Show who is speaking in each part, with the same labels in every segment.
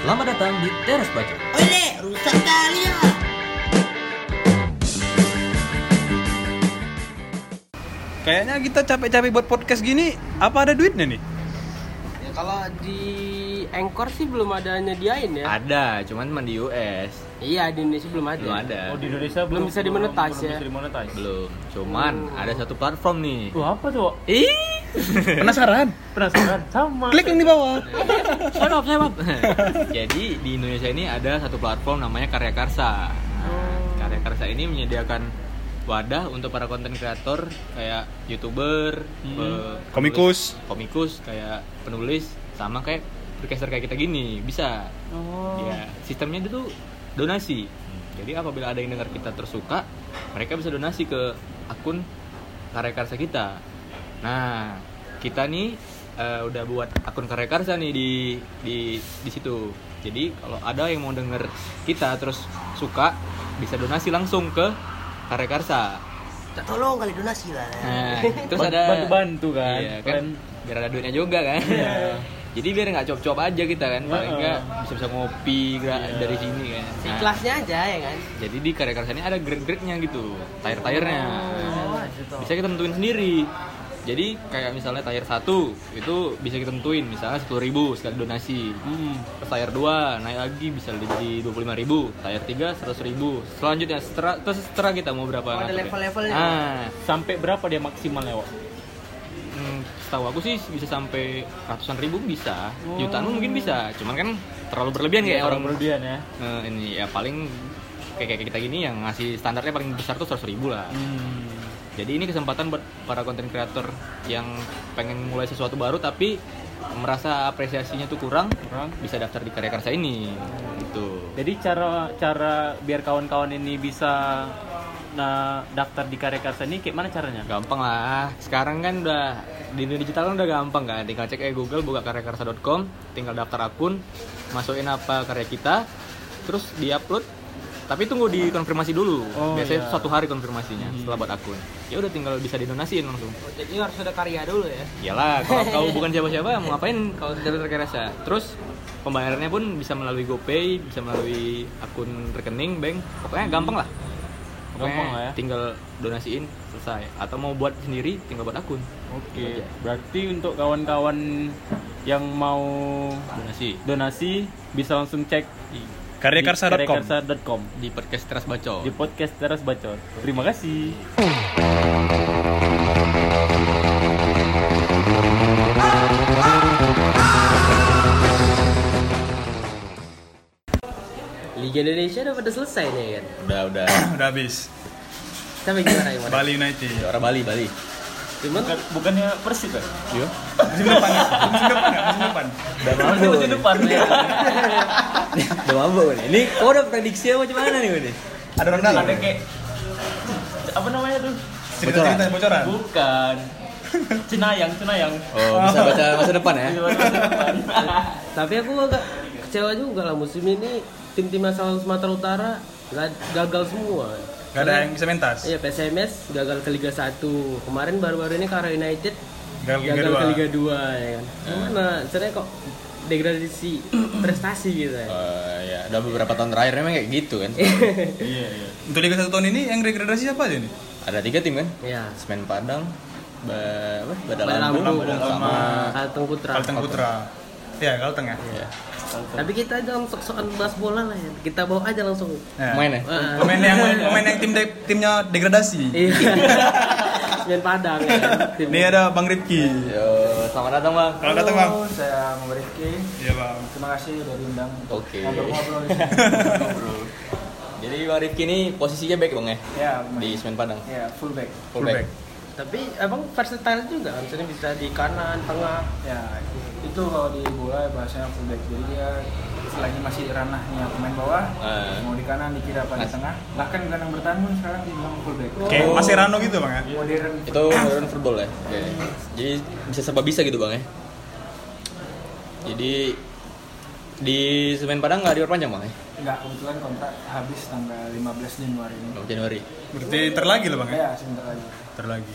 Speaker 1: Selamat datang di Teras Baca.
Speaker 2: Ole, rusak kali ya.
Speaker 3: Kayaknya kita capek-capek buat podcast gini, apa ada duitnya nih?
Speaker 4: Ya, kalau di Anchor sih belum ada nyediain ya.
Speaker 1: Ada, cuman cuma di US.
Speaker 4: Iya, di Indonesia belum ada.
Speaker 1: Belum ada.
Speaker 5: Oh di Indonesia
Speaker 4: Belum bisa dimonetize ya?
Speaker 5: belum bisa dimonetize.
Speaker 1: Belum. Cuman ada satu platform nih.
Speaker 5: Tuh apa tuh?
Speaker 1: Ih.
Speaker 3: Penasaran?
Speaker 5: Penasaran? Sama.
Speaker 3: Klik link di bawah.
Speaker 1: Shut Oh, up, shut up. Jadi di Indonesia ini ada satu platform namanya Karya Karsa. Nah, Karya Karsa ini menyediakan wadah untuk para konten kreator kayak youtuber, pe-
Speaker 3: Komikus.
Speaker 1: penulis- komikus kayak penulis sama kayak podcaster kayak kita gini bisa.
Speaker 2: Oh.
Speaker 1: Ya sistemnya itu tuh donasi. Jadi apabila ada yang dengar kita tersuka, mereka bisa donasi ke akun Karya Karsa kita. Nah, kita nih eh, udah buat akun Karya Karsa nih di di di situ. Jadi kalau ada yang mau denger kita terus suka, bisa donasi langsung ke Karya Karsa.
Speaker 2: Tolong kali donasi lah.
Speaker 1: Nah, terus
Speaker 5: Ban-
Speaker 1: ada
Speaker 5: bantu-bantu kan.
Speaker 1: Iya, kan
Speaker 5: Keren.
Speaker 1: biar ada duitnya juga kan. Jadi biar nggak cop-cop aja kita kan, paling nggak bisa bisa ngopi gra- dari sini kan.
Speaker 4: Si
Speaker 1: Nah,
Speaker 4: kelasnya aja ya kan.
Speaker 1: jadi di karya karya ini ada grade-grade-nya gitu, tire-tirenya.
Speaker 4: Oh,
Speaker 1: Bisa kita tentuin sendiri. Jadi kayak misalnya tire 1 itu bisa kita tentuin misalnya 10.000 ribu sekali donasi.
Speaker 5: Hmm.
Speaker 1: Terus tire 2 naik lagi bisa jadi 25.000 ribu, tire 3 100.000 ribu. Selanjutnya setera, terus setera kita mau berapa?
Speaker 4: Oh, ada
Speaker 1: ngaturnya.
Speaker 4: level-levelnya.
Speaker 1: Ah,
Speaker 5: Sampai berapa dia maksimalnya, Wak?
Speaker 1: hmm, setahu aku sih bisa sampai ratusan ribu bisa, jutaan pun mungkin bisa. Cuman kan terlalu berlebihan kayak orang
Speaker 5: Oh. Iya, berlebihan ya.
Speaker 1: Eh, ini ya paling kayak kayak kita gini yang ngasih standarnya paling besar tuh 100.000 ribu lah.
Speaker 5: Hmm.
Speaker 1: Jadi ini kesempatan buat para konten kreator yang pengen mulai sesuatu baru tapi merasa apresiasinya tuh kurang,
Speaker 5: Kurang.
Speaker 1: bisa daftar di karya karsa ini. Gitu.
Speaker 5: Jadi cara cara biar kawan-kawan ini bisa nah daftar di karya karsa ini kayak mana caranya?
Speaker 1: Gampang lah. Sekarang kan udah di dunia digital kan udah gampang kan. Tinggal cek eh Google buka karyakarsa.com, tinggal daftar akun, masukin apa karya kita, terus diupload. Tapi tunggu dikonfirmasi dulu.
Speaker 5: Oh,
Speaker 1: Biasanya
Speaker 5: iya. Hmm.
Speaker 1: satu hari konfirmasinya setelah buat akun. Ya udah tinggal bisa didonasiin langsung.
Speaker 4: Jadi harus ada karya dulu ya.
Speaker 1: Iyalah, kalau kau bukan siapa-siapa mau ngapain kalau tidak terkerasa. Terus pembayarannya pun bisa melalui GoPay, bisa melalui akun rekening bank. Pokoknya gampang lah. Pokoknya
Speaker 5: Gampang lah ya.
Speaker 1: Tinggal donasiin selesai. Atau mau buat sendiri tinggal buat akun.
Speaker 5: Oke. Berarti untuk kawan-kawan yang mau
Speaker 1: Donasi
Speaker 5: donasi bisa langsung cek di
Speaker 3: Karyakarsa.com.
Speaker 5: karyakarsa.com
Speaker 1: di podcast Teras Bacol.
Speaker 5: di podcast Teras Bacot. Terima kasih.
Speaker 4: Liga Indonesia udah pada selesai nih ya kan.
Speaker 1: Udah udah.
Speaker 3: Udah habis.
Speaker 4: Sampai gimana gimana?
Speaker 3: Bali United.
Speaker 1: Orang Bali, Bali.
Speaker 4: Cuman
Speaker 5: Bukan- bukannya Persib ya?
Speaker 1: Yo.
Speaker 3: Musim depan. ya? Musim depan. ya? Musim depan.
Speaker 1: Udah
Speaker 5: Masih musim depan ya.
Speaker 1: Udah mabuk nih. Ini kau udah prediksi apa gimana nih ini?
Speaker 3: Ada orang dalam.
Speaker 5: Ada kayak apa namanya tuh?
Speaker 3: Cerita-cerita yang bocoran.
Speaker 5: Bukan. Cenayang, Cenayang.
Speaker 1: Oh, bisa baca masa depan ya.
Speaker 4: tapi aku agak kecewa juga lah musim ini tim-tim asal Sumatera Utara ga- gagal semua.
Speaker 3: Gak ada yang bisa mentas.
Speaker 4: Iya, PSMS gagal ke Liga 1. Kemarin baru-baru ini Kara United
Speaker 3: Gagal Liga
Speaker 4: gagal ke
Speaker 3: 2.
Speaker 4: Liga 2 ya kan. Gimana? Caranya kok degradasi prestasi gitu ya.
Speaker 1: Eh, ya, udah beberapa tahun terakhir memang kayak gitu kan.
Speaker 5: Iya, iya.
Speaker 3: Untuk Liga 1 tahun ini yang degradasi siapa aja nih?
Speaker 1: Ada tiga tim kan?
Speaker 4: Iya.
Speaker 1: Semen Padang, ba apa? Badal
Speaker 4: Badal
Speaker 1: Lampung,
Speaker 4: Lampung,
Speaker 1: sama
Speaker 4: Kalteng Putra.
Speaker 3: Kalteng Putra. Ya, Kalteng ya.
Speaker 1: ya.
Speaker 4: Tapi kita jangan sok-sokan bahas bola lah ya. Kita bawa aja langsung.
Speaker 3: Ya.
Speaker 1: main ya.
Speaker 4: Wah.
Speaker 3: Pemain yang pemain yang tim de- timnya degradasi.
Speaker 4: Iya. Main Padang ya. kan, tim.
Speaker 3: Ini ada Bang Rifki.
Speaker 1: Yo, selamat datang bang.
Speaker 3: Kalau datang Bang.
Speaker 6: saya Muhammad Rifki.
Speaker 3: Iya, Bang.
Speaker 6: Terima kasih sudah diundang untuk
Speaker 1: Oke.
Speaker 6: ngobrol-ngobrol di sini.
Speaker 1: Jadi bang Rifki ini posisinya back bang ya
Speaker 6: ya, di...
Speaker 1: di Semen Padang.
Speaker 6: ya fullback.
Speaker 1: Full
Speaker 3: Fullback.
Speaker 1: back.
Speaker 4: Tapi abang versatile juga. Misalnya bisa di kanan, tengah.
Speaker 6: Ya, itu kalau di bola ya bahasanya fullback. Jadi dia selagi masih di ranahnya pemain bawah,
Speaker 1: Eh.
Speaker 6: mau di kanan, di kiri, apa di
Speaker 1: Mas-
Speaker 6: tengah. Bahkan gelandang bertahan pun sekarang dibilang fullback.
Speaker 3: Kayak
Speaker 1: Oh.
Speaker 3: masih Rano gitu, Bang ya.
Speaker 6: Modern.
Speaker 1: Itu modern football ya. Oke. Jadi bisa serba bisa gitu bang ya. Jadi di Semen Padang nggak diperpanjang bang ya?
Speaker 6: Enggak, kebetulan kontrak habis tanggal 15 Januari ini.
Speaker 1: Oh, Januari.
Speaker 3: Berarti ter lagi loh, Bang ya.
Speaker 6: Ya, sebentar lagi.
Speaker 3: Ter lagi.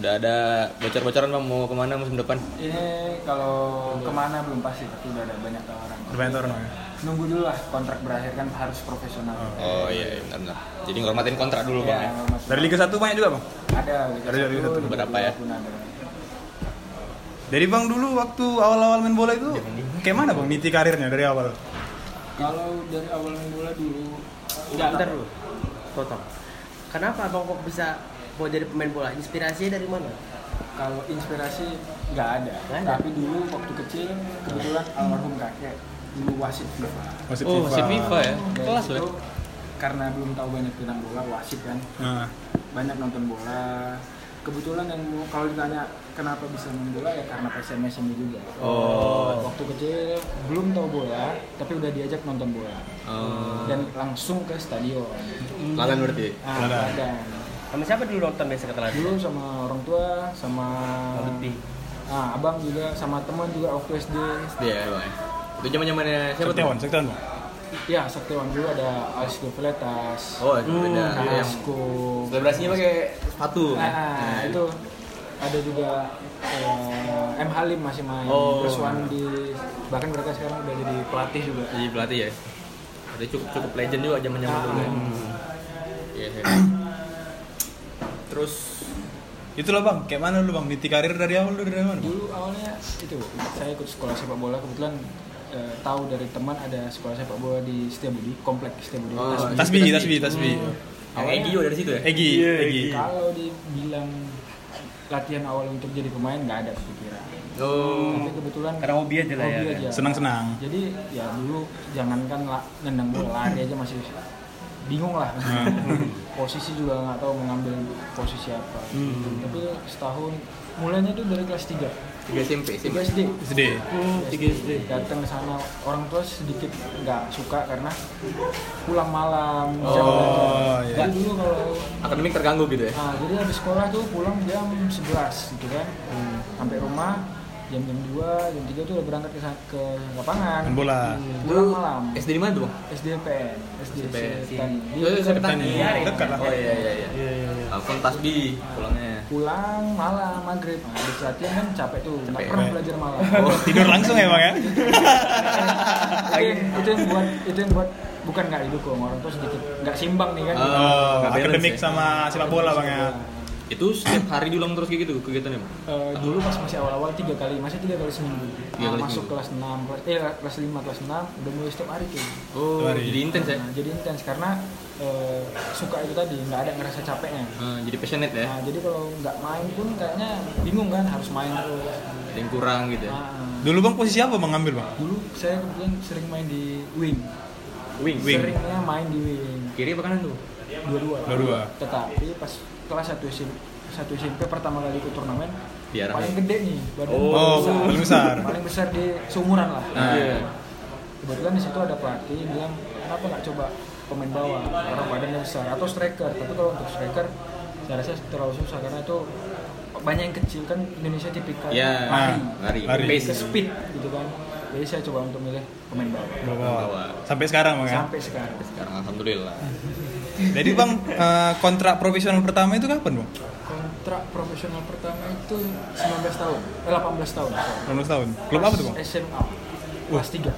Speaker 1: Udah ada bocor-bocoran bang mau kemana musim depan?
Speaker 6: Ini kalau kemana belum pasti, tapi udah ada banyak tawaran.
Speaker 3: Berbanyak orang Bang ya.
Speaker 7: nunggu dulu lah kontrak berakhir kan harus profesional.
Speaker 1: Oh iya, iya, benar-benar. Jadi ngormatin kontrak dulu bang ya.
Speaker 7: Ya, masuk.
Speaker 3: Dari Liga 1 banyak juga bang.
Speaker 7: ada
Speaker 3: Dari Liga satu,
Speaker 1: berapa
Speaker 7: dua
Speaker 1: ya?
Speaker 7: pun ada.
Speaker 3: Dari bang dulu waktu awal-awal main bola itu, kayak mana bang niti karirnya dari awal?
Speaker 7: Kalau dari awal main bola dulu
Speaker 8: Enggak, bentar dulu. Potong. Kenapa Abang kok bisa mau jadi pemain bola? Inspirasinya dari mana?
Speaker 7: Kalau inspirasi nggak ada.
Speaker 8: Nggak ada.
Speaker 7: Nah, Tapi dulu waktu kecil kebetulan almarhum kakek dulu wasit FIFA.
Speaker 3: Wasit
Speaker 9: Oh, si FIFA ya.
Speaker 7: Dari
Speaker 9: Kelas
Speaker 7: situ,
Speaker 9: loh.
Speaker 1: Oh.
Speaker 7: Karena belum tahu banyak tentang bola wasit kan.
Speaker 3: Nah,
Speaker 7: Banyak nonton bola. Kebetulan yang mau- kalau ditanya kenapa bisa main bola ya karena passionnya seni juga.
Speaker 3: Oh.
Speaker 7: Waktu kecil belum tahu bola tapi udah diajak nonton bola
Speaker 1: Oh.
Speaker 7: dan langsung ke stadion.
Speaker 1: Lalan berarti.
Speaker 7: Nah,
Speaker 3: Ada.
Speaker 7: ada.
Speaker 8: Sama siapa dulu nonton biasa ke telat?
Speaker 7: dulu sama orang tua sama
Speaker 8: Lebih.
Speaker 7: ah, abang juga sama teman juga waktu SD
Speaker 1: Iya bang. ya. Itu zaman zamannya siapa tuh?
Speaker 3: Sektewan, Sektewan bang.
Speaker 7: ya Saktiwan dulu ada Hmm, Alis Veletas
Speaker 1: Oh itu beda. Itu yang
Speaker 7: Kasko
Speaker 1: selebrasinya pakai Iya, sepatu.
Speaker 7: ah, ah, itu ada juga eh, M Halim masih main
Speaker 1: Oh.
Speaker 7: terus Wandi bahkan mereka sekarang udah jadi pelatih juga
Speaker 1: Jadi pelatih ya. Berarti cukup cukup legend juga zaman zaman dulu. ya. Iya. iya. Terus
Speaker 3: Itulah bang, kayak mana dulu bang niti karir dari awal dulu dari mana? Bang?
Speaker 7: dulu awalnya itu saya ikut sekolah sepak bola kebetulan eh, tahu dari teman ada sekolah sepak bola di Setiabudi komplek Setiabudi Nah,
Speaker 1: Oh,
Speaker 7: Tasbih.
Speaker 3: Tasbih, tasbih, tasbih.
Speaker 1: yang Egi juga dari situ ya?
Speaker 3: Egi, Egi.
Speaker 7: Kalau dibilang latihan awal untuk jadi pemain nggak ada kepikiran.
Speaker 1: Oh.
Speaker 7: Tapi kebetulan
Speaker 8: Karena hobi aja lah ya,
Speaker 7: hobi
Speaker 8: kan?
Speaker 7: aja.
Speaker 3: Senang-senang.
Speaker 7: Jadi ya dulu jangankan lah nendang bola lari aja masih bingung lah.
Speaker 3: Hmm.
Speaker 7: posisi juga nggak tahu mengambil posisi apa.
Speaker 8: Hmm.
Speaker 7: Tapi setahun mulainya tuh dari kelas 3.
Speaker 1: 3 SMP,
Speaker 7: 3
Speaker 1: SMP.
Speaker 7: SD.
Speaker 3: SD.
Speaker 7: Datang ke sana orang tua sedikit nggak suka karena pulang malam. jam
Speaker 3: Oh,
Speaker 7: belajar.
Speaker 3: iya.
Speaker 7: Jadi dulu kalau
Speaker 1: Akademik terganggu gitu ya?
Speaker 7: Nah, jadi habis sekolah tuh pulang jam 11 gitu kan. Sampai rumah jam jam 2, jam 3 tuh udah berangkat ke, sa- ke lapangan.
Speaker 3: Main bola.
Speaker 7: Pulang malam.
Speaker 1: SD di mana tuh bang?
Speaker 7: SDPN,
Speaker 1: SDPN.
Speaker 7: SDPN.
Speaker 1: Oh, saya petani.
Speaker 3: Iya, dekat lah.
Speaker 1: Oh iya iya iya. Akun tasbih pulangnya.
Speaker 7: Pulang malam maghrib. Nah, habis latihan kan capek tuh, nggak
Speaker 1: Capek.
Speaker 7: pernah belajar malam.
Speaker 1: Oh.
Speaker 3: Tidur langsung ya bang ya?
Speaker 7: itu, yang, itu yang buat itu yang buat bukan nggak didukung orang tuh sedikit nggak simbang nih kan. Nah,
Speaker 1: Oh,
Speaker 3: Oh,
Speaker 1: nggak balance
Speaker 3: akademik
Speaker 1: ya.
Speaker 3: sama sepak bola bang ya?
Speaker 1: Itu setiap hari diulang terus kayak gitu kegiatannya bang?
Speaker 7: Eh, dulu pas masih awal-awal tiga kali masih tiga kali seminggu
Speaker 1: Tiga
Speaker 7: Nah,
Speaker 1: kali
Speaker 7: masuk
Speaker 1: seminggu.
Speaker 7: kelas 6 kelas eh kelas 5 kelas 6 udah mulai setiap hari tuh
Speaker 1: Oh,
Speaker 3: Setiap hari.
Speaker 1: jadi intens ya?
Speaker 7: Nah, jadi intens karena eh, suka itu tadi nggak ada ngerasa capeknya
Speaker 1: Eh, jadi passionate ya?
Speaker 7: nah jadi kalau nggak main pun kayaknya bingung kan harus main terus
Speaker 1: Ada yang kurang gitu ya?
Speaker 7: Nah,
Speaker 3: Dulu bang posisi apa bang ngambil bang?
Speaker 7: dulu saya kebetulan sering main di wing.
Speaker 1: Wing.
Speaker 3: Wing.
Speaker 7: seringnya main di wing
Speaker 1: Kiri apa kanan tuh?
Speaker 7: dua-dua
Speaker 3: Dua-dua.
Speaker 7: tetapi pas kelas satu SMP satu SMP pertama kali ikut turnamen
Speaker 1: Diarah.
Speaker 7: paling gede nih badan
Speaker 1: Oh,
Speaker 3: paling besar.
Speaker 7: paling besar di seumuran lah
Speaker 3: Nah.
Speaker 1: Iya.
Speaker 7: kebetulan di situ ada pelatih bilang kenapa nggak coba pemain bawah orang badannya besar atau striker tapi kalau untuk striker saya rasa terlalu susah karena itu banyak yang kecil kan Indonesia tipikal
Speaker 1: Ya,
Speaker 3: Lari.
Speaker 1: lari.
Speaker 3: Lari.
Speaker 7: ke
Speaker 1: Pace.
Speaker 7: speed gitu kan jadi saya coba untuk milih pemain bawah
Speaker 1: Bawah.
Speaker 3: Sampai sekarang bang Oh, ya?
Speaker 7: sampai sekarang
Speaker 1: Sekarang alhamdulillah.
Speaker 3: Jadi bang eh, kontrak profesional pertama itu kapan bang?
Speaker 7: kontrak profesional pertama itu 19 tahun eh 18 tahun sorry.
Speaker 3: 19 tahun. Klub apa tuh bang?
Speaker 7: SMA kelas 3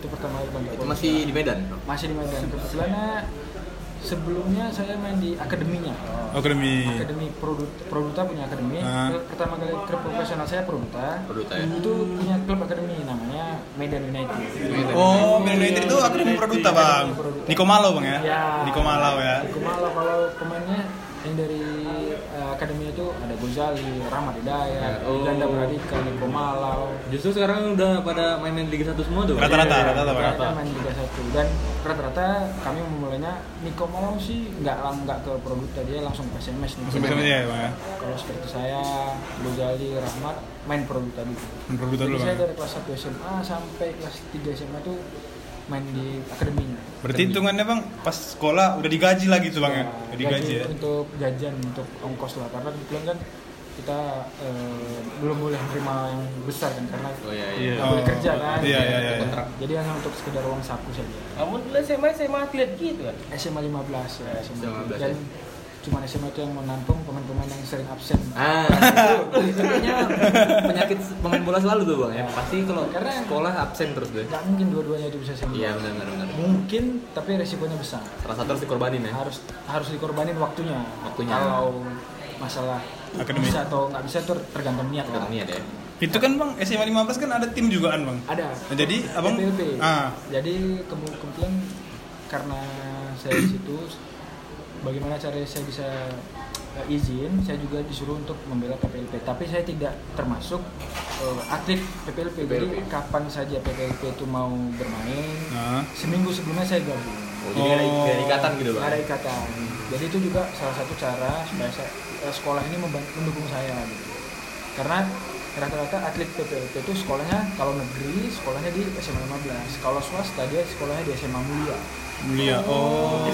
Speaker 7: itu pertama kali kontrak
Speaker 1: Itu masih di Medan. Bang?
Speaker 7: masih di Medan kebetulannya sebelumnya saya main di akademinya
Speaker 3: Akademi.
Speaker 7: akademi Produt- Produta punya akademi
Speaker 3: Iya. Ah.
Speaker 7: Ke- pertama kali klub profesional saya Produta
Speaker 1: Produta, ya.
Speaker 7: itu punya klub akademi namanya Medan United
Speaker 3: Oh, Man United itu akademi Produta bang. Niko Malo bang ya?
Speaker 7: Ya.
Speaker 3: Niko Malo ya.
Speaker 7: Kumala kalau pemainnya yang dari eh, akademi itu ada Gozali, Rahmat Hidayat,
Speaker 1: Oh.
Speaker 7: Ganda Pradika, Niko Malau,
Speaker 1: Justru sekarang udah pada main-main Liga 1 semua tuh. Bang?
Speaker 3: Rata-rata, rata-rata bang.
Speaker 7: Iya, Rata-rata main Liga 1 dan rata-rata kami memulainya Niko Malau sih nggak lang- nggak ke Produta dia langsung ke SMS nih.
Speaker 3: Sampai sampai ya bang ya?
Speaker 7: Kalau seperti saya, Gozali, Rahmat main Produta dulu.
Speaker 3: Main Produta
Speaker 7: Jadi
Speaker 3: dulu
Speaker 7: saya
Speaker 3: bang.
Speaker 7: dari kelas 1 SMA sampai kelas 3 SMA tuh main di akademinya.
Speaker 3: Berarti hitungannya bang pas sekolah udah digaji lagi tuh bang ya? Udah digaji ya?
Speaker 7: untuk gajian untuk ongkos lah karena kebetulan kan kita eh, belum boleh terima yang besar kan karena
Speaker 1: Oh iya iya.
Speaker 4: Iya.
Speaker 7: nggak boleh kerja kan
Speaker 3: Iya iya iya.
Speaker 1: Kontrak.
Speaker 7: jadi hanya untuk sekedar uang saku saja
Speaker 8: Kamu dulu SMA SMA atlet gitu kan?
Speaker 7: SMA 15 ya SMA
Speaker 1: SMA 15, ya.
Speaker 7: dan cuma SMA itu yang menampung pemain-pemain yang sering absen
Speaker 1: Ah, itu kayaknya penyakit pemain bola selalu tuh bang ya. Pasti kalau
Speaker 7: Karena-
Speaker 1: sekolah absen terus deh.
Speaker 7: nggak mungkin dua-duanya itu bisa sering
Speaker 1: Iya benar benar benar.
Speaker 7: mungkin tapi resikonya besar
Speaker 1: Salah satu harus dikorbanin ya.
Speaker 7: harus harus dikorbanin waktunya
Speaker 1: Waktunya.
Speaker 7: kalau masalah
Speaker 3: Akademik.
Speaker 7: bisa atau nggak bisa itu tergantung niat lah.
Speaker 1: Tergantung niat ya.
Speaker 3: Itu kan bang SMA 15 kan ada tim jugaan bang.
Speaker 7: ada
Speaker 3: Nah, jadi abang
Speaker 7: PPP.
Speaker 3: ah
Speaker 7: jadi kemu- kemudian karena saya di situ bagaimana caranya saya bisa eh, izin saya juga disuruh untuk membela PPLP tapi saya tidak termasuk eh, aktif PPLP. jadi
Speaker 1: PPLP.
Speaker 7: kapan saja PPLP itu mau bermain
Speaker 3: Nah.
Speaker 7: seminggu sebelumnya saya gabung
Speaker 1: Oh, jadi ada,
Speaker 3: Oh.
Speaker 1: nggak ada ikatan gitu bang.
Speaker 7: ada ikatan jadi itu juga salah satu cara supaya saya- eh, sekolah ini membantu, mendukung saya gitu karena rata-rata atlet PPLP itu sekolahnya kalau negeri sekolahnya di SMA 15 kalau swasta dia sekolahnya di SMA Mulia
Speaker 3: mulia. Oh.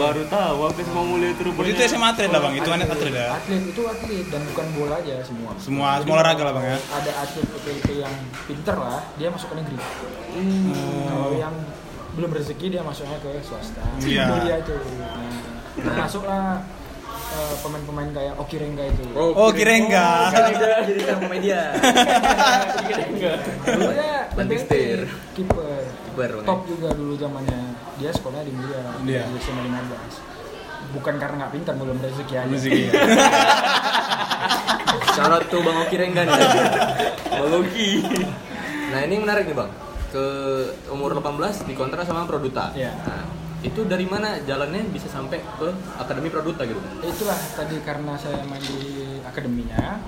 Speaker 4: baru
Speaker 5: Ah,
Speaker 4: tahu habis mau mulai itu
Speaker 3: Berarti itu SMA atlet lah bang. Itu anak atlet ya.
Speaker 7: atlet itu atlet dan bukan bola aja semua
Speaker 3: Semua-
Speaker 7: Jadi
Speaker 3: semua olahraga lah, Bang, ya?
Speaker 7: ada atlet PPLP yang pinter lah dia masuk ke negeri
Speaker 3: Hmm.
Speaker 7: kalau yang belum rezeki dia masuknya ke swasta
Speaker 3: Iya.
Speaker 7: Mulia itu Nah, termasuklah eh, pemain-pemain kayak Oki Rengga itu
Speaker 3: Oh kira enggak.
Speaker 1: Jadi jadi sama media.
Speaker 7: dulu ya
Speaker 1: Landing
Speaker 7: PPLP,
Speaker 1: steer.
Speaker 7: kiper
Speaker 1: Kiper, Bang,
Speaker 7: top juga dulu zamannya dia sekolahnya di Mulia
Speaker 3: Iya.
Speaker 7: di SMA 15 bukan karena nggak pintar belum rezeki aja
Speaker 3: Musik.
Speaker 1: Syarat tuh bang Oki Renggan ya. Bang Oki. Nah ini menarik nih bang. Ke umur 18 dikontrak sama Produta.
Speaker 7: Iya.
Speaker 1: Nah, itu dari mana jalannya bisa sampai ke Akademi Produta gitu? Bang?
Speaker 7: itulah tadi karena saya main di akademinya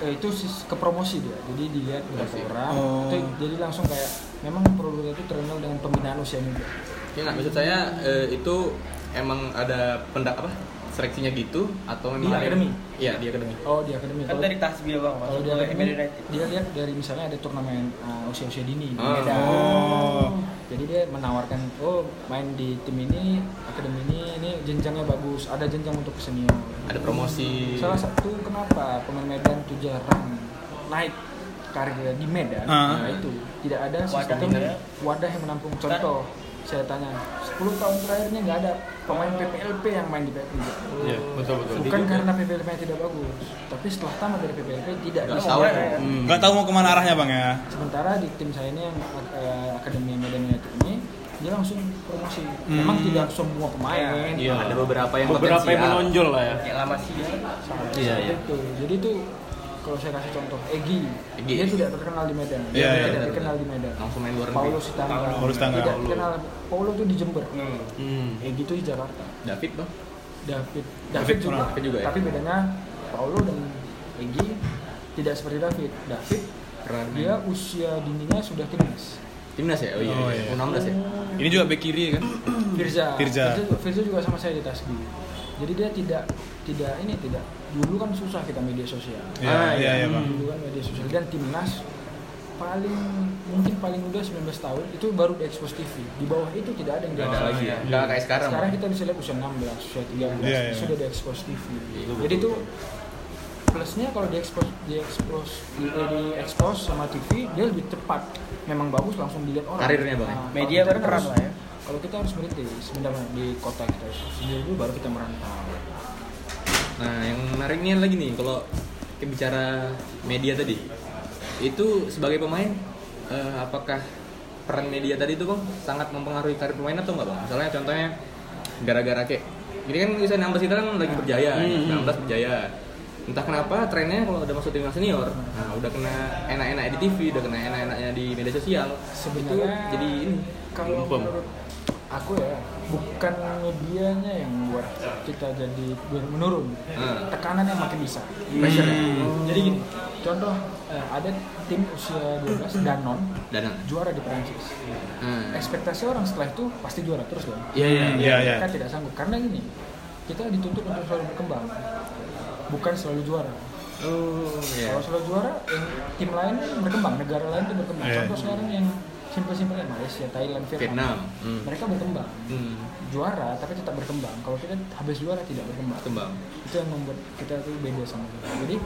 Speaker 7: eh, itu sis- ke promosi dia jadi dilihat berapa orang
Speaker 3: Oh.
Speaker 7: itu, jadi langsung kayak memang produk itu terkenal dengan pembinaan usia muda
Speaker 1: Ya nggak maksud saya eh, itu emang ada pendak apa seleksinya gitu atau memang ada-
Speaker 7: Di akademi?
Speaker 1: Iya di akademi.
Speaker 7: oh di akademi
Speaker 10: Kan
Speaker 7: Kalau-
Speaker 10: dari Tasbih bang,
Speaker 7: kalau
Speaker 10: masuk
Speaker 7: di
Speaker 10: ke
Speaker 8: kan
Speaker 7: akademi
Speaker 10: ML United.
Speaker 7: dia lihat dari misalnya ada turnamen uh, usia-usia dini di
Speaker 1: Ah.
Speaker 7: Medan.
Speaker 3: Oh.
Speaker 7: jadi dia menawarkan oh main di tim ini akademi ini ini jenjangnya bagus ada jenjang untuk senior
Speaker 1: Ada promosi.
Speaker 7: salah satu kenapa pemain Medan itu jarang naik karirnya di Medan
Speaker 3: Ah.
Speaker 7: nah itu tidak ada
Speaker 10: Wadah
Speaker 7: sistem
Speaker 10: ya.
Speaker 7: wadah yang menampung contoh saya tanya 10 tahun terakhirnya nggak ada pemain PPLP yang main di PPLP
Speaker 1: Iya betul betul.
Speaker 7: bukan karena PPLP nya tidak bagus tapi setelah tamat dari PPLP tidak
Speaker 1: Nggak Hmm.
Speaker 7: bisa
Speaker 1: tahu.
Speaker 7: Wadah.
Speaker 3: Enggak tahu mau kemana arahnya bang ya.
Speaker 7: sementara di tim saya ini yang eh, akademi Medan United ini dia langsung promosi memang tidak semua pemain
Speaker 1: Hmm. Iya. Ada beberapa yang
Speaker 4: beberapa yang
Speaker 1: potensial.
Speaker 4: menonjol lah ya.
Speaker 10: Kayak lama sih ya.
Speaker 1: Iya iya.
Speaker 7: Itu. Jadi itu kalau saya kasih contoh Egi,
Speaker 1: Egi.
Speaker 7: dia tidak terkenal di Medan.
Speaker 3: Iya, iya,
Speaker 7: tidak
Speaker 1: iya.
Speaker 7: terkenal di Medan.
Speaker 1: Langsung main luar negeri.
Speaker 7: Paulo Sitanggang.
Speaker 3: Paulo Sitanggang.
Speaker 7: Tidak
Speaker 3: Paulo.
Speaker 7: terkenal. Paulo tuh di Jember.
Speaker 1: Hmm.
Speaker 7: Egi tuh di Jakarta.
Speaker 1: David bang.
Speaker 7: David, David,
Speaker 3: David
Speaker 7: juga.
Speaker 3: orang
Speaker 1: David juga ya?
Speaker 7: Tapi bedanya Paulo dan Egi tidak seperti David. David
Speaker 1: Keren.
Speaker 7: dia usia dininya sudah timnas.
Speaker 1: Timnas ya? Oh iya.
Speaker 3: Oh,
Speaker 1: iya.
Speaker 3: iya.
Speaker 1: U16 ya?
Speaker 3: Ini juga bek kiri kan.
Speaker 7: Firza.
Speaker 3: Firza.
Speaker 7: juga- Firza juga sama saya di Tasbih. Jadi dia tidak tidak ini tidak dulu kan susah kita media sosial.
Speaker 3: Iya,
Speaker 7: Ah,
Speaker 3: iya, iya, Bang.
Speaker 7: Dulu kan media sosial dan timnas paling mungkin paling muda 19 tahun itu baru di Expos TV. Di bawah itu tidak ada yang
Speaker 1: Gak ada
Speaker 7: diekspos.
Speaker 1: lagi ya? Gak kayak sekarang.
Speaker 7: Sekarang kita bisa lihat usia 16, usia 13
Speaker 3: Iya, iya.
Speaker 7: sudah di Expos TV.
Speaker 1: Iya,
Speaker 7: Jadi itu plusnya kalau di Expos di Expos di, eh, di Expos sama TV dia lebih cepat. Memang bagus langsung dilihat orang.
Speaker 1: Karirnya, Bang.
Speaker 7: kalau
Speaker 10: Media
Speaker 7: kita kan
Speaker 10: berperan
Speaker 7: harus-
Speaker 10: lah ya.
Speaker 7: kalau kita harus merintis sebenarnya di kota kita sendiri dulu baru kita merantau
Speaker 1: Nah, yang menariknya lagi nih kalau bicara media tadi. Itu sebagai pemain eh, apakah peran media tadi itu Bang sangat mempengaruhi karir pemain atau enggak Bang? Misalnya contohnya gara-gara kayak ini kan bisa nambah kita kan lagi berjaya, ya, 19 berjaya. Entah kenapa trennya kalau udah masuk timnas senior, nah udah kena enak-enak di TV, udah kena enak-enaknya di media sosial. Itu
Speaker 7: sebenarnya
Speaker 1: jadi ini
Speaker 7: kalau
Speaker 1: lumpem.
Speaker 7: menurut aku ya bukan medianya yang membuat kita jadi ber- menurun
Speaker 1: Hmm.
Speaker 7: tekanannya makin bisa jadi gini contoh eh, ada tim usia 12 Danon
Speaker 1: Danang.
Speaker 7: juara di Prancis
Speaker 1: Nah,
Speaker 7: ekspektasi orang setelah itu pasti juara terus dong
Speaker 1: Iya iya.
Speaker 3: Iya iya.
Speaker 7: mereka tidak sanggup karena gini kita dituntut untuk selalu berkembang bukan selalu juara
Speaker 1: Oh iya.
Speaker 7: Kalau selalu juara, eh, tim lain berkembang, negara lain itu berkembang.
Speaker 3: Iya.
Speaker 7: Contoh sekarang yang simpel-simpelnya Malaysia, Thailand, Vietnam.
Speaker 1: Vietnam. Hmm.
Speaker 7: Mereka berkembang,
Speaker 1: Hmm.
Speaker 7: juara tapi tetap berkembang. Kalau kita habis juara tidak berkembang.
Speaker 1: Kembang.
Speaker 7: Itu yang membuat kita tuh beda sama mereka. Jadi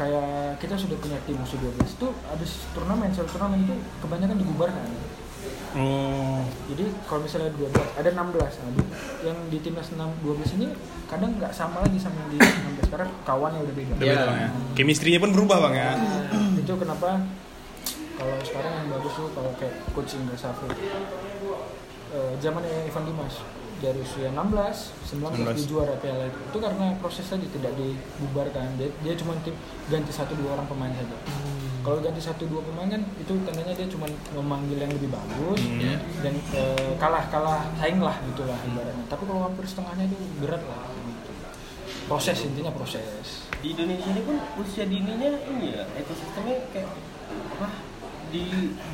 Speaker 7: kayak kita sudah punya tim musuh 12 itu habis turnamen, satu turnamen itu kebanyakan dibubarkan.
Speaker 3: Oh.
Speaker 7: Jadi kalau misalnya 12 ada 16 nah, di- yang di timnas 6 12 ini kadang nggak sama lagi sama yang di 16 sekarang kawannya udah beda.
Speaker 3: Udah beda, Bang, ya. Kemistrinya pun berubah bang ya.
Speaker 7: Nah, itu kenapa kalau sekarang yang bagus tuh kalau kayak coach Indra Safri. Eh, zaman Ivan Dimas dari usia 16, 19 di
Speaker 3: 19.
Speaker 7: juara Piala itu. Itu karena proses tadi tidak dibubarkan. Dia, dia cuma tim ganti satu dua orang pemain saja. Kalau ganti satu dua pemain kan itu tandanya dia cuma memanggil yang lebih bagus
Speaker 3: Hmm.
Speaker 7: dan eh, kalah kalah saing lah gitulah ibaratnya. Tapi kalau hampir setengahnya itu berat lah. gitu. Proses intinya proses.
Speaker 4: di Indonesia ini pun usia dininya ini ya ekosistemnya kayak apa di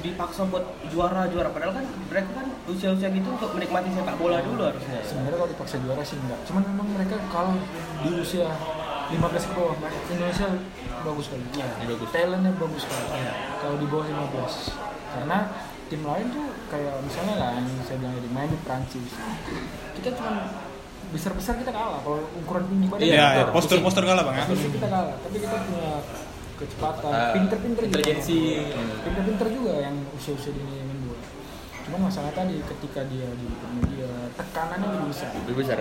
Speaker 4: dipaksa buat juara juara padahal kan mereka kan usia usia gitu untuk menikmati sepak bola
Speaker 8: Hmm.
Speaker 4: dulu
Speaker 3: Iya.
Speaker 4: harusnya
Speaker 7: sebenarnya kalau dipaksa juara sih enggak cuman memang mereka kalau di usia 15 ke bawah Indonesia bagus sekali
Speaker 3: Iya,
Speaker 7: talentnya bagus sekali kalau di bawah 15 karena tim lain tuh kayak misalnya lah yang saya bilang tadi main di Prancis kita cuman besar-besar kita kalah kalau ukuran tinggi badan
Speaker 3: Iya,
Speaker 7: kita
Speaker 3: iya,
Speaker 7: kalah.
Speaker 3: postur-postur kalah bang ya.
Speaker 7: Posisi kita kalah tapi kita punya kecepatan
Speaker 1: Ah,
Speaker 7: pinter-pinter juga
Speaker 1: intelijensi.
Speaker 7: pinter-pinter juga yang usia-usia dini main bola cuman masalah tadi ketika dia di media tekanannya lebih besar
Speaker 1: lebih besar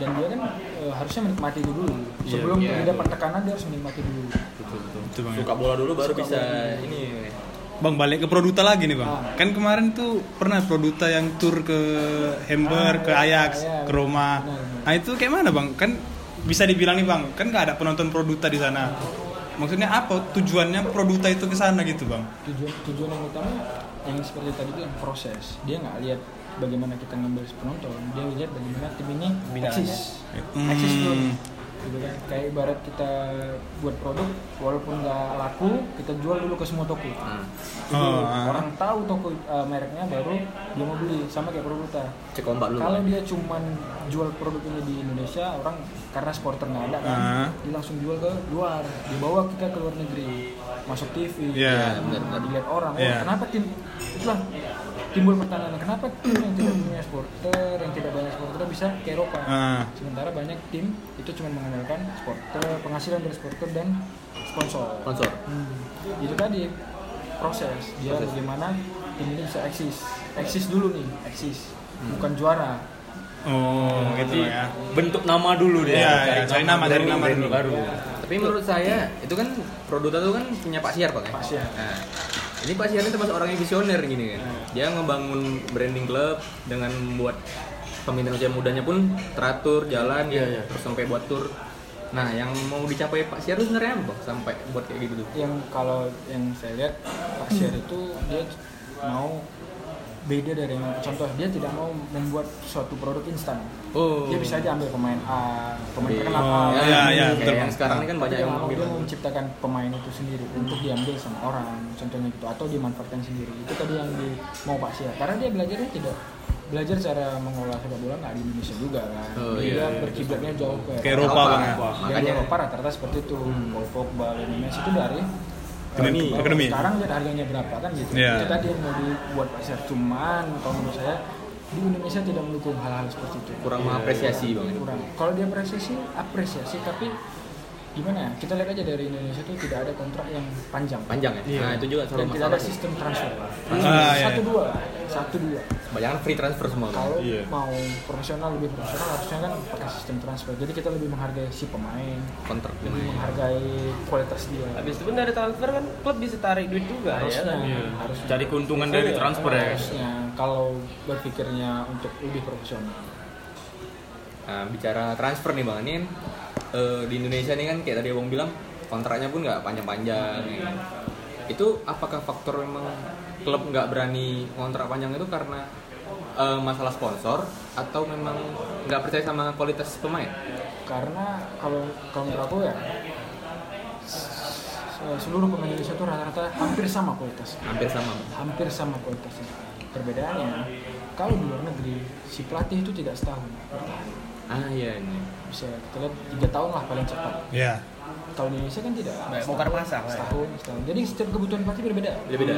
Speaker 7: dan dia kan eh, harusnya menikmati itu dulu sebelum
Speaker 1: iya.
Speaker 7: dia dapat tekanan dia harus menikmati dulu
Speaker 3: Betul, Bang, ya.
Speaker 1: suka bola dulu baru
Speaker 7: Suka
Speaker 1: bisa
Speaker 7: bola dulu.
Speaker 1: ini
Speaker 3: Bang balik ke Produta lagi nih bang.
Speaker 7: Ah.
Speaker 3: Kan kemarin tuh pernah Produta yang tur ke Hamburg,
Speaker 7: Ah,
Speaker 3: ke
Speaker 7: iya,
Speaker 3: Ajax,
Speaker 7: iya,
Speaker 3: ke Roma.
Speaker 7: benar, benar.
Speaker 3: Nah itu kayak mana bang? Kan bisa dibilang nih bang, kan nggak ada penonton Produta di sana. Maksudnya apa tujuannya Produta itu ke sana gitu bang?
Speaker 7: tujuan tujuan yang utama yang seperti tadi bilang proses dia nggak lihat bagaimana kita ngambil penonton dia lihat bagaimana tim ini eksis
Speaker 3: Hmm.
Speaker 7: eksis dulu gitu kan kayak ibarat kita buat produk walaupun nggak laku kita jual dulu ke semua toko Itu
Speaker 3: Oh, ah.
Speaker 7: orang tahu toko eh, mereknya baru dia mau beli sama kayak Produta
Speaker 1: cek ombak dulu
Speaker 7: Kalau dia cuman jual produk ini di Indonesia, orang karena supporter nggak ada kan,
Speaker 3: Ah.
Speaker 7: dia langsung jual ke luar, dibawa kita ke luar negeri, masuk TV,
Speaker 3: Iya,
Speaker 1: benar-benar.
Speaker 7: dilihat orang, "Wah,
Speaker 3: Iya.
Speaker 7: kenapa tim itulah timbul pertanyaan kenapa tim yang tidak punya supporter, yang tidak banyak supporter bisa ke Eropa,
Speaker 3: Ah.
Speaker 7: sementara banyak tim itu cuma mengandalkan supporter, penghasilan dari supporter dan sponsor.
Speaker 1: sponsor
Speaker 7: Hmm. Itu tadi proses dia bagaimana tim ini bisa eksis. Eksis dulu nih, eksis. Bukan juara.
Speaker 3: Oh gitu bang ya.
Speaker 4: bentuk nama dulu
Speaker 3: Iya, iya, cari nama, cari nama dulu.
Speaker 1: tapi menurut saya itu kan Produta itu kan punya Pak Siar pak ya
Speaker 7: Pak Siar.
Speaker 1: Nah, ini Pak Siar ini termasuk orang yang visioner gini kan
Speaker 3: Iya.
Speaker 1: dia ngebangun branding klub dengan membuat pemimpin usia mudanya pun teratur jalan ya
Speaker 3: Iya,
Speaker 1: terus sampai buat tur nah yang mau dicapai Pak Siar itu sebenarnya apa Bang? sampai buat kayak gitu tuh
Speaker 7: Yang kalau yang saya lihat Pak Syar itu dia mau beda dari yang contoh dia tidak mau membuat suatu produk instan.
Speaker 1: oh
Speaker 7: Dia bisa aja ambil pemain A, pemain terkenal A.
Speaker 3: Oh,
Speaker 7: pemain
Speaker 3: iya,
Speaker 7: B.
Speaker 3: iya,
Speaker 1: Kayak
Speaker 3: betul,
Speaker 1: yang
Speaker 3: Bang.
Speaker 1: sekarang ini kan
Speaker 7: Tapi
Speaker 1: banyak
Speaker 7: dia
Speaker 1: yang
Speaker 7: mau dia
Speaker 1: bilang
Speaker 7: mau menciptakan pemain itu sendiri untuk diambil sama orang, contohnya gitu atau dimanfaatkan sendiri. Itu tadi yang di mau Pak Syar. Karena dia belajarnya tidak belajar cara mengolah sepak bola nggak di Indonesia juga kan.
Speaker 1: Oh,
Speaker 7: dia
Speaker 1: iya,
Speaker 7: berkiblatnya jauh ke
Speaker 3: Ke Eropa bang ya.
Speaker 7: dari
Speaker 1: makanya
Speaker 7: Eropa rata-rata seperti itu Paul Pogba dan Messi itu dari
Speaker 3: Hmm. Akademi,
Speaker 7: eh,
Speaker 3: akademi.
Speaker 7: sekarang lihat harganya berapa kan gitu
Speaker 3: Iya.
Speaker 7: itu tadi yang mau dibuat pasar cuman kalau menurut saya di Indonesia tidak mendukung hal-hal seperti itu
Speaker 1: kurang mengapresiasi bang
Speaker 7: kurang kalau dia apresiasi apresiasi tapi gimana ya kita lihat aja dari Indonesia itu tidak ada kontrak yang panjang
Speaker 1: panjang ya nah itu juga
Speaker 7: dan
Speaker 1: salah
Speaker 7: tidak ada
Speaker 1: masalah
Speaker 7: sistem transfer
Speaker 3: Ah, iya.
Speaker 7: satu dua satu dua
Speaker 1: banyak free transfer semua Bang.
Speaker 7: kalau
Speaker 3: Iya.
Speaker 7: mau profesional lebih profesional harusnya kan pakai sistem transfer jadi kita lebih menghargai si pemain
Speaker 1: kontrak
Speaker 7: lebih menghargai kualitas dia
Speaker 4: Iya,
Speaker 10: Habis itu pun dari transfer kan klub bisa tarik duit juga ya.
Speaker 7: harusnya
Speaker 10: kan?
Speaker 7: Nah, harus
Speaker 4: cari keuntungan dari transfer ya
Speaker 7: harusnya kalau berpikirnya untuk lebih profesional
Speaker 1: Nah, bicara transfer nih bang, ini kan, eh, di Indonesia nih kan kayak tadi abang bilang kontraknya pun nggak panjang-panjang. ya kan. Itu apakah faktor memang klub nggak berani kontrak panjang itu karena eh, masalah sponsor atau memang nggak percaya sama kualitas pemain?
Speaker 7: karena kalau kalau menurut aku ya se- seluruh pemain Indonesia itu rata-rata hampir sama kualitas
Speaker 1: Hampir sama. Bang.
Speaker 7: hampir sama kualitasnya perbedaannya kalau di luar negeri si pelatih itu tidak setahun
Speaker 1: Ah iya ini.
Speaker 7: bisa kita lihat tiga tahun lah paling cepat
Speaker 3: Iya.
Speaker 7: kalau di Indonesia kan tidak
Speaker 10: Bongkar pasang. lah ya.
Speaker 7: setahun setahun jadi setiap kebutuhan pelatih berbeda
Speaker 1: Beda-beda.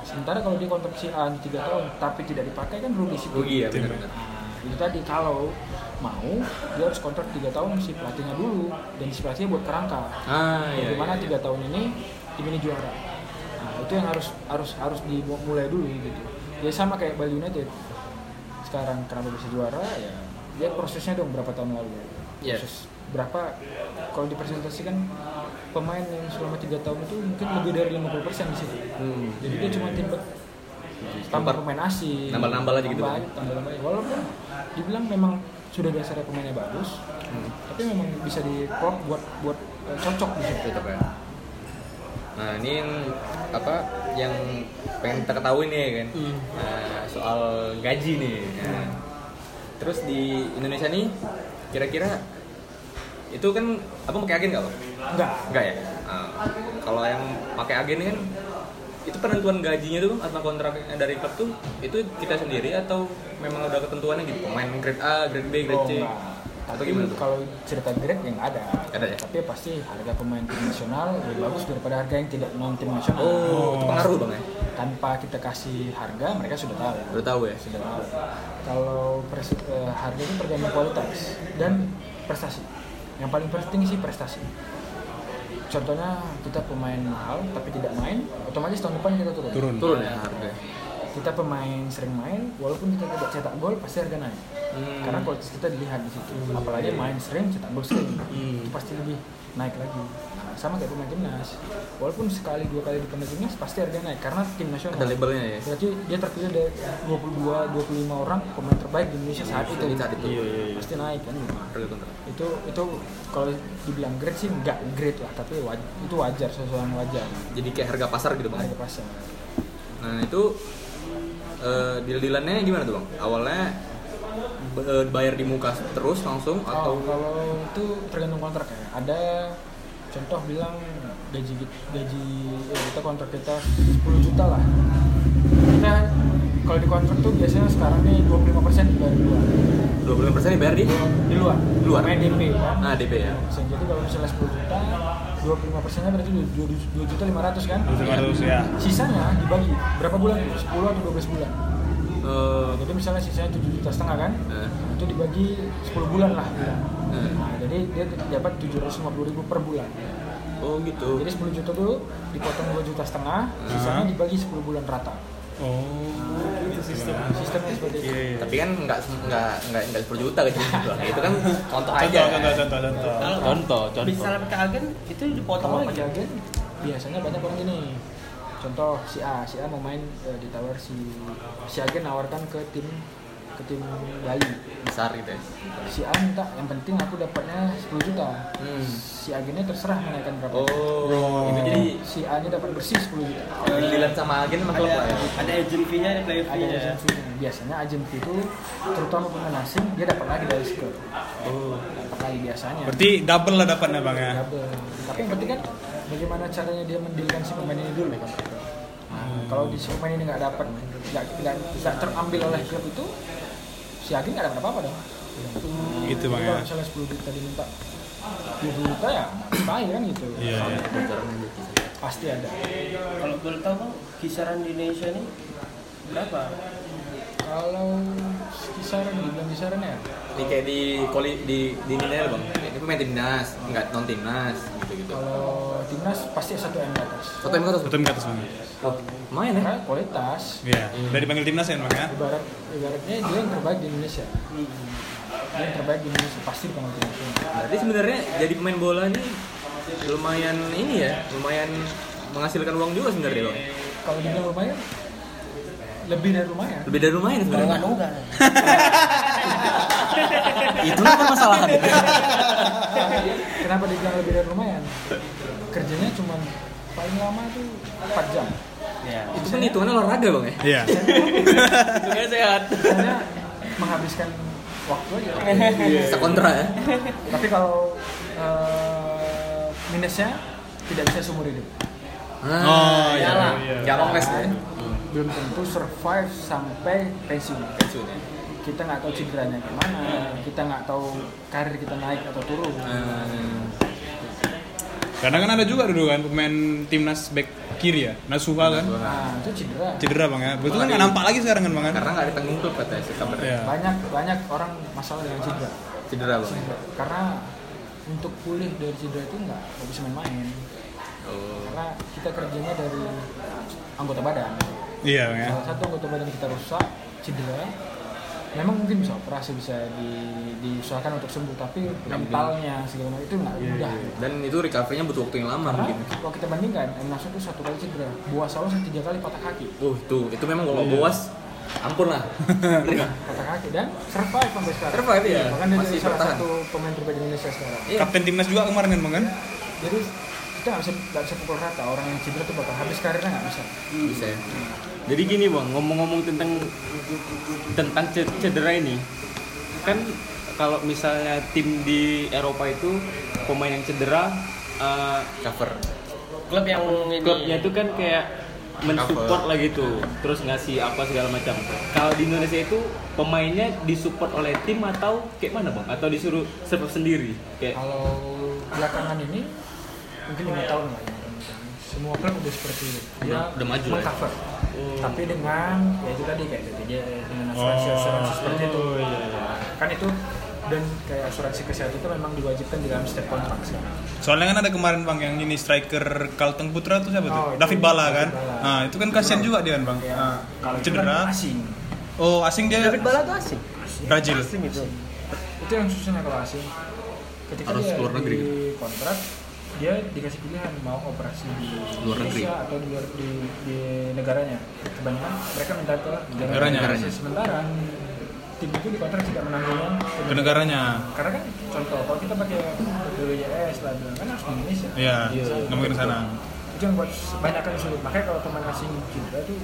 Speaker 7: sementara kalau dia kontrak si A di tiga tahun tapi tidak dipakai kan rugi si
Speaker 1: Rugi ya benar-benar.
Speaker 7: Nah, itu tadi kalau mau dia harus kontrak tiga tahun si pelatihnya dulu dan si pelatihnya buat kerangka
Speaker 1: Ah iya.
Speaker 7: bagaimana
Speaker 1: iya,
Speaker 7: tiga tahun ini tim ini juara nah, itu yang harus harus harus dimulai dulu gitu ya sama kayak Bali United sekarang kenapa bisa juara ya lihat prosesnya dong berapa tahun lalu
Speaker 1: Iya.
Speaker 7: proses berapa kalau dipresentasikan pemain yang selama tiga tahun itu mungkin lebih dari 50% di situ
Speaker 1: Hmm.
Speaker 7: jadi dia cuma timbal tambah pemain asing
Speaker 1: Nambah-nambah lagi gitu.
Speaker 7: tambah, tambah-nambah aja. walaupun dibilang memang sudah dasarnya pemainnya bagus
Speaker 1: Hmm.
Speaker 7: tapi memang bisa di klop buat buat eh, cocok di situ
Speaker 1: Tetap ya. Nah ini yang apa yang pengen kita ketahui nih kan Nah, soal gaji nih. Nah, Terus di Indonesia nih kira-kira itu kan apa pakai agen nggak Bang?
Speaker 7: enggak
Speaker 1: Enggak ya. Nah, kalau yang pakai agen kan itu penentuan gajinya tuh Bang, atau kontraknya dari klub tuh itu kita sendiri atau memang udah ketentuannya gitu pemain grade A, grade B, grade
Speaker 7: Oh,
Speaker 1: C
Speaker 7: enggak.
Speaker 1: atau
Speaker 7: Tapi
Speaker 1: gimana tuh?
Speaker 7: kalau cerita grade yang ada.
Speaker 1: Ada ya?
Speaker 7: Tapi pasti harga pemain tim nasional lebih bagus daripada harga yang tidak non tim nasional.
Speaker 1: Oh, itu pengaruh bang ya?
Speaker 7: Tanpa kita kasih harga mereka sudah tahu.
Speaker 1: Udah tahu ya?
Speaker 7: Sudah tahu. Kalau pres- eh, harga itu tergantung kualitas dan prestasi. Yang paling penting sih prestasi. Contohnya kita pemain mahal tapi tidak main, otomatis tahun depan kita turun.
Speaker 3: turun
Speaker 1: Turun ya harga.
Speaker 7: Kita pemain sering main, walaupun kita tidak cetak gol pasti harga naik
Speaker 1: Hmm. Iya.
Speaker 7: karena kualitas kita dilihat di situ apalagi main sering cetak gol sering
Speaker 1: Hmm.
Speaker 7: itu pasti lebih naik lagi Nah, sama kayak pemain timnas walaupun sekali dua kali di pemain timnas pasti harganya naik karena tim nasional
Speaker 1: ada labelnya ya.
Speaker 7: berarti dia terpilih dari 22 25 orang pemain terbaik di Indonesia saat itu
Speaker 1: Iya, Saat itu.
Speaker 7: pasti naik kan
Speaker 1: Harga kontrak.
Speaker 7: itu itu kalau dibilang grade sih enggak grade lah tapi waj- itu wajar sesuatu yang wajar
Speaker 1: Jadi kayak harga pasar gitu bang.
Speaker 7: harga pasar
Speaker 1: Nah itu eh deal-dealannya gimana tuh bang? Awalnya b- eh, bayar di muka terus langsung atau
Speaker 7: Oh, kalau itu tergantung kontrak ya. Ada contoh bilang gaji gaji ya kita kontrak kita 10 juta lah. Kita kalau di kontrak tuh biasanya sekarang nih 25% dari luar.
Speaker 1: 25% dibayar di?
Speaker 7: Di luar.
Speaker 1: Luar.
Speaker 7: Main DP kan.
Speaker 1: Nah DP ya.
Speaker 7: Jadi kalau misalnya 10 juta, 25%-nya berarti 2 juta 500 kan?
Speaker 3: 200 ya
Speaker 7: Sisanya dibagi berapa bulan? 10 atau 12 bulan.
Speaker 1: Eh,
Speaker 7: Jadi misalnya sisanya 7 juta setengah kan?
Speaker 1: eh,
Speaker 7: Itu dibagi 10 bulan lah.
Speaker 1: eh.
Speaker 7: Nah, jadi dia dapat 750 ribu per bulan.
Speaker 1: Oh gitu.
Speaker 7: Jadi 10 juta dulu dipotong 2 juta setengah, sisanya dibagi 10 bulan rata.
Speaker 3: oh itu sistem
Speaker 7: Sistemnya seperti itu.
Speaker 1: Tapi kan nggak nggak nggak nggak 10 juta gitu Bang. Itu kan contoh aja.
Speaker 3: contoh contoh contoh contoh
Speaker 9: Contoh, contoh.
Speaker 4: misalnya pakai agen itu dipotong
Speaker 7: Kalau
Speaker 4: lagi
Speaker 7: pakai agen biasanya banyak orang gini. Contoh si A, si A mau main eh, ditawar si si agen nawarkan ke tim ke tim Bali.
Speaker 1: Besar gitu ya.
Speaker 7: Si A minta yang penting aku dapatnya 10 juta.
Speaker 1: Hmm.
Speaker 7: Si agennya terserah menaikkan berapa.
Speaker 1: Oh, itu jadi eh,
Speaker 7: Si A nya dapat bersih 10 juta.
Speaker 1: deal-dealan sama agen sama klub Bang,
Speaker 4: ada
Speaker 1: ya?
Speaker 4: ada agent fee nya ada ya. player
Speaker 3: Iya.
Speaker 4: fee
Speaker 7: Ada
Speaker 4: nya
Speaker 7: agent fee. Biasanya agent fee itu terutama pemain asing dia dapat lagi dari si klub.
Speaker 3: oh
Speaker 7: dapat lagi biasanya
Speaker 3: berarti double lah dapatnya bang ya
Speaker 7: double tapi yang penting kan bagaimana caranya dia mendilkan si pemain ini dulu ya kan Nah, kalau di si pemain ini nggak dapat nggak nggak nggak terambil oleh klub itu si agen nggak dapat apa-apa dong
Speaker 3: gitu
Speaker 7: Jadi
Speaker 3: bang ya
Speaker 7: kalau misalnya 10 juta diminta 20 juta ya baik kan gitu
Speaker 3: iya iya.
Speaker 1: gitu.
Speaker 7: pasti ada
Speaker 4: kalau boleh tahu bang kisaran di Indonesia ini berapa
Speaker 7: kalau kisaran dibilang kisaran ya
Speaker 1: Ini kayak di koli di di Ninel bang. Ini pemain timnas, nggak non timnas gitu gitu.
Speaker 7: kalau timnas pasti satu M ke atas
Speaker 1: Satu yang kata
Speaker 3: betul nggak atas bang
Speaker 1: main ya?
Speaker 7: karena kualitas
Speaker 3: iya dari panggil timnas kan bang ya
Speaker 7: ibarat ibaratnya dia yang terbaik di Indonesia dia yang terbaik di Indonesia pasti pemain tim nasional
Speaker 1: Berarti sebenarnya jadi pemain bola ini lumayan ini ya, lumayan menghasilkan uang juga sebenarnya bang.
Speaker 7: kalau dibilang lumayan lebih dari lumayan
Speaker 1: Lebih dari lumayan
Speaker 2: Kalau nggak
Speaker 1: sebenarnya.
Speaker 2: nunggak.
Speaker 1: Itu kan permasalahan.
Speaker 7: kenapa dibilang lebih dari lumayan kerjanya cuma paling lama tuh 4 jam
Speaker 1: Itu kan hitungannya olahraga bang ya.
Speaker 3: iya
Speaker 9: Hidupnya sehat.
Speaker 7: karena menghabiskan waktu aja
Speaker 3: Iya.
Speaker 1: Sekontra ya.
Speaker 7: tapi kalau eh, minusnya tidak bisa seumur hidup
Speaker 3: oh iya
Speaker 1: iyalah.
Speaker 3: iya
Speaker 1: Jangan wes ya.
Speaker 7: belum tentu survive sampai pensiun
Speaker 1: Pensiun ya.
Speaker 7: kita nggak tahu cederanya kemana kita nggak tahu karir kita naik atau turun
Speaker 1: Eh,
Speaker 3: karena kan ada juga dulu kan pemain timnas back kiri ya Nasuha kan
Speaker 7: nah itu cedera
Speaker 3: cedera bang ya betul kan nggak nampak lagi sekarang kan bang ya
Speaker 1: Karena nggak ditanggung klub katanya sih kabarnya.
Speaker 3: Iya.
Speaker 7: banyak banyak orang masalah dengan cedera
Speaker 1: Cedera bang. ya?
Speaker 7: karena untuk pulih dari cedera itu nggak nggak bisa main-main
Speaker 1: Oh.
Speaker 7: karena kita kerjanya dari anggota badan
Speaker 3: Iya, ya.
Speaker 7: salah satu anggota badan kita rusak cedera memang mungkin bisa operasi bisa di, diusahakan untuk sembuh tapi mentalnya segala macam itu nggak mudah
Speaker 1: Dan itu recovery-nya butuh waktu yang lama
Speaker 7: karena
Speaker 1: Iya, mungkin.
Speaker 7: kalau kita bandingkan M Nasrul itu satu kali cedera buah salah tiga kali patah kaki
Speaker 1: Oh, itu itu memang kalau boas ampun lah.
Speaker 5: Iya,
Speaker 7: patah kaki dan survive sampai sekarang
Speaker 1: Survive, iya.
Speaker 7: bahkan dia
Speaker 1: Masih
Speaker 7: jadi salah
Speaker 1: bertahan.
Speaker 7: satu pemain terbaik Indonesia sekarang
Speaker 1: Iya.
Speaker 3: Kapten timnas juga kemarin kan bang kan?
Speaker 7: jadi kita nggak bisa nggak bisa pukul rata orang yang cedera tuh bakal habis karirnya nggak bisa
Speaker 1: Bisa. ya.
Speaker 5: Jadi gini bang, ngomong-ngomong tentang tentang ce- cedera ini, kan kalau misalnya tim di Eropa itu pemain yang cedera, eh,
Speaker 1: Cover.
Speaker 4: klub ya. yang ini
Speaker 5: klubnya itu kan kayak mensupport lah gitu, terus ngasih apa segala macam. Kalau di Indonesia itu pemainnya disupport oleh tim atau kayak mana bang? Atau disuruh serve sendiri? Kayak
Speaker 7: kalau belakangan ini mungkin lima tahun lah ya. semua klub udah seperti itu dia
Speaker 1: udah maju lah ya.
Speaker 7: mengcover tapi dengan ya itu tadi kayak BPJS dengan
Speaker 1: Oh,
Speaker 7: asuransi
Speaker 1: iya,
Speaker 7: asuransi seperti itu kan itu dan kayak asuransi kesehatan itu memang diwajibkan di dalam setiap kontrak sekarang
Speaker 3: Soalnya kan ada kemarin bang yang ini striker Kalteng Putra tuh siapa tuh?
Speaker 7: Oh, itu
Speaker 3: David Bala
Speaker 7: David
Speaker 3: kan?
Speaker 7: Bala.
Speaker 3: Nah itu kan kasihan juga dia kan bang.
Speaker 7: Kayak
Speaker 3: Ah,
Speaker 7: kalau itu
Speaker 3: cedera.
Speaker 7: kan asing
Speaker 3: Oh asing dia
Speaker 4: David Bala tuh asing
Speaker 3: Brazil.
Speaker 4: asing itu
Speaker 7: itu yang susahnya kalau asing ketika
Speaker 1: Harus
Speaker 7: dia
Speaker 1: keluar negeri kan?
Speaker 7: di kontrak dia dikasih pilihan mau operasi di
Speaker 1: Luar negeri.
Speaker 7: Indonesia atau di, luar- di, di negaranya kebanyakan mereka minta ke negara
Speaker 3: Negaranya.
Speaker 7: Indonesia. sementara tim itu di kontrak tidak menanggung
Speaker 3: Ke negaranya.
Speaker 7: karena kan contoh kalau kita pakai BPJS lah bilang kan harus di Indonesia
Speaker 3: Iya, nemuin ke sana.
Speaker 7: itu yang buat banyak yang sulit makanya kalau teman asing cedera itu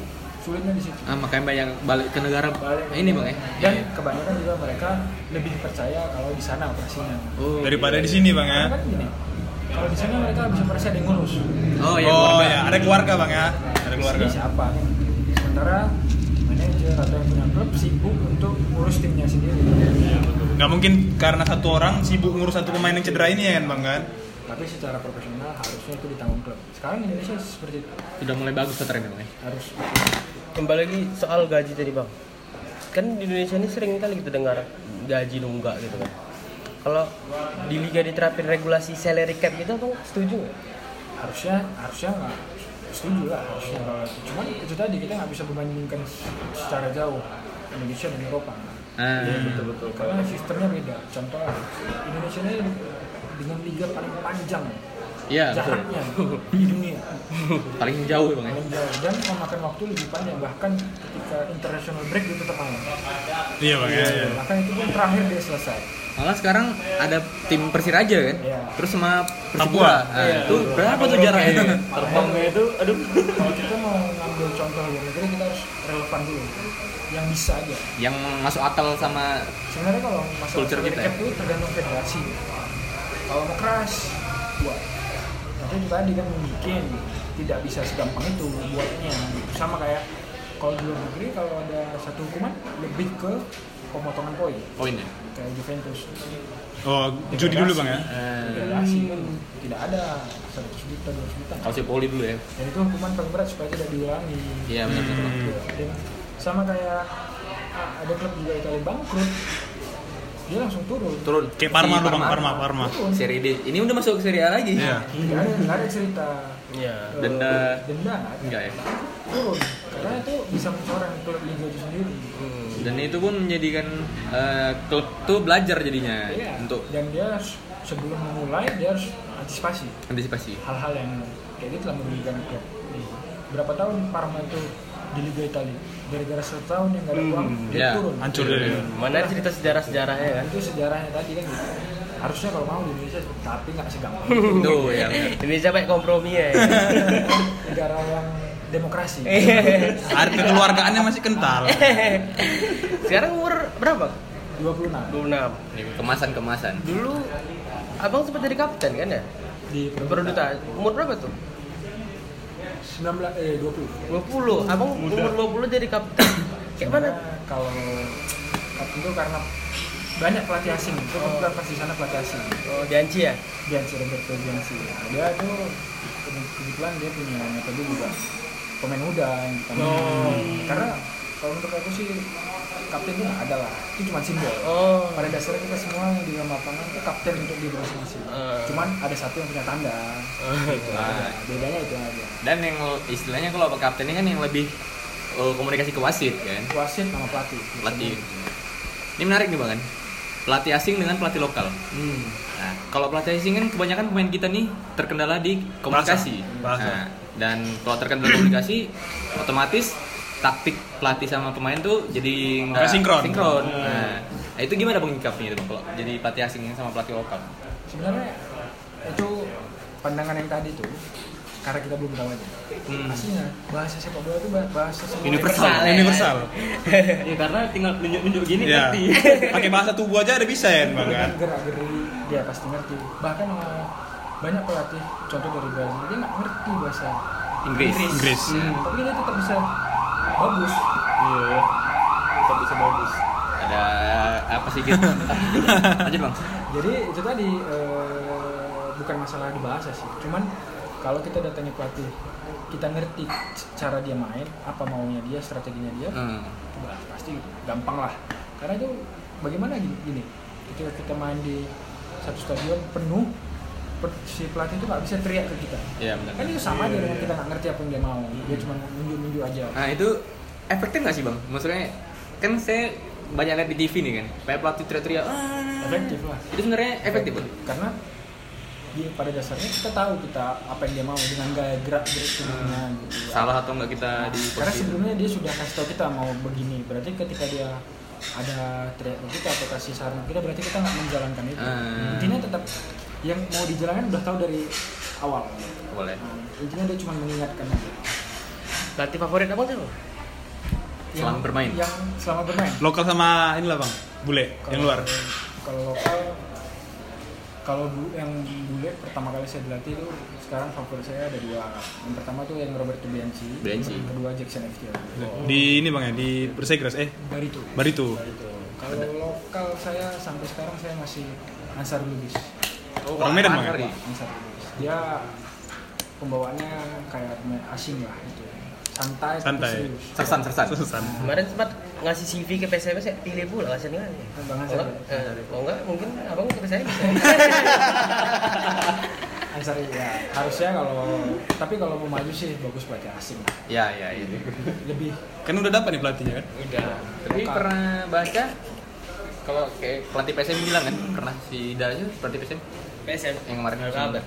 Speaker 7: sulitnya di situ
Speaker 1: Ah, makanya banyak balik ke negara
Speaker 7: Balik ke
Speaker 1: ini
Speaker 7: sana.
Speaker 1: bang ya.
Speaker 7: dan kebanyakan juga mereka lebih percaya kalau di sana operasinya
Speaker 1: Oh,
Speaker 3: Daripada di sini bang ya.
Speaker 7: karena kan gini kalau di sana mereka bisa operasi ada yang ngurus
Speaker 1: Oh,
Speaker 7: iya,
Speaker 1: ya,
Speaker 3: Oh
Speaker 1: keluarga.
Speaker 3: ya, ada keluarga bang ya. Ada
Speaker 7: Di
Speaker 3: keluarga.
Speaker 7: sini siapa kan sementara manajer atau yang punya klub sibuk untuk ngurus timnya sendiri
Speaker 3: Gak mungkin karena satu orang sibuk ngurus satu pemain yang cedera ini ya kan bang kan?
Speaker 7: tapi secara profesional harusnya itu ditanggung klub sekarang Indonesia seperti itu
Speaker 1: Sudah mulai bagus tuh trennya bang ya.
Speaker 7: harus
Speaker 4: kembali lagi soal gaji tadi bang kan di Indonesia ini sering kali kita dengar gaji nunggak gitu kan kalau di liga diterapin regulasi salary cap gitu tuh setuju nggak?
Speaker 7: harusnya harusnya nggak setuju lah harusnya kalau itu. cuman itu tadi kita nggak bisa membandingkan secara jauh Indonesia dan Eropa
Speaker 1: Ah,
Speaker 3: Iya,
Speaker 7: karena sistemnya beda contoh lah, Indonesia ini dengan liga paling panjang
Speaker 1: Iya, betul.
Speaker 7: jaraknya di dunia
Speaker 1: Paling jauh ya, bang ya.
Speaker 7: paling jauh dan memakan waktu lebih panjang bahkan ketika international break itu tetap malam
Speaker 3: Iya bang ya. iya.
Speaker 7: bahkan itu pun terakhir dia selesai
Speaker 1: Malah sekarang ada tim Persiraja kan?
Speaker 7: Iya.
Speaker 1: Terus sama
Speaker 3: Papua. Iya,
Speaker 1: Persipura. Nah, itu berapa tuh jaraknya?
Speaker 5: terbangnya itu, aduh.
Speaker 7: kalau kita mau ngambil contoh luar negeri kita harus relevan dulu yang bisa aja
Speaker 1: Yang masuk akal sama
Speaker 7: sebenarnya kalau masalah
Speaker 1: Culture
Speaker 7: salary
Speaker 1: kita
Speaker 7: cap itu tergantung federasi kalau mau keras buat tapi juga tadi kan mungkin tidak bisa segampang itu buatnya sama kayak kalau di luar negeri kalau ada satu hukuman lebih ke pemotongan poin
Speaker 1: poinnya.
Speaker 7: kayak Juventus
Speaker 1: Hmm.
Speaker 3: Oh judi dulu bang ya.
Speaker 7: federasi kan tidak ada 100 juta 200 juta
Speaker 1: Kalau si poli dulu ya.
Speaker 7: dan itu hukuman paling berat supaya tidak diulangi
Speaker 1: Iya
Speaker 3: Hmm.
Speaker 1: benar. benar.
Speaker 7: Dan sama kayak ah, ada klub juga Italia bangkrut dia langsung turun
Speaker 1: Turun.
Speaker 3: Kayak Parma
Speaker 1: Si
Speaker 3: dulu bang, Parma, Parma.
Speaker 7: turun
Speaker 1: Seri D. Ini udah masuk ke Seri A lagi.
Speaker 3: Iya.
Speaker 7: nggak ada, nggak ada cerita
Speaker 4: Iya.
Speaker 7: eh,
Speaker 1: Denda.
Speaker 7: denda
Speaker 1: Enggak ya.
Speaker 7: turun karena itu bisa mencoreng klub liga itu sendiri
Speaker 1: Dan itu pun menjadikan eh, klub tuh belajar jadinya
Speaker 7: Iya.
Speaker 1: untuk
Speaker 7: dan dia harus- sebelum memulai dia harus antisipasi
Speaker 1: antisipasi.
Speaker 7: hal-hal yang kayak gitu telah merugikan klub berapa tahun Parma itu di Liga Italia gara-gara satu tahun yang nggak ada uang
Speaker 4: Hmm,
Speaker 7: dia
Speaker 4: ya.
Speaker 1: Iya.
Speaker 7: turun
Speaker 3: Hancur dia.
Speaker 4: mana cerita sejarah sejarahnya
Speaker 7: Nah,
Speaker 4: kan
Speaker 7: itu sejarahnya tadi kan gitu harusnya kalau mau di Indonesia tapi nggak segampang
Speaker 1: Itu ya.
Speaker 4: Indonesia baik kompromi ya
Speaker 7: negara yang demokrasi
Speaker 4: Iya.
Speaker 3: Ada kekeluargaannya masih kental.
Speaker 4: sekarang umur berapa
Speaker 7: 26
Speaker 4: 26
Speaker 1: Kemasan-kemasan.
Speaker 4: dulu abang sempat jadi kapten kan ya
Speaker 7: di
Speaker 4: Perduta umur berapa tuh
Speaker 7: 19 eh 20
Speaker 4: 20 abang umur 20 jadi kapten kayak mana
Speaker 7: Sebenarnya kalau kapten itu karena banyak pelatih asing itu kebetulan pas di sana pelatih asing
Speaker 4: oh janji ya
Speaker 7: Bianci Roberto Bianci Nah, dia tuh ke- kebetulan dia punya metode juga pemain muda yang ditamain karena kalau untuk aku sih kapten itu nggak ada lah itu cuma simbol
Speaker 4: oh
Speaker 7: pada dasarnya kita semua yang di dalam lapangan itu kapten untuk diri masing-masing
Speaker 4: Eh.
Speaker 7: cuman ada satu yang punya tanda
Speaker 1: Ah.
Speaker 7: gitu aja. bedanya itu aja
Speaker 1: Dan yang lo- istilahnya kalau kapten ini kan yang lebih eh, komunikasi ke wasit kan
Speaker 7: wasit sama pelatih
Speaker 1: pelatih ini menarik nih bang kan pelatih asing dengan pelatih lokal
Speaker 7: hmm.
Speaker 1: Nah, kalau pelatih asing kan kebanyakan pemain kita nih terkendala di komunikasi.
Speaker 3: Bahasa.
Speaker 1: Nah, dan kalau terkendala komunikasi, otomatis taktik pelatih sama pemain tuh jadi nggak
Speaker 3: Nggak sinkron. Hmm.
Speaker 1: Nah, nah, itu gimana bang nyikapnya itu bang? Kalau jadi pelatih asing sama pelatih lokal?
Speaker 7: sebenarnya itu pandangan yang tadi tuh karena kita belum tahu aja
Speaker 1: Hmm.
Speaker 7: pastinya bahasa sepak bola itu bahasa semua
Speaker 3: Universal, universal.
Speaker 5: ya karena tinggal nunjuk-nunjuk gini
Speaker 3: Ya.
Speaker 5: ngerti
Speaker 3: Pakai bahasa tubuh aja ada bisa ya, Bang kan?
Speaker 7: gerak geri dia pasti ngerti bahkan eh, banyak pelatih contoh dari Brazil dia nggak ngerti bahasa
Speaker 1: Inggris.
Speaker 3: Inggris.
Speaker 7: Hmm, tapi dia tetap bisa bagus
Speaker 5: iya tetap bisa bagus
Speaker 1: Ada apa sih gitu? Lanjut bang.
Speaker 7: jadi itu tadi eh, bukan masalah di bahasa sih cuman kalau kita datangi pelatih kita ngerti c- cara dia main apa maunya dia strateginya dia
Speaker 1: Hmm.
Speaker 7: Wah, pasti gampang lah karena itu bagaimana gini, gini ketika kita main di satu stadion penuh pe- si pelatih itu nggak bisa teriak ke kita
Speaker 1: Iya benar.
Speaker 7: kan itu sama aja dengan kita nggak ngerti apa yang dia mau dia cuma nunjuk-nunjuk aja
Speaker 1: Nah itu efektif nggak sih bang? Maksudnya kan saya banyak lihat di TV nih kan, kayak pelatih teriak-teriak. "Ah."
Speaker 7: efektif lah
Speaker 1: Itu sebenarnya efektif bang?
Speaker 7: karena dia pada dasarnya kita tahu kita apa yang dia mau dengan gaya gerak gerik tubuhnya gitu
Speaker 1: salah atau nggak kita di
Speaker 7: karena
Speaker 1: posisi itu?
Speaker 7: sebelumnya dia sudah kasih tahu kita mau begini berarti ketika dia ada teriak ke kita atau kasih saran ke kita berarti kita nggak menjalankan itu
Speaker 1: Hmm.
Speaker 7: intinya tetap yang mau dijalankan udah tahu dari awal
Speaker 1: boleh
Speaker 7: Nah, intinya dia cuma mengingatkan aja.
Speaker 4: Pelatih favorit apa tuh?
Speaker 1: Selama bermain.
Speaker 7: yang selama bermain
Speaker 3: Lokal sama inilah Bang, bule
Speaker 7: Kalau-
Speaker 3: yang luar.
Speaker 7: kalau lokal kalau bu- yang bule pertama kali saya dilatih itu sekarang favorit saya ada dua yang pertama tuh yang Roberto Bianchi
Speaker 1: Bianchi.
Speaker 7: yang kedua Jackson Eftiel
Speaker 3: Di ini Bang ya, di Persegres eh
Speaker 7: Barito
Speaker 3: Barito.
Speaker 7: Barito kalau lokal saya sampai sekarang saya masih Ansar Lubis
Speaker 1: oh,
Speaker 3: Orang Medan, Bang, ya?
Speaker 7: Ansar Lubis dia pembawaannya kayak pemain asing lah itu santai tapi
Speaker 3: Santai.
Speaker 7: serius.
Speaker 1: sersan sersan
Speaker 3: Susan.
Speaker 4: Kemarin sempat ngasih CV ke PSMS ya, pilih pula kasih nih.
Speaker 1: Iya,
Speaker 7: Bang
Speaker 4: Kalau
Speaker 7: Ansar Lubis.
Speaker 4: eh, kalau enggak mungkin abang ke saya bisa.
Speaker 7: Ansar ya harusnya kalau tapi kalau mau maju sih bagus pakai asing lah.
Speaker 1: ya ya itu
Speaker 7: lebih
Speaker 3: Kan udah dapat nih pelatihnya kan?
Speaker 1: udah tapi
Speaker 7: Lokal.
Speaker 1: pernah baca kalau kayak pelatih PSM bilang kan pernah si Dario pelatih PSM
Speaker 4: PSM
Speaker 1: yang kemarin
Speaker 4: Ronaldo.
Speaker 1: musim udah.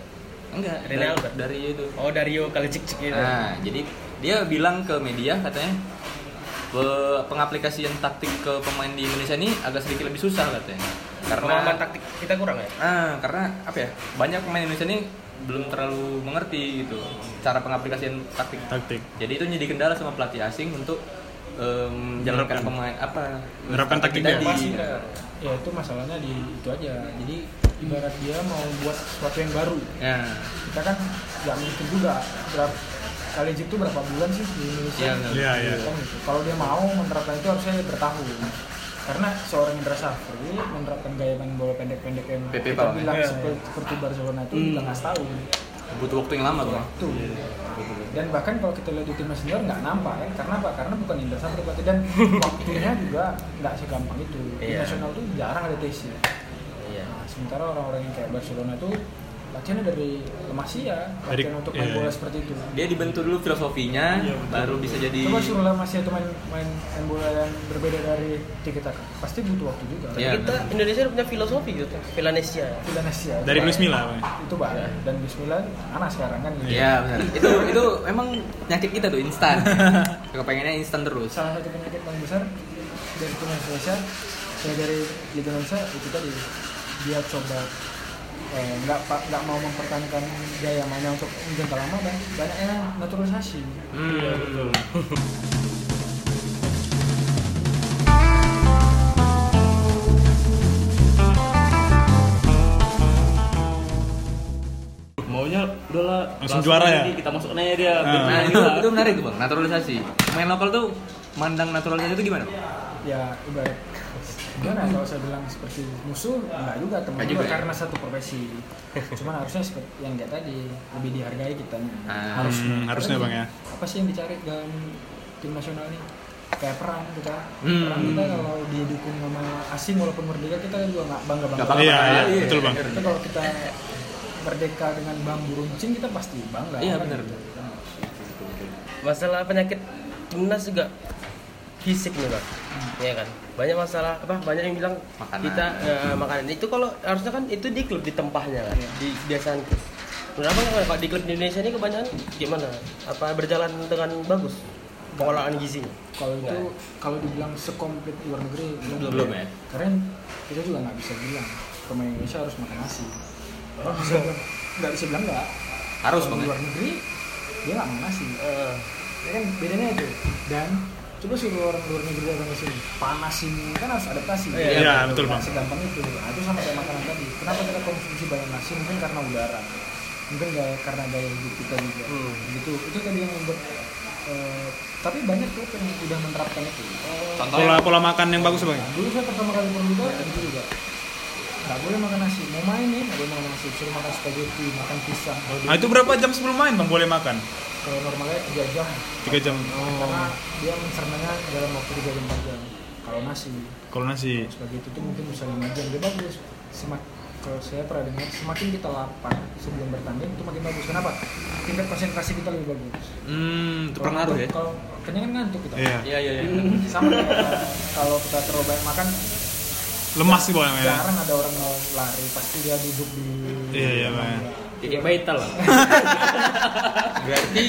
Speaker 1: enggak
Speaker 4: Rene
Speaker 1: dari-
Speaker 4: Albert.
Speaker 1: dari itu
Speaker 4: Oh Dario kalau cik cik gitu.
Speaker 1: nah jadi dia bilang ke media katanya "Pe- pengaplikasian taktik ke pemain di Indonesia ini agak sedikit lebih susah katanya
Speaker 4: Pemahaman
Speaker 1: karena
Speaker 4: taktik kita kurang ya.
Speaker 1: Ah, karena apa ya? Banyak pemain Indonesia ini belum terlalu mengerti gitu cara pengaplikasian taktik.
Speaker 3: Taktik.
Speaker 1: Jadi itu jadi kendala sama pelatih asing untuk em, menjalankan
Speaker 3: Menerapkan.
Speaker 1: pemain apa?
Speaker 3: Menerapkan taktiknya.
Speaker 1: tadi.
Speaker 7: ya itu masalahnya di itu aja jadi ibarat dia mau buat sesuatu yang baru
Speaker 1: Ya,
Speaker 7: kita kan nggak mungkin juga berapa kali itu berapa bulan sih di Indonesia
Speaker 1: ya, benar.
Speaker 3: Iya, iya.
Speaker 7: Kan gitu. kalau dia mau menerapkan itu harusnya dia bertahun karena seorang Indra Safri menerapkan gaya main bola pendek-pendek yang
Speaker 1: PP
Speaker 7: kita
Speaker 1: Palem.
Speaker 7: bilang
Speaker 3: Iya,
Speaker 7: seperti, seperti Barcelona itu kita nggak tahu
Speaker 1: Ya, Butuh waktu yang lama tuh. Bang.
Speaker 7: tuh dan bahkan kalau kita lihat di timnas senior nggak nampak kan karena apa karena bukan Indra Safri berarti dan waktunya juga nggak segampang itu di
Speaker 4: Iya.
Speaker 7: nasional tuh jarang ada tesnya
Speaker 4: Iya.
Speaker 7: Nah, sementara orang-orang yang kayak Barcelona tuh latihannya dari Masia,
Speaker 3: Dari-
Speaker 7: latihan untuk main
Speaker 3: iya.
Speaker 7: bola seperti itu.
Speaker 1: Dia dibentuk dulu filosofinya, baru bisa jadi.
Speaker 7: Coba suruh lah Masia itu main, main main bola yang berbeda dari tiki taka. Pasti butuh waktu juga.
Speaker 1: Iya,
Speaker 4: kita
Speaker 1: benar.
Speaker 4: Indonesia udah punya filosofi gitu, Filanesia.
Speaker 7: Bila Masia
Speaker 3: Dari Luis Milla. Bang. ya?
Speaker 7: itu bah dan Bismillah anak sekarang kan gitu.
Speaker 1: Iya benar. Itu itu emang penyakit kita tuh instan. Kepengennya instan terus.
Speaker 7: Salah satu penyakit paling besar dari timnas Indonesia, saya dari Liga Indonesia itu tadi dia coba eh, nggak pa- nggak mau mempertahankan gaya mainnya untuk jangka lama dan banyak yang naturalisasi.
Speaker 1: Hmm.
Speaker 5: maunya udah lah
Speaker 3: Langsung
Speaker 5: langsung
Speaker 3: juara ya?
Speaker 5: jadi kita masuk aja dia
Speaker 3: Ah.
Speaker 5: biar
Speaker 1: Nah
Speaker 5: main
Speaker 1: itu,
Speaker 5: lah.
Speaker 1: itu menarik tuh bang, naturalisasi. Main lokal tuh mandang naturalisasi itu gimana? Bang?
Speaker 7: ya ibarat gimana ya kalau saya bilang seperti musuh enggak juga teman
Speaker 1: Enggak
Speaker 7: juga,
Speaker 1: juga ya?
Speaker 7: karena satu profesi cuman harusnya seperti yang kayak tadi lebih dihargai kitanya
Speaker 1: Ah.
Speaker 3: Hmm, harusnya, Bang, ya.
Speaker 7: apa sih yang dicari dalam tim nasional ini kayak perang kita
Speaker 1: Hmm.
Speaker 7: perang kita kalau didukung sama asing walaupun merdeka kita juga nggak bangga
Speaker 1: Nggak
Speaker 7: bangga
Speaker 1: bakal
Speaker 3: Iya,
Speaker 1: bakal-
Speaker 3: iya, betul, Bang.
Speaker 7: tapi kalau kita merdeka dengan bambu runcing kita pasti bangga
Speaker 1: Iya,
Speaker 7: kan?
Speaker 1: benar.
Speaker 4: Masalah penyakit timnas juga fisik nih bang ya kan banyak masalah apa banyak yang bilang
Speaker 1: Makanan.
Speaker 4: kita eh, makanan itu kalau harusnya kan itu di klub di tempahnya kan di biasaan klub kenapa nggak pak di klub di Indonesia ini kebanyakan gimana apa berjalan dengan bagus pengolahan gizinya
Speaker 7: kalau itu kalau dibilang sekomplit luar negeri belum,
Speaker 1: ya? Belum ya?
Speaker 7: karena kita juga nggak bisa bilang pemain Indonesia harus makan nasi Nggak bisa bilang- nggak bisa bilang nggak
Speaker 1: Oh. Harus
Speaker 7: Kalau
Speaker 1: bang
Speaker 7: di
Speaker 1: ya?
Speaker 7: luar negeri dia nggak makan nasi ya kan bedanya itu dan coba suruh orang luar negeri datang ke sini panasin kan harus adaptasi
Speaker 4: Iya,
Speaker 3: iya, betul, Bang.
Speaker 7: Nah, segampang itu nah, itu sama kayak makanan tadi kenapa kita konsumsi banyak nasi mungkin karena udara mungkin gaya, karena gaya hidup kita juga
Speaker 3: Hmm.
Speaker 7: gitu itu tadi yang membuat eh, tapi banyak tuh yang udah menerapkan itu
Speaker 3: Pola pola makan yang bagus bang. ya?
Speaker 7: Nah, dulu saya pertama kali berbuka itu juga nggak boleh makan nasi mau main nih nggak boleh makan nasi suruh makan spaghetti makan pisang kalau
Speaker 3: Nah
Speaker 7: dulu
Speaker 3: itu berapa jam sebelum main bang boleh makan?
Speaker 7: kalau normalnya tiga jam
Speaker 3: Tiga jam.
Speaker 7: karena dia mencernanya dalam waktu tiga jam empat jam kalau nasi
Speaker 3: Kalau nasi.
Speaker 7: spaghetti itu mungkin bisa lima jam dia bagus semak kalau saya pernah dengar semakin kita lapar sebelum bertanding itu makin bagus kenapa tingkat konsentrasi kita lebih bagus
Speaker 1: Hmm, itu
Speaker 7: Kalau-
Speaker 1: pengaruh ya?
Speaker 7: kalau kenyang kan ngantuk kita
Speaker 3: Iya.
Speaker 1: Iya, iya, iya.
Speaker 7: sama kayak kalau kita terlalu banyak makan
Speaker 3: Lemas sih boleh ya.
Speaker 7: jarang ada orang mau lari pasti dia duduk di
Speaker 3: Iya, iya, Bang.
Speaker 5: Kayak vital lah.
Speaker 1: Berarti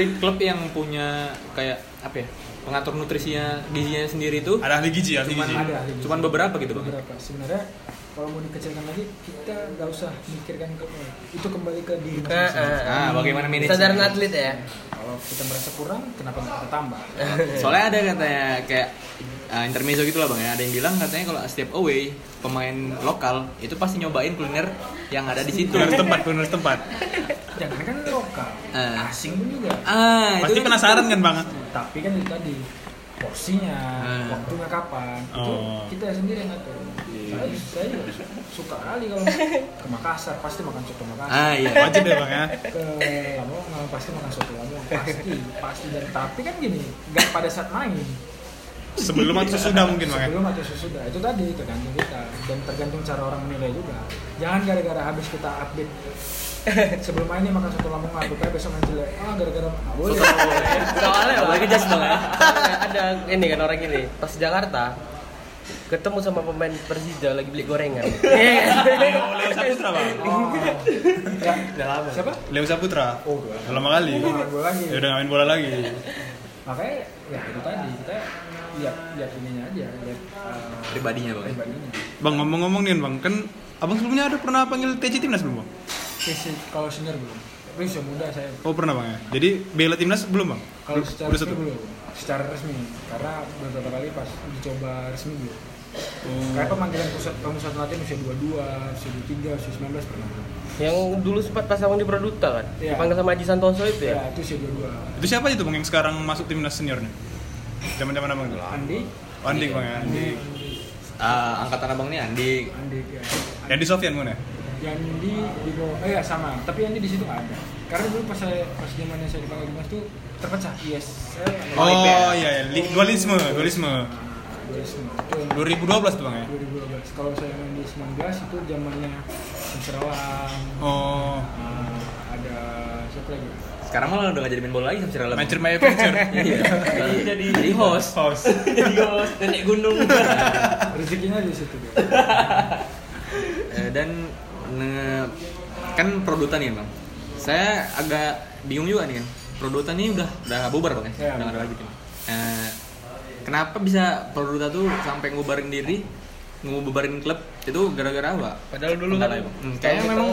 Speaker 1: tim klub yang punya kayak apa ya? Pengatur nutrisinya, gizinya sendiri itu
Speaker 3: Ada ahli gizi, ahli
Speaker 1: cuman
Speaker 3: gizi.
Speaker 7: Ada, ada.
Speaker 1: cuman beberapa gitu bang?
Speaker 7: beberapa sebenarnya kalau mau dikecilkan lagi kita nggak usah mikirkan ke itu kembali ke diri masing-masing
Speaker 1: Nah, bagaimana manage?
Speaker 4: Eh, Kesadaran atlet ya
Speaker 7: kalau kita merasa kurang kenapa nggak kita tambah
Speaker 1: Soalnya ada katanya kayak eh, intermezzo gitu lah bang ya. Ada yang bilang katanya kalau setiap away pemain lokal itu pasti nyobain kuliner yang ada di situ.
Speaker 3: Benar tempat, benar tempat.
Speaker 7: jangan kan lokal
Speaker 1: Eh.
Speaker 7: asing pun juga
Speaker 1: Ah,
Speaker 3: Pasti
Speaker 1: itu kan-
Speaker 3: penasaran kan bang?
Speaker 7: tapi kan itu tadi porsinya
Speaker 1: Ah.
Speaker 7: waktunya kapan itu
Speaker 3: Oh.
Speaker 7: kita sendiri yang ngatur
Speaker 1: Iya.
Speaker 7: saya, saya juga suka kali kalau ke Makassar pasti makan soto Makassar
Speaker 1: Ah iya.
Speaker 3: Wajib ya bang ya.
Speaker 7: ke Lamongan pasti makan soto Lamongan pasti pasti dan tapi kan gini nggak pada saat main
Speaker 3: Sebelum atau sesudah mungkin bang ya.
Speaker 7: sebelum atau sesudah itu tadi tergantung kita dan tergantung cara orang menilai juga jangan gara-gara habis kita update sebelum main nih makan soto Lamongan bukannya besok main jelek ah gara-gara nggak boleh
Speaker 4: soalnya
Speaker 1: Boleh
Speaker 4: Bang.
Speaker 1: kejas dong, ya?
Speaker 4: Soalnya ada ini kan orang ini pas Jakarta ketemu sama pemain Persija lagi beli gorengan Iya kan?
Speaker 3: Leo Saputra bang.
Speaker 7: Oh. Ya, siapa
Speaker 3: Leo Saputra.
Speaker 7: oh dua
Speaker 3: Udah Lama kali.
Speaker 7: Udah nggak boleh lagi.
Speaker 3: Ya udah nggak main bola lagi.
Speaker 7: makanya ya itu tadi kita lihat lihat ininya aja lihat eh,
Speaker 1: Pribadinya bang ya.
Speaker 7: pribadinya
Speaker 3: Bang ngomong-ngomong nih bang, kan abang sebelumnya ada pernah panggil TC timnas belum bang?
Speaker 7: fisik kalau senior belum tapi usia muda saya
Speaker 3: Oh pernah bang ya. Jadi bela timnas belum bang?
Speaker 7: kalau
Speaker 3: Udah-
Speaker 7: secara
Speaker 3: udah
Speaker 7: resmi
Speaker 3: satu.
Speaker 7: belum secara resmi karena beberapa kali pas dicoba resmi belum
Speaker 3: Oh.
Speaker 7: kayak pemanggilan pusat pemusat latihan usia 22, usia 23, usia 19 pernah
Speaker 4: yang dulu sempat pas abang di Produta kan
Speaker 7: Iya.
Speaker 4: dipanggil sama Haji Santoso itu
Speaker 3: Iya.
Speaker 7: ya
Speaker 4: ya
Speaker 7: itu usia 22
Speaker 3: Itu siapa aja tuh bang yang sekarang masuk timnas seniornya? Zaman-zaman abang tuh.
Speaker 7: Andi
Speaker 3: Oh, Andik bang ya. Andik.
Speaker 1: Ah, angkatan abang nih Andi.
Speaker 7: Andi ya
Speaker 3: Andy Sofian ya? mana?
Speaker 7: Yandi di bawah eh ya sama tapi Yandi di situ nggak ada karena dulu pas saya pas zamannya saya dipanggil Dimas tuh terpecah yes saya
Speaker 3: Oh iya, iya. Li- dualisme, dualisme.
Speaker 7: Dari semua. Itu yang
Speaker 3: 2012 tuh bang ya.
Speaker 7: 2012 kalau saya main di 19 itu zamannya Serawan
Speaker 3: Oh,
Speaker 7: ada siapa lagi
Speaker 1: Sekarang malah udah gak jadi main bola lagi sama Sirala. Bang.
Speaker 3: Manchester My Adventure.
Speaker 1: Iya. Jadi jadi jadi host. Nah.
Speaker 3: Host.
Speaker 1: Host nenek gunung.
Speaker 7: rezekinya di situ dia
Speaker 1: Eh, dan ne- kan produtan ya bang. Saya agak bingung juga nih kan. Produtan ini udah udah bubar bang
Speaker 7: Iya.
Speaker 1: ya. Udah nggak ada lagi tim. Eh, kenapa bisa produtan tuh sampai ngubarin diri, ngubarin klub itu gara-gara apa?
Speaker 4: padahal dulu kan
Speaker 1: Bentar aja, Bang. Hmm, kayaknya memang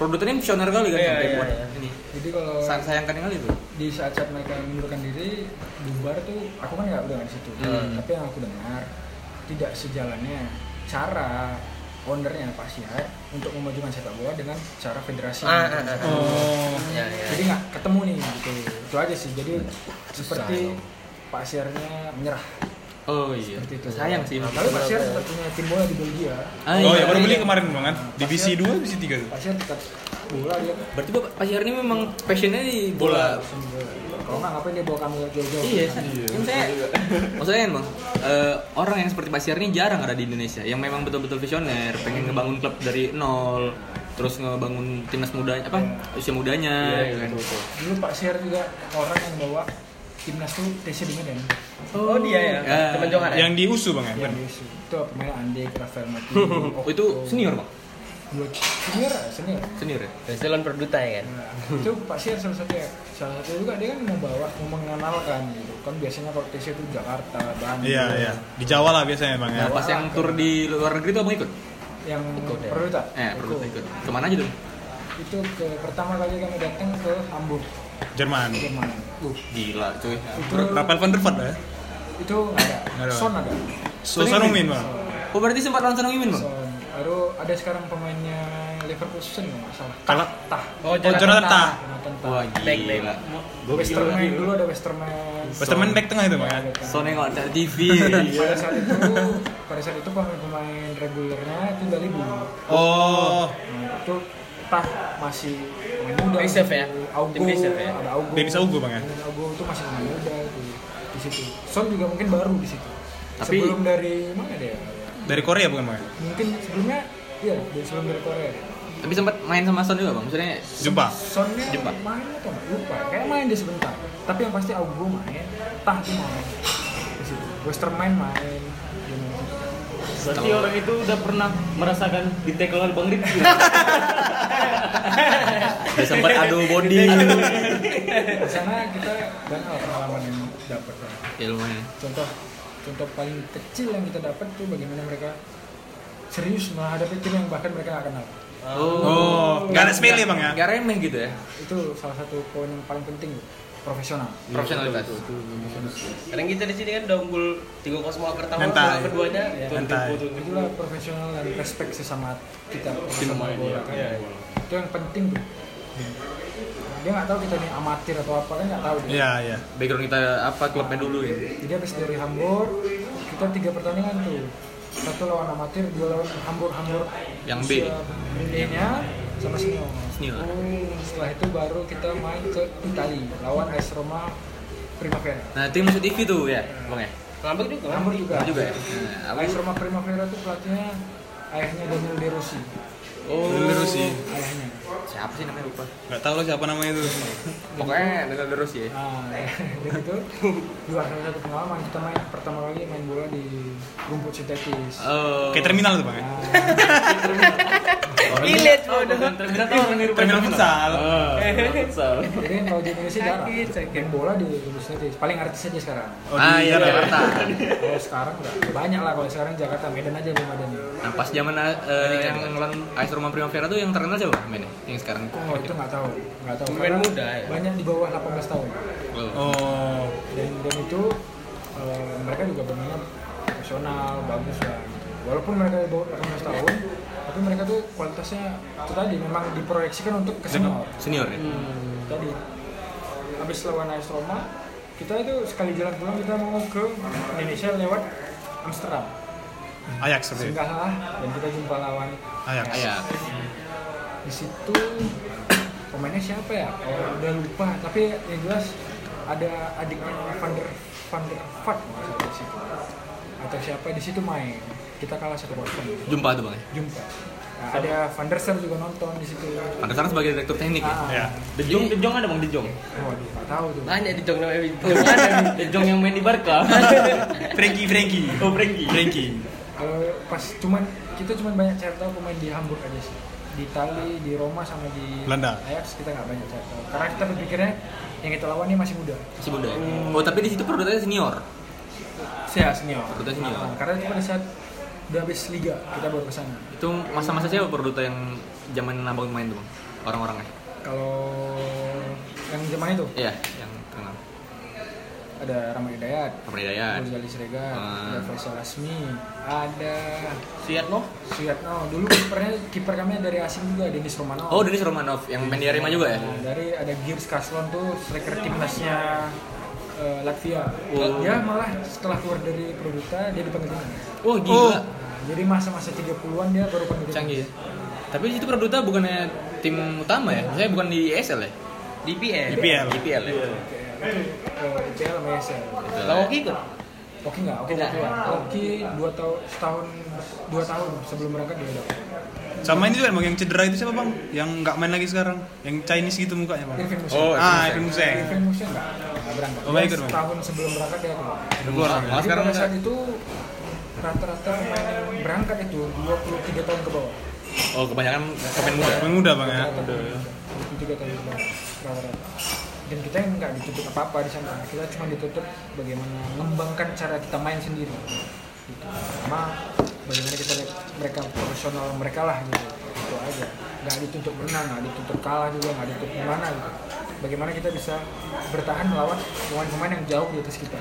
Speaker 1: produtan ini visioner kali kan
Speaker 4: Iya,
Speaker 1: sampai
Speaker 4: iya,
Speaker 1: buat
Speaker 4: iya.
Speaker 1: ini.
Speaker 7: jadi kalau
Speaker 1: Sayang sayangkan kali tuh.
Speaker 7: di saat-saat mereka mengundurkan diri bubar tuh aku kan nggak udah nggak di situ
Speaker 1: Hmm.
Speaker 7: tapi yang aku dengar tidak sejalannya cara ownernya Pak Sihat untuk memajukan sepak bola dengan cara federasi
Speaker 4: Ah, ah,
Speaker 7: Dengan
Speaker 4: ah.
Speaker 7: sepak bola.
Speaker 3: Oh.
Speaker 4: ya, ya.
Speaker 7: jadi nggak ketemu nih gitu itu aja sih jadi seperti Pak Siarnya menyerah
Speaker 1: Oh iya.
Speaker 7: seperti itu
Speaker 1: Sayang sih.
Speaker 7: Nah, tapi Pak Siar tetap punya tim bola di Belgia
Speaker 1: Ah,
Speaker 3: Oh ya
Speaker 1: iya.
Speaker 3: baru beli kemarin bang kan? Divisi 2, divisi 3 tuh.
Speaker 7: Pak Siar tetap bola dia
Speaker 1: Berarti Bapak Pak Syahrini memang passionnya di bola.
Speaker 7: Langsung bola. kalau nggak ngapain dia bawa kamu jauh-jauh
Speaker 1: Iya, kan saya maksudnya kan, Bang, eh, orang yang seperti Pak Syahrini jarang ada di Indonesia yang memang betul-betul visioner, pengen ngebangun klub dari nol, terus ngebangun
Speaker 4: Iya.
Speaker 1: timnas muda apa usia mudanya gitu kan.
Speaker 7: dulu Pak Siar juga orang yang bawa timnas tuh TC di Medan
Speaker 4: Oh, dia ya.
Speaker 1: Ya.
Speaker 4: Teman Johan ya.
Speaker 3: Yang di USU bang ya?
Speaker 7: yang
Speaker 3: Bang?
Speaker 7: di USU. itu pemain Ande, Rafael Mati,
Speaker 1: Oh, itu senior bang?
Speaker 7: Buat senior, ah, senior.
Speaker 1: Senior ya?
Speaker 4: Barcelona Perduta ya kan.
Speaker 7: Nah, itu Pak Sian salah satu ya. salah satu juga dia kan membawa mengenalkan gitu kan biasanya kalau TC itu Jakarta Bandung
Speaker 3: Iya iya. Di Jawa lah biasanya bang ya.
Speaker 4: Iya.
Speaker 1: Nah, pas yang tur di luar negeri itu abang ikut?
Speaker 7: yang
Speaker 4: Ikut ya?
Speaker 7: perlu tak
Speaker 1: Eh, perlu ikut. Kemana aja tuh?
Speaker 7: itu ke pertama kali kami datang ke Hamburg
Speaker 3: Jerman.
Speaker 7: Jerman
Speaker 4: Uh.
Speaker 1: Gila cuy.
Speaker 7: itu
Speaker 3: Rafael van der Vaart ya?
Speaker 7: itu nggak
Speaker 3: Nggak
Speaker 7: ada
Speaker 3: ada.
Speaker 7: Son ada
Speaker 3: Sosanumin bang.
Speaker 1: Oh berarti sempat lawan Sanung Imin bang?
Speaker 7: Son baru ada sekarang pemainnya Leverkusen kalau nggak salah
Speaker 3: Kalah.
Speaker 7: Tah
Speaker 4: Oh,
Speaker 3: Oh Jonathan Tah.
Speaker 7: Jonathan
Speaker 1: Wah
Speaker 7: Tah
Speaker 4: Back, back.
Speaker 1: gila.
Speaker 7: Westerman dulu ada Westerman Iya.
Speaker 3: Westerman back tengah itu bang ya?
Speaker 1: So nengok dari TV.
Speaker 4: Iya.
Speaker 7: pada saat itu pada saat itu pemain-pemain regulernya itu udah libur
Speaker 3: Oh.
Speaker 7: Nah, itu tah masih pemain muda
Speaker 4: Reserve ya?
Speaker 7: Augo,
Speaker 4: Tim reserve ya?
Speaker 7: ada Augo
Speaker 3: Dennis Augo, Bang, ya?
Speaker 7: Dennis Augo itu masih pemain muda itu di situ Son juga mungkin baru di situ
Speaker 1: Tapi-
Speaker 7: sebelum dari mana dia ya?
Speaker 3: Dari Korea bukan bang? ya?
Speaker 7: mungkin sebelumnya iya dari sebelum dari Korea
Speaker 1: Tapi sempat main sama Son juga bang. Maksudnya
Speaker 3: Jumpa.
Speaker 7: Sonnya
Speaker 1: Jepang.
Speaker 7: main atau nggak lupa kayak main dia sebentar tapi yang pasti Augo main tah itu main di situ Western main main dia main di situ.
Speaker 5: Berarti orang itu udah pernah merasakan di tackle oleh Bang Rifki.
Speaker 1: udah sempat adu body.
Speaker 4: Iya.
Speaker 7: di sana kita banyak pengalaman yang dapat lah.
Speaker 1: ya lumayan.
Speaker 7: contoh contoh paling kecil yang kita dapat tuh bagaimana mereka serius menghadapi tim yang bahkan mereka nggak kenal
Speaker 3: Oh. Gak ada spell bang ya?
Speaker 1: Gak remeh gitu ya.
Speaker 7: itu salah satu poin yang paling penting tuh, profesional
Speaker 1: Profesionalitas.
Speaker 4: Kadang kita di sini kan udah unggul 3-0 semua pertama,
Speaker 3: Mentai.
Speaker 4: sama keduanya.
Speaker 3: Santai.
Speaker 7: itulah profesional dan respect sesama kita sesama bola kan itu yang penting tuh dia nggak tahu kita ini amatir atau apa kan nggak tahu dia.
Speaker 3: Iya iya.
Speaker 1: Background kita apa klubnya dulu ya.
Speaker 7: jadi habis dari Hamburg kita tiga pertandingan tuh satu lawan amatir dua lawan Hamburg Hamburg
Speaker 1: Yang B.
Speaker 7: nya sama senior
Speaker 1: Senior.
Speaker 7: Setelah itu baru kita main ke Itali lawan AS Roma Primavera.
Speaker 1: Nah tim musuh TV tuh ya bang ya.
Speaker 4: Ngambek juga.
Speaker 7: Hamburg juga.
Speaker 1: Juga ya. Nah, apa-
Speaker 7: AS Roma Primavera itu pelatihnya ayahnya Daniel De Rossi.
Speaker 3: Daniel De Rossi.
Speaker 7: Ayahnya.
Speaker 1: Oh. Siapa sih namanya lupa?
Speaker 3: Gak tau lo siapa namanya itu.
Speaker 1: Pokoknya dengan terus ya.
Speaker 7: Nah, dari itu luar salah satu pengalaman kita main pertama kali main bola di rumput sintetis. Nah,
Speaker 1: Oh.
Speaker 3: Kayak terminal tuh bang ya?
Speaker 4: Ilet bodoh.
Speaker 5: Terminal tuh orang niru
Speaker 3: Terminal Ah. futsal.
Speaker 1: Eh.
Speaker 7: Jadi kalau di Indonesia jarang main bola di rumput sintetis. Paling artis aja sekarang.
Speaker 3: Oh,
Speaker 1: ah
Speaker 3: di
Speaker 1: iya
Speaker 3: Jakarta.
Speaker 1: Jakarta.
Speaker 7: Kalau sekarang nggak banyak lah kalau sekarang Jakarta Medan aja belum ada nih.
Speaker 1: Nah pas zaman eh, yang ngelawan AS Roma Primavera tuh yang terkenal siapa mainnya? Yang sekarang.
Speaker 7: Oh itu nggak tahu, nggak tahu.
Speaker 4: Pemain
Speaker 7: Karena
Speaker 4: muda ya?
Speaker 7: Banyak di bawah 18 tahun.
Speaker 1: Oh.
Speaker 3: Oh.
Speaker 7: Dan dan itu eh, mereka juga bermain profesional, bagus lah. gitu. Walaupun mereka di bawah 18 tahun, tapi mereka tuh kualitasnya itu tadi memang diproyeksikan untuk ke senior.
Speaker 1: Senior ya.
Speaker 7: Tadi habis lawan AS Roma, kita itu sekali jalan pulang kita mau ke Indonesia lewat Amsterdam.
Speaker 3: Ajax berarti.
Speaker 7: Singgahlah dan kita jumpa lawan
Speaker 3: Ajax.
Speaker 1: Ayak.
Speaker 7: di situ pemainnya siapa ya oh, udah lupa tapi yang jelas ada adiknya Van der Van der Vaart kalau nggak salah di situ atau siapa di situ main kita kalah satu kosong
Speaker 1: Jumpa tuh bang. ya?
Speaker 7: jumpa Nah, ada Van der Sar juga nonton di situ
Speaker 1: Pantesan sebagai direktur teknik ya.
Speaker 7: Ah,
Speaker 3: Iya.
Speaker 5: The Jong, The Jong ada Bang The Jong.
Speaker 7: waduh Oh, nggak tahu tuh
Speaker 4: Tanya di Jogja namanya Wito.
Speaker 5: The Jong yang main di Barca.
Speaker 3: Frankie Frankie.
Speaker 5: Oh, Frankie.
Speaker 3: Frankie.
Speaker 7: kalau pas cuman kita cuman banyak cari tahu pemain di Hamburg aja sih di Itali di Roma sama di
Speaker 3: Belanda.
Speaker 7: Ajax kita nggak banyak cari tahu karena kita berpikirnya yang kita lawan ini masih muda
Speaker 1: Masih muda ya. Oh tapi di situ perbedaannya senior.
Speaker 7: Saya senior.
Speaker 1: Perduta senior.
Speaker 7: Nah, karena itu pada saat udah habis liga kita baru kesana.
Speaker 1: Itu masa-masa siapa Perduta yang zaman abang main tuh bang? Orang-orangnya.
Speaker 7: Kalau yang zaman itu
Speaker 1: Iya. Yang kenal.
Speaker 7: ada Rama Hidayat,
Speaker 1: Pemberdayaan.
Speaker 7: Ghazali Siregar,
Speaker 1: Iya. Ah.
Speaker 7: ada Faisal Asmi, ada
Speaker 4: Suyatno.
Speaker 7: Suyatno. Dulu kipernya kiper kami dari asing juga Denis Romano.
Speaker 1: Oh Denis Romanov yang main di Arema juga ya.
Speaker 7: Nah, dari ada Girs Kaslon tuh striker timnasnya eh, Latvia. Dia malah setelah keluar dari Produta dia dipanggil timnas.
Speaker 1: Oh gila.
Speaker 7: Nah, jadi masa-masa 30-an dia baru panggil timnas.
Speaker 1: Canggih ya. Tapi itu Perduta bukannya tim utama ya? Maksudnya bukan di ESL ya?
Speaker 4: DPL.
Speaker 3: IPL.
Speaker 1: IPL ya?
Speaker 7: Ke IPL sama ESL.
Speaker 1: Betul.
Speaker 4: Lawoki ikut.
Speaker 7: Oke nggak? Oke nggak? Oke dua tahun setahun dua tahun sebelum berangkat dia udah.
Speaker 3: Sama ini juga bang, yang cedera itu siapa bang? Yang nggak main lagi sekarang, yang Chinese gitu mukanya bang.
Speaker 7: Irvin Musen.
Speaker 1: Oh,
Speaker 3: ah,
Speaker 1: Irvin
Speaker 3: Irvin Musen.
Speaker 7: Irvin Musen nggak nggak berangkat.
Speaker 3: Oh,
Speaker 7: Dia
Speaker 3: ikut, Bang.
Speaker 7: Setahun sebelum berangkat dia keluar.
Speaker 3: Udah keluar, Bang.
Speaker 1: Malah
Speaker 7: Jadi
Speaker 1: sekarang
Speaker 7: pada
Speaker 1: nggak-
Speaker 7: saat itu rata-rata pemain yang berangkat itu 23 tahun ke bawah.
Speaker 1: Oh, kebanyakan pemain muda.
Speaker 3: Pemain muda bang ya.
Speaker 7: Rata-rata 23 tahun ke bawah rata-rata. Dan kita yang nggak dituntut apa-apa di sana. Kita cuma dituntut bagaimana mengembangkan cara kita main sendiri. Gitu. Sama bagaimana kita lihat mereka profesional mereka lah gitu. Itu aja. Nggak dituntut menang, nggak dituntut kalah juga, nggak dituntut gimana gitu. Bagaimana kita bisa bertahan melawan pemain-pemain yang jauh di atas kita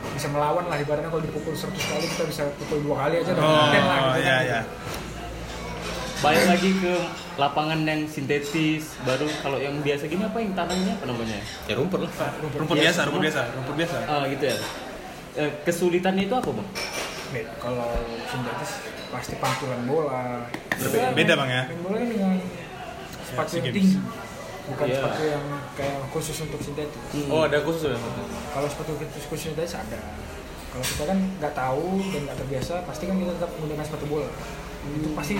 Speaker 7: bisa melawan lah ibaratnya kalau dipukul 100 kali kita bisa pukul dua kali aja udah
Speaker 3: Oh,
Speaker 7: konten lah gitu
Speaker 3: ya
Speaker 7: kan.
Speaker 3: ya.
Speaker 5: balik lagi ke lapangan yang sintetis baru kalau yang biasa gini apa yang tanahnya apa namanya
Speaker 1: Ya rumput lah.
Speaker 3: Rumput biasa, rumput biasa, rumput biasa.
Speaker 5: Ah, gitu ya Eh, kesulitannya itu apa bang
Speaker 7: Bet, kalau sintetis pasti pantulan bola
Speaker 3: Berbeda. Beda, Bang, ya?
Speaker 7: main bola ini dengan sepatu
Speaker 3: SEA
Speaker 7: yang
Speaker 3: Games.
Speaker 7: tinggi bukan
Speaker 5: Iya.
Speaker 7: sepatu yang kayak khusus untuk sintetis
Speaker 1: Oh, ada khusus ya.
Speaker 7: kalau sepatu khusus khusus sintetis ada kalau kita kan nggak tahu dan nggak terbiasa pasti kan kita tetap menggunakan sepatu bola itu pasti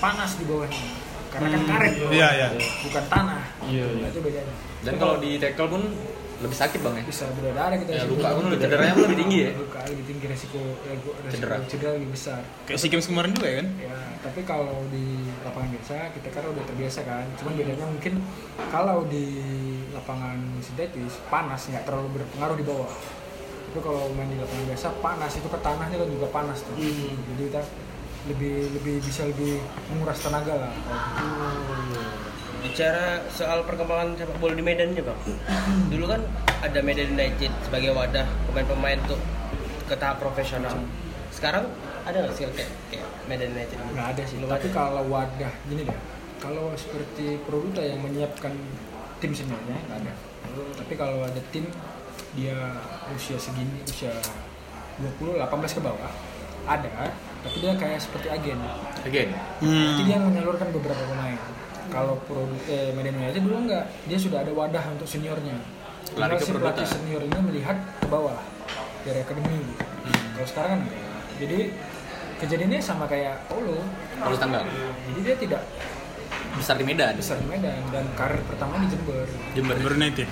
Speaker 7: panas di bawahnya karena
Speaker 1: Hmm.
Speaker 7: kan karet
Speaker 3: Iya, iya.
Speaker 7: bukan tanah
Speaker 5: Iya, iya.
Speaker 7: Nah, itu bedanya
Speaker 1: Dan kalau di tackle pun lebih sakit bang ya.
Speaker 7: bisa berdarah kita
Speaker 1: Ya,
Speaker 7: risiko
Speaker 1: luka pun
Speaker 7: cedera.
Speaker 1: lebih- cederanya pun lebih tinggi ya?
Speaker 7: luka lebih tinggi resiko resiko
Speaker 1: Cedera.
Speaker 7: cedera, lebih besar
Speaker 3: Kayak si games kemarin juga ya kan?
Speaker 7: ya tapi kalau di lapangan biasa kita kan udah terbiasa kan cuman bedanya mungkin kalau di lapangan sintetis panas nggak terlalu berpengaruh di bawah tapi kalau main di lapangan biasa panas itu ke tanahnya kan juga panas tuh jadi kita lebih lebih bisa lebih menguras tenaga lah kalau gitu.
Speaker 4: bicara soal perkembangan sepak bola di Medan aja bang dulu kan ada Medan United sebagai wadah pemain-pemain untuk ke tahap profesional sekarang ada nggak sih kayak, kayak Medan United gitu?
Speaker 7: nggak ada sih tapi kalau wadah gini deh kalau seperti Produta yang menyiapkan tim seniornya nggak ada tapi kalau ada tim dia usia segini usia 20 18 ke bawah ada tapi dia kayak seperti agen
Speaker 1: Again. Hmm.
Speaker 7: jadi
Speaker 3: Hmm,
Speaker 7: dia menyalurkan beberapa pemain kalau Produta eh, Medan United dulu nggak dia sudah ada wadah untuk seniornya
Speaker 1: Lari
Speaker 7: Lalu
Speaker 1: ke
Speaker 7: si
Speaker 1: Produta.
Speaker 7: pelatih senior ini melihat ke bawah dari akademi gitu.
Speaker 1: Hmm.
Speaker 7: kalau sekarang kan nggak. jadi kejadiannya sama kayak Paulo
Speaker 1: Kalau tanggal
Speaker 7: jadi dia tidak
Speaker 1: besar di Medan.
Speaker 7: besar di Medan dan karir pertama di Jember.
Speaker 1: Jember.
Speaker 3: Baru United.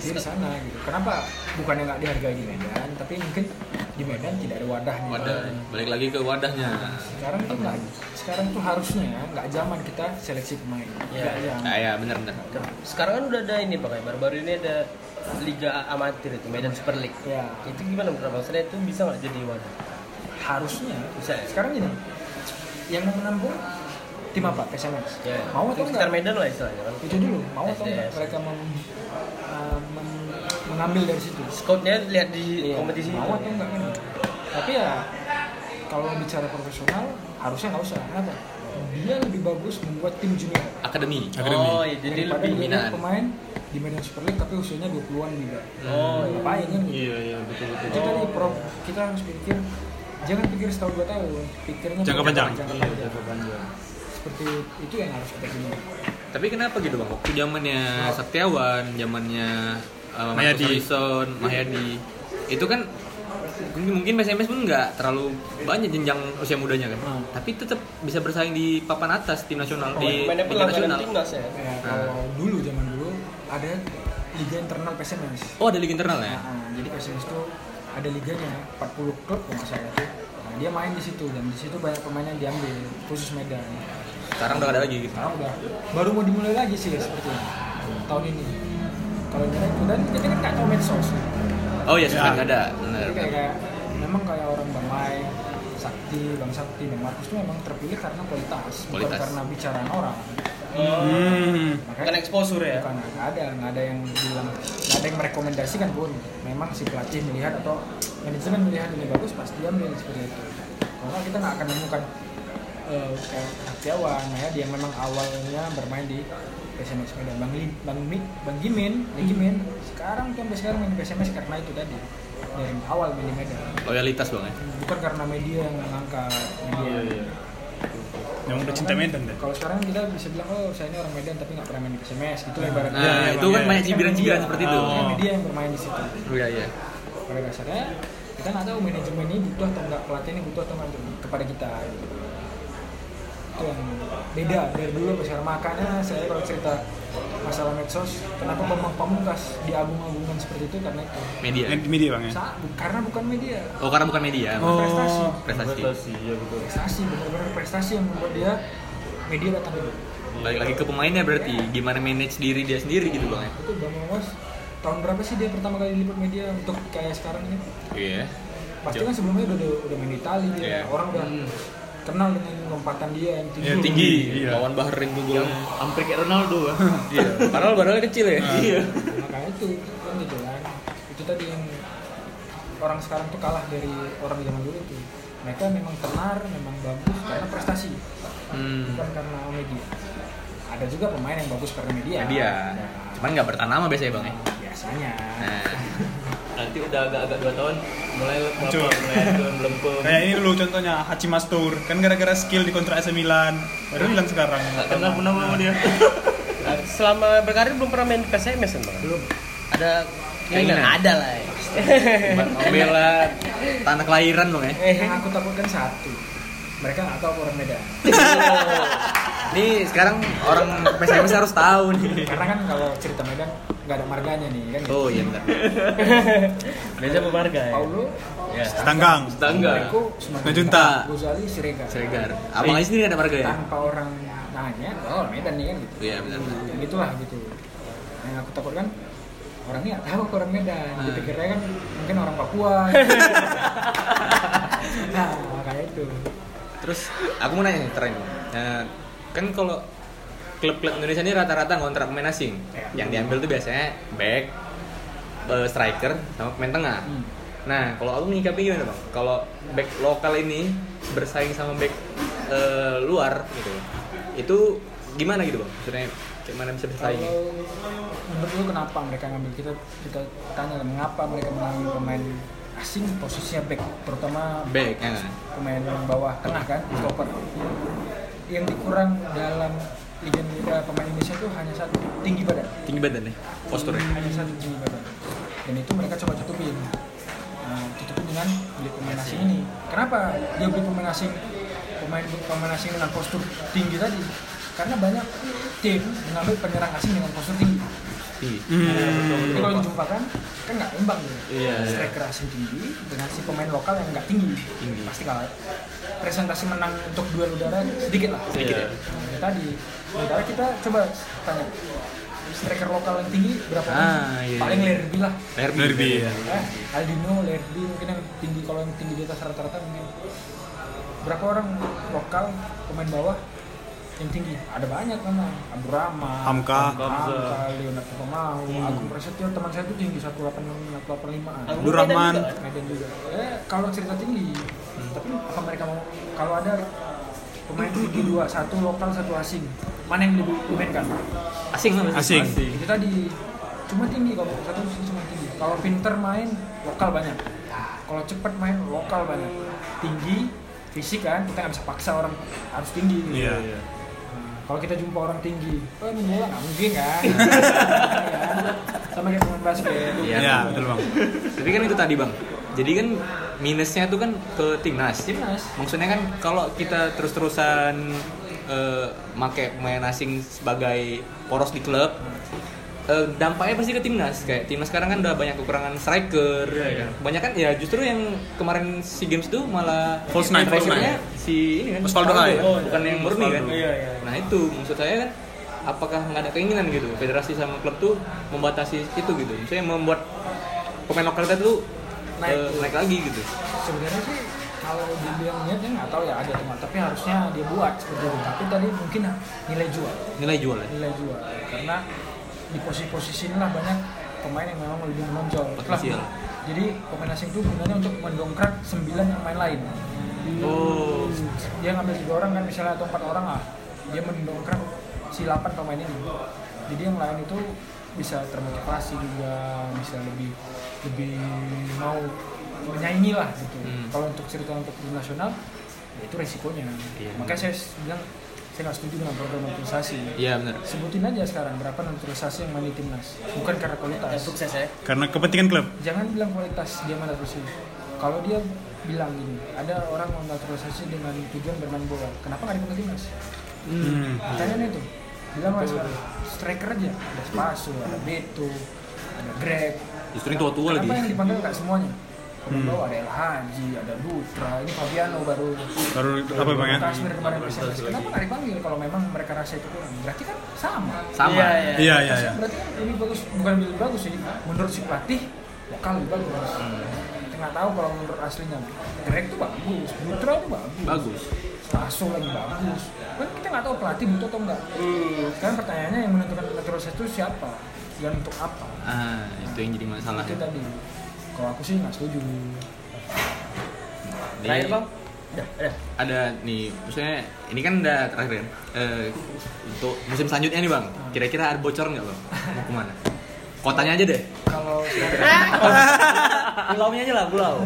Speaker 7: Dia di sana gitu. Kenapa bukannya nggak dihargai di Medan, tapi mungkin di Medan tidak ada wadahnya.
Speaker 1: Wadah. Balik lagi ke wadahnya.
Speaker 7: Sekarang tuh nggak, sekarang tuh harusnya ya nggak zaman kita seleksi pemain.
Speaker 4: Iya.
Speaker 7: Nggak zaman.
Speaker 1: Ah, ya bener bener.
Speaker 4: sekarang kan udah ada ini bang ya, baru-baru ini ada Liga Amatir itu Medan Super League
Speaker 7: Ya
Speaker 4: itu gimana menurut abang Maksudnya itu bisa nggak jadi wadah
Speaker 7: harusnya.
Speaker 4: Bisa ya?
Speaker 7: Sekarang gini, yang mau menampung tim apa? PSMS.
Speaker 4: ya
Speaker 7: Mau
Speaker 4: itu
Speaker 7: atau
Speaker 4: sekitar
Speaker 7: nggak?
Speaker 4: Medan lah istilahnya kan
Speaker 7: Itu dulu. Mau atau nggak?
Speaker 4: SDS.
Speaker 7: Mereka mem- eh, mem- mengambil dari situ.
Speaker 4: scoutnya lihat di
Speaker 7: Iya,
Speaker 4: kompetisi
Speaker 7: mau atau enggak kan tapi ya kalau bicara profesional harusnya nggak usah kenapa dia lebih bagus membuat tim junior
Speaker 1: Akademi.
Speaker 4: oh iya jadi
Speaker 7: daripada
Speaker 4: lebih
Speaker 7: dia
Speaker 1: dominan.
Speaker 7: pemain di Medan Super League tapi usianya 20-an juga
Speaker 4: oh iya.
Speaker 7: ngapain kan gitu.
Speaker 5: iya iya betul betul
Speaker 7: itu tadi prof kita harus pikir jangan pikir setahun dua tahun pikirnya
Speaker 3: Jangka panjang. Iya,
Speaker 7: jangka panjang. seperti itu yang harus kita pilih
Speaker 1: Tapi kenapa gitu bang? Waktu zamannya Saktiawan, zamannya uh,
Speaker 3: Mayadi.
Speaker 1: Marcus Harrison, Mahyadi, itu kan mungkin mungkin PSMS pun nggak terlalu banyak jenjang usia mudanya kan.
Speaker 7: Hmm.
Speaker 1: Tapi tetap bisa bersaing di papan atas tim nasional di
Speaker 4: pemainnya pun
Speaker 1: Liga
Speaker 4: langganan
Speaker 1: nasional.
Speaker 4: timnas ya
Speaker 7: ya,
Speaker 3: Nah.
Speaker 7: kalau dulu zaman dulu ada liga internal PSMS
Speaker 1: Oh ada liga internal ya?
Speaker 7: Nah, jadi PSMS itu ada liganya 40 klub kalau nggak salah tuh. Nah, dia main di situ dan di situ banyak pemain yang diambil khusus Medan.
Speaker 1: Sekarang udah nggak ada lagi gitu.
Speaker 7: Sekarang udah baru mau dimulai lagi sih ya sepertinya tahun ini. Kalau mereka itu dan kita kan nggak tahu medsos.
Speaker 1: Oh iya sekarang nggak ada. Bener.
Speaker 7: Jadi kayak, kayak memang kayak orang Bang Mai, Sakti, Bang Sakti, Bang Markus itu memang terpilih karena kualitas, bukan
Speaker 1: Kualitas.
Speaker 7: karena bicaraan orang.
Speaker 3: Hmm.
Speaker 4: bukan exposure ya
Speaker 7: Bukan, nggak ada, nggak ada yang bilang, nggak ada yang merekomendasikan pun. Memang si pelatih melihat atau manajemen melihat ini bagus, pasti dia ambil seperti itu. Karena kita nggak akan menemukan eh, kayak Setiawan, ya, dia memang awalnya bermain di PSMS Medan. Bang, Lim, Bang, Mik, Bang Gimin, Bang Gimin, sekarang tuh sampai sekarang main di PSMS karena itu tadi dari awal main di Medan.
Speaker 1: Loyalitas bang ya?
Speaker 7: Bukan karena media yang mengangkat media.
Speaker 3: Yang udah cinta Medan deh.
Speaker 7: Kalau sekarang kita bisa bilang, oh saya ini orang Medan tapi nggak pernah main di PSMS gitu lah ibaratnya.
Speaker 1: Nah
Speaker 3: Iya, iya,
Speaker 1: itu
Speaker 3: Bang,
Speaker 1: kan
Speaker 3: iya.
Speaker 1: banyak cibiran-cibiran seperti itu.
Speaker 7: Karena
Speaker 3: Oh.
Speaker 7: media yang bermain di situ.
Speaker 1: Iya iya.
Speaker 7: Pada dasarnya kita nggak tahu manajemen ini butuh atau nggak pelatih ini butuh atau nggak untuk- kepada kita. gitu. itu yang beda dari dulu sampai sekarang makanya saya kalau cerita masalah medsos kenapa pemeng- pamungkas diagung-agungkan seperti itu karena itu
Speaker 1: media
Speaker 3: Eh, di media bang ya
Speaker 7: Sa- bu- karena bukan media
Speaker 1: oh karena bukan media
Speaker 3: Oh.
Speaker 7: prestasi
Speaker 1: prestasi
Speaker 5: iya,
Speaker 7: prestasi benar-benar prestasi yang membuat dia media datang dulu
Speaker 1: balik lagi ke pemainnya berarti gimana manage diri dia sendiri gitu bang ya
Speaker 7: itu bang Mas tahun berapa sih dia pertama kali liput media untuk kayak sekarang ini
Speaker 1: iya
Speaker 7: pasti kan sebelumnya udah udah, udah main di Itali dia
Speaker 1: Iya.
Speaker 7: orang udah kenal dengan lompatan dia yang tinggi
Speaker 3: Iya,
Speaker 1: tinggi
Speaker 3: Iya.
Speaker 1: lawan Bahrain tuh gol
Speaker 11: hampir kayak Ronaldo
Speaker 1: iya padahal badannya kecil ya iya
Speaker 7: makanya itu kan gitu kan itu tadi yang orang sekarang tuh kalah dari orang zaman dulu itu mereka memang tenar memang bagus karena prestasi
Speaker 1: hmm.
Speaker 7: bukan karena media ada juga pemain yang bagus karena media
Speaker 1: media Ya,
Speaker 7: Nah,
Speaker 1: cuman nggak bertahan lama biasanya bang ya
Speaker 7: biasanya
Speaker 1: nah
Speaker 11: nanti udah agak-agak 2 tahun mulai
Speaker 3: Hancur.
Speaker 11: lapar, mulai belum
Speaker 3: kayak ini dulu contohnya Hachi Mastur kan gara-gara skill di kontrak AC Milan baru hilang sekarang
Speaker 11: Gak kenal pun nama dia
Speaker 4: Nah, selama berkarir belum pernah main PSMS kan bang? Belum. Ada keinginan? Ada lah. Ya.
Speaker 1: membela tanah kelahiran bang ya
Speaker 7: Eh, yang aku takutkan satu mereka nggak tahu aku orang Medan
Speaker 1: Iya. Nih sekarang orang PSMS harus tahu nih.
Speaker 7: karena kan kalau cerita Medan nggak ada marganya nih kan
Speaker 1: Oh iya benar.
Speaker 4: Beda pemarga ya.
Speaker 7: Paulo
Speaker 3: Tanggang
Speaker 1: Tangga.
Speaker 7: Marco Sumatera
Speaker 3: Najunta.
Speaker 7: Gozali Siregar
Speaker 1: Sregar. Abang
Speaker 7: Eh.
Speaker 1: Ais ini ada marga ya?
Speaker 7: tanpa orang nanya oh orang Medan nih kan gitu
Speaker 1: Iya benar.
Speaker 7: Dan gitulah gitu yang aku takutkan orangnya nggak tahu aku orang Medan
Speaker 1: Nah.
Speaker 7: dipikirnya kan mungkin orang Papua gitu. nah makanya itu
Speaker 1: Terus aku mau nanya nih terakhir. Nah, kan kalau klub-klub Indonesia ini rata-rata ngontrak pemain asing.
Speaker 7: Iya.
Speaker 1: Yang diambil tuh biasanya back, eh, striker, sama pemain tengah.
Speaker 7: Hmm.
Speaker 1: Nah, kalau aku menyikapi gimana bang? Kalau back lokal ini bersaing sama back eh, luar gitu, itu gimana gitu bang? Sebenarnya gimana bisa bersaing?
Speaker 7: kalau menurut lu kenapa mereka ngambil kita kita tanya mengapa mereka mengambil pemain asing posisinya back terutama
Speaker 1: Back, ya kan?
Speaker 7: pemain bawah tengah kan stopper yang dikurang dalam Liga Indonesia pemain Indonesia itu hanya satu tinggi badan
Speaker 1: tinggi badan nih, posturnya.
Speaker 7: hanya satu tinggi badan dan itu mereka coba tutupin nah, tutupin dengan beli pemain asing ini kenapa dia beli pemain asing pemain pemain asing dengan postur tinggi tadi karena banyak tim mengambil penyerang asing dengan postur tinggi Nah,
Speaker 1: Tinggi.
Speaker 7: jadi kalau dijumpakan kan nggak imbang gitu
Speaker 1: Hmm. Iya, iya.
Speaker 7: striker asing tinggi dengan si pemain lokal yang nggak tinggi,
Speaker 1: Tinggi.
Speaker 7: pasti kalah presentasi menang untuk duel udara sedikit lah
Speaker 1: Sedikit ya.
Speaker 7: Nah, ya tadi udara kita coba tanya striker lokal yang tinggi berapa
Speaker 1: Ah,
Speaker 7: orang?
Speaker 1: iya,
Speaker 7: paling
Speaker 1: iya.
Speaker 7: Lerby lah
Speaker 1: Derby.
Speaker 3: Derby ya
Speaker 7: Eh, Aldino Lerby mungkin yang tinggi kalau yang tinggi di atas rata-rata mungkin berapa orang lokal pemain bawah yang tinggi ada banyak memang Abrama
Speaker 3: Hamka.
Speaker 7: Hamka Leonardo Pemau
Speaker 1: Hmm.
Speaker 7: Agung Prasetyo teman saya itu tinggi 185 185
Speaker 3: Abdul Rahman
Speaker 7: Medan juga. Eh, kalau cerita tinggi,
Speaker 3: Hmm.
Speaker 7: tapi apa mereka mau kalau ada eh, pemain tinggi dua, satu lokal, satu asing, mana yang lebih dimainkan?
Speaker 1: Asing lah. Mas.
Speaker 3: asing
Speaker 7: Itu tadi cuma tinggi kalau satu sih cuma tinggi. Kalau pinter main lokal banyak. Kalau cepat main lokal banyak. Tinggi fisik kan kita nggak bisa paksa orang harus tinggi gitu.
Speaker 3: iya
Speaker 7: Nah, Kalau kita jumpa orang tinggi, oh ini bola nggak mungkin kan? Sama kayak pemain basket.
Speaker 1: Iya.
Speaker 3: iya betul bang
Speaker 1: Tapi kan itu tadi bang. Jadi kan minusnya itu kan ke timnas.
Speaker 7: Timnas.
Speaker 1: Maksudnya kan kalau kita terus-terusan eh make pemain asing sebagai poros di klub, eh, dampaknya pasti ke timnas. Kayak timnas sekarang kan udah banyak kekurangan striker.
Speaker 3: Iya,
Speaker 1: Banyak kan ya justru yang kemarin si games itu malah
Speaker 3: False nine, false
Speaker 1: strikernya si ini kan
Speaker 3: Osvaldo
Speaker 1: Osvaldo
Speaker 3: Hai.
Speaker 1: ya,
Speaker 3: Oh,
Speaker 1: bukan yang murni kan.
Speaker 3: Osvaldo. Iya,
Speaker 1: Nah itu maksud saya kan apakah nggak ada keinginan gitu federasi sama klub tuh membatasi itu gitu misalnya membuat pemain lokal kita tuh
Speaker 7: Naik.
Speaker 1: eh, naik lagi gitu
Speaker 7: sebenarnya sih kalau dibilang niatnya nggak tahu ya ada atau nggak tapi harusnya dia buat seperti itu tapi tadi mungkin nilai jual
Speaker 1: nilai ya. jualnya
Speaker 7: nilai jual karena di posisi-posisi inilah banyak pemain yang memang lebih menonjol
Speaker 1: Potensial.
Speaker 7: jadi pemain asing itu gunanya untuk mendongkrak 9 pemain lain
Speaker 1: oh
Speaker 7: dia ngambil tiga orang kan misalnya atau empat orang lah dia mendongkrak si 8 pemain ini jadi yang lain itu bisa termotivasi juga bisa lebih lebih mau menyaingi lah gitu
Speaker 1: Hmm.
Speaker 7: kalau untuk cerita untuk tim nasional ya itu resikonya makanya saya bilang saya nggak setuju dengan program naturalisasi
Speaker 1: iya benar
Speaker 7: sebutin aja sekarang berapa naturalisasi yang main di timnas bukan karena kualitas
Speaker 4: Sukses ya.
Speaker 3: karena kepentingan klub
Speaker 7: jangan bilang kualitas dia mana sih kalau dia bilang gini, ada orang naturalisasi dengan tujuan bermain bola. Kenapa nggak dipanggil timnas?
Speaker 3: Hmm.
Speaker 7: Pertanyaan itu. Bilang mas, striker aja. Ada Spaso, ada Beto, ada Greg.
Speaker 1: Justru yang tua-tua lagi.
Speaker 7: Kenapa yang dipanggil nggak semuanya? Pemain
Speaker 3: Hmm.
Speaker 7: bawah ada El Haji, ada Dutra, ini Fabiano baru.
Speaker 3: Baru apa bang ya?
Speaker 7: Kasmir kemarin bersih. Kenapa nggak dipanggil kalau memang mereka rasa itu kurang? Berarti kan sama.
Speaker 9: sama
Speaker 3: Iya iya iya.
Speaker 7: Berarti kan lebih bagus, bukan lebih bagus sih. Menurut si pelatih, lokal lebih bagus. Kita nggak tahu kalau menurut aslinya. Greg tuh bagus, Dutra tuh bagus.
Speaker 1: Bagus.
Speaker 7: Spaso lagi bagus. Kan kita nggak tahu pelatih butuh atau enggak. Sekarang pertanyaannya yang menentukan naturalisasi itu siapa dan untuk apa?
Speaker 1: Ah, itu yang jadi masalah. ya.
Speaker 7: Itu tadi. Kalau aku sih nggak setuju.
Speaker 1: Jadi,
Speaker 7: Ya, ya.
Speaker 1: ada nih, maksudnya ini kan udah terakhir kan. Eh, untuk musim selanjutnya nih bang, kira-kira ada bocor nggak bang? Mau kemana? Kotanya aja deh.
Speaker 7: Kalau sekarang,
Speaker 4: Pulaunya aja lah pulau.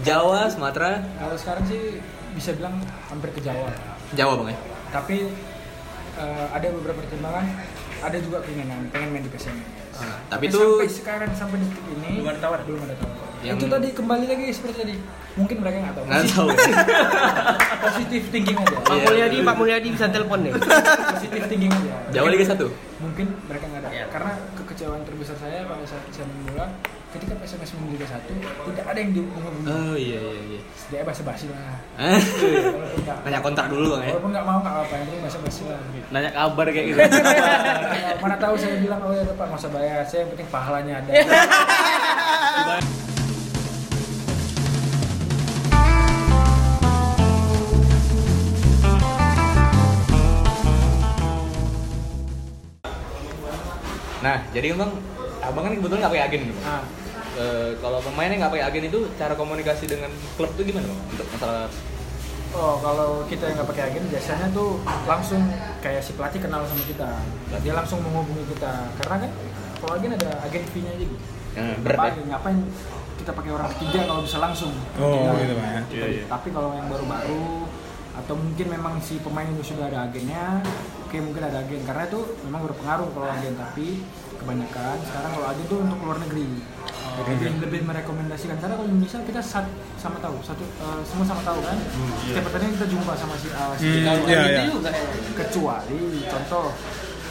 Speaker 1: Jawa, Sumatera,
Speaker 7: kalau sekarang sih bisa bilang hampir ke Jawa.
Speaker 1: Jawa bang ya.
Speaker 7: Tapi eh, ada beberapa pertimbangan, ada juga keinginan pengen main di PSMS.
Speaker 1: Tapi itu
Speaker 7: sampai sekarang sampai detik ini belum ada tawaran. Belum ada tawaran.
Speaker 1: Yang-
Speaker 7: Itu tadi kembali lagi seperti tadi. Mungkin mereka nggak tahu.
Speaker 1: nggak Iya. tahu. Iya,
Speaker 7: Positif thinking aja.
Speaker 4: Pak Mulyadi, Pak Mulyadi bisa telepon deh.
Speaker 7: Positif thinking aja.
Speaker 1: Jawa Liga 1
Speaker 7: Mungkin mereka nggak
Speaker 1: Iya.
Speaker 7: ada. Karena kekecewaan terbesar saya pada saat saya main bola, ketika PSMS main Liga 1 tidak ada yang diumumkan.
Speaker 1: Oh iya iya iya.
Speaker 7: Dia basa-basi lah. Iya,
Speaker 1: Eh,
Speaker 7: Walaupun nggak-
Speaker 1: Tanya kontrak dulu bang ya.
Speaker 7: Walaupun nggak mau nggak apa-apa, yang penting basa-basi lah.
Speaker 5: nanya kabar kayak gitu
Speaker 7: Mana tahu saya bilang oh ya Pak masa bayar, saya yang penting pahalanya ada.
Speaker 1: Nah, jadi bang, abang kan kebetulan nggak pakai agen nih, bang.
Speaker 7: Nah,
Speaker 1: Eh, kalau pemainnya nggak pakai agen itu cara komunikasi dengan klub tuh gimana bang? Untuk masalah
Speaker 7: Oh, kalau kita yang nggak pakai agen biasanya tuh langsung kayak si pelatih kenal sama kita. Nah, Dia langsung menghubungi kita. Karena kan kalau agen ada agen fee-nya jadi.
Speaker 1: eh,
Speaker 7: Apa
Speaker 1: berat ya?
Speaker 7: agen, ngapain kita pakai orang ketiga kalau bisa langsung.
Speaker 3: Oh
Speaker 7: Iya.
Speaker 3: gitu bang ya.
Speaker 5: iya iya
Speaker 7: Tapi kalau yang baru-baru atau mungkin memang si pemain itu sudah ada agennya, oke mungkin ada agen karena itu memang berpengaruh kalau agen tapi kebanyakan sekarang kalau agen itu untuk luar negeri lebih, lebih merekomendasikan karena kalau Indonesia kita sat- sama tahu satu eh, semua sama tahu kan setiap pertandingan kita jumpa sama si, eh, si
Speaker 3: Hmm, iya iya.
Speaker 7: kecuali contoh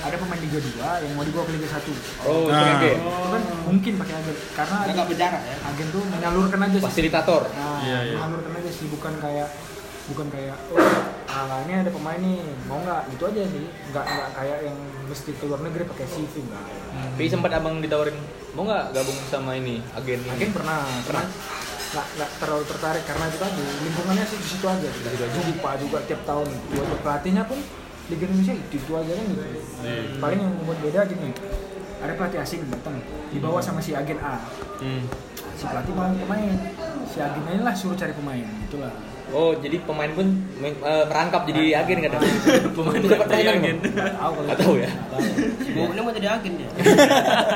Speaker 7: ada pemain Liga 2 yang mau dibawa ke Liga 1
Speaker 1: Oh,
Speaker 3: Nah.
Speaker 1: oke.
Speaker 7: itu kan mungkin pakai agen karena agen,
Speaker 4: berjarak ya.
Speaker 7: agen tuh menyalurkan aja sih
Speaker 1: Fasilitator.
Speaker 7: Nah,
Speaker 3: Iya, iya.
Speaker 7: mengalurkan aja sih bukan kayak bukan kayak oh ah, ini ada pemain nih mau nggak gitu aja sih nggak nggak kayak yang mesti ke luar negeri pakai CV nggak
Speaker 1: Tapi sempat abang ditawarin mau nggak gabung sama ini agen ini?
Speaker 7: mungkin pernah pernah nggak nggak terlalu tertarik karena itu tadi lingkungannya sih di situ aja jumpa juga tiap tahun buat pelatihnya pun Liga Indonesia itu itu aja kan gitu
Speaker 3: Iya.
Speaker 7: paling yang membuat beda gini ada pelatih asing datang dibawa sama si agen A
Speaker 1: Hmm.
Speaker 7: si pelatih mau pemain si agennya inilah suruh cari pemain itulah
Speaker 1: Oh, jadi pemain pun main- eh, merangkap jadi agen kadang. pemain bisa pertandingan agen.
Speaker 7: tahu kalau
Speaker 1: Nggak tahu ya?
Speaker 4: Mobilnya mau jadi agen dia.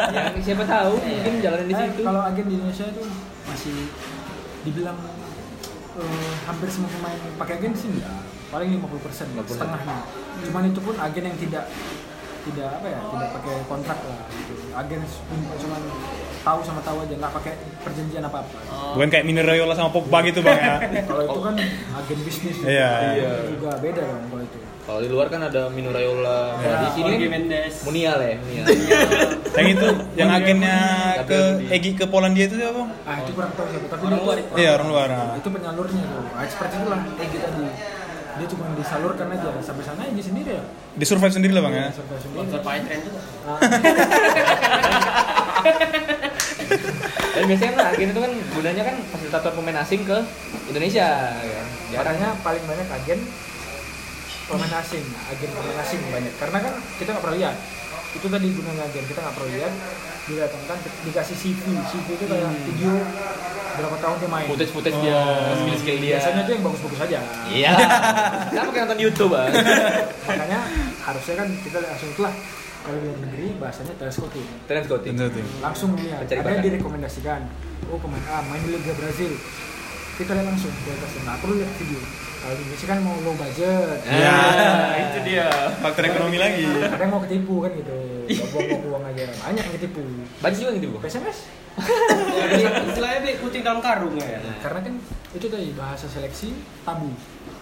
Speaker 4: Iya,
Speaker 1: siapa tahu mungkin jalanan di
Speaker 7: Eh,
Speaker 1: situ.
Speaker 7: kalau agen di Indonesia itu masih dibilang eh, hampir semua pemain pakai agen sih enggak. Paling 50 persen, setengahnya. Cuman itu pun agen yang tidak tidak apa ya tidak pakai kontrak lah gitu. agen cuma- cuman tahu sama tahu aja nggak pakai perjanjian apa apa
Speaker 3: Bukan kayak Mino Raiola sama Pogba gitu bang ya.
Speaker 7: kalau itu kan agen bisnis
Speaker 3: Iya.
Speaker 7: Itu juga beda dong kalau itu
Speaker 1: Kalau di luar kan ada Mino Raiola. Kalau di sini
Speaker 5: Jorge
Speaker 1: kan
Speaker 5: Mendes
Speaker 1: Munial ya, Munial.
Speaker 3: Yang itu, yang agennya ke Egi ke Polandia itu siapa bang?
Speaker 7: ah itu kurang tahu siapa tapi itu
Speaker 3: Iya orang luar. nah.
Speaker 7: itu penyalurnya tuh ah, seperti itulah eh gitu tadi dia cuma disalurkan aja sampai sana aja sendiri ya
Speaker 3: Di survive sendiri lah bang ya.
Speaker 7: sampai sendiri
Speaker 4: Sponsor Pak Tren juga.
Speaker 1: Dan biasanya kan agen itu kan gunanya kan fasilitator pemain asing ke Indonesia kan. Ya,
Speaker 7: Makanya paling banyak agen pemain asing, agen pemain asing banyak. Karena kan kita nggak pernah lihat. Itu tadi gunanya agen, kita nggak pernah lihat. Didatangkan, dikasih CV, CV itu kayak
Speaker 4: Hmm.
Speaker 7: video berapa tahun dia main.
Speaker 1: footage-footage dia, skill-skill dia.
Speaker 7: Oh. Biasanya itu yang bagus-bagus aja.
Speaker 1: Iya. Kenapa kayak nonton YouTube, ah? Bang?
Speaker 7: Makanya harusnya kan kita langsung telah kalau di luar negeri bahasanya teleskoping.
Speaker 1: Trend scouting.
Speaker 3: Tentu, tentu.
Speaker 7: Langsung ya, lihat,
Speaker 1: Mencari
Speaker 7: ada yang
Speaker 1: bakat.
Speaker 7: ah, direkomendasikan. Oh pemain A main di Liga Brazil. kita lihat langsung kualitasnya nah aku lihat video kalau di Indonesia kan mau low budget
Speaker 1: Nah, Iya.
Speaker 3: Ya.
Speaker 7: Iya.
Speaker 5: itu dia.
Speaker 3: Faktor ekonomi lagi.
Speaker 7: ada yang mau ketipu kan gitu buang buang aja banyak yang ketipu
Speaker 1: Banyak juga gitu bu.
Speaker 7: SMS
Speaker 4: Istilahnya beli kucing dalam karung ya.
Speaker 7: karena kan itu tadi bahasa seleksi tabu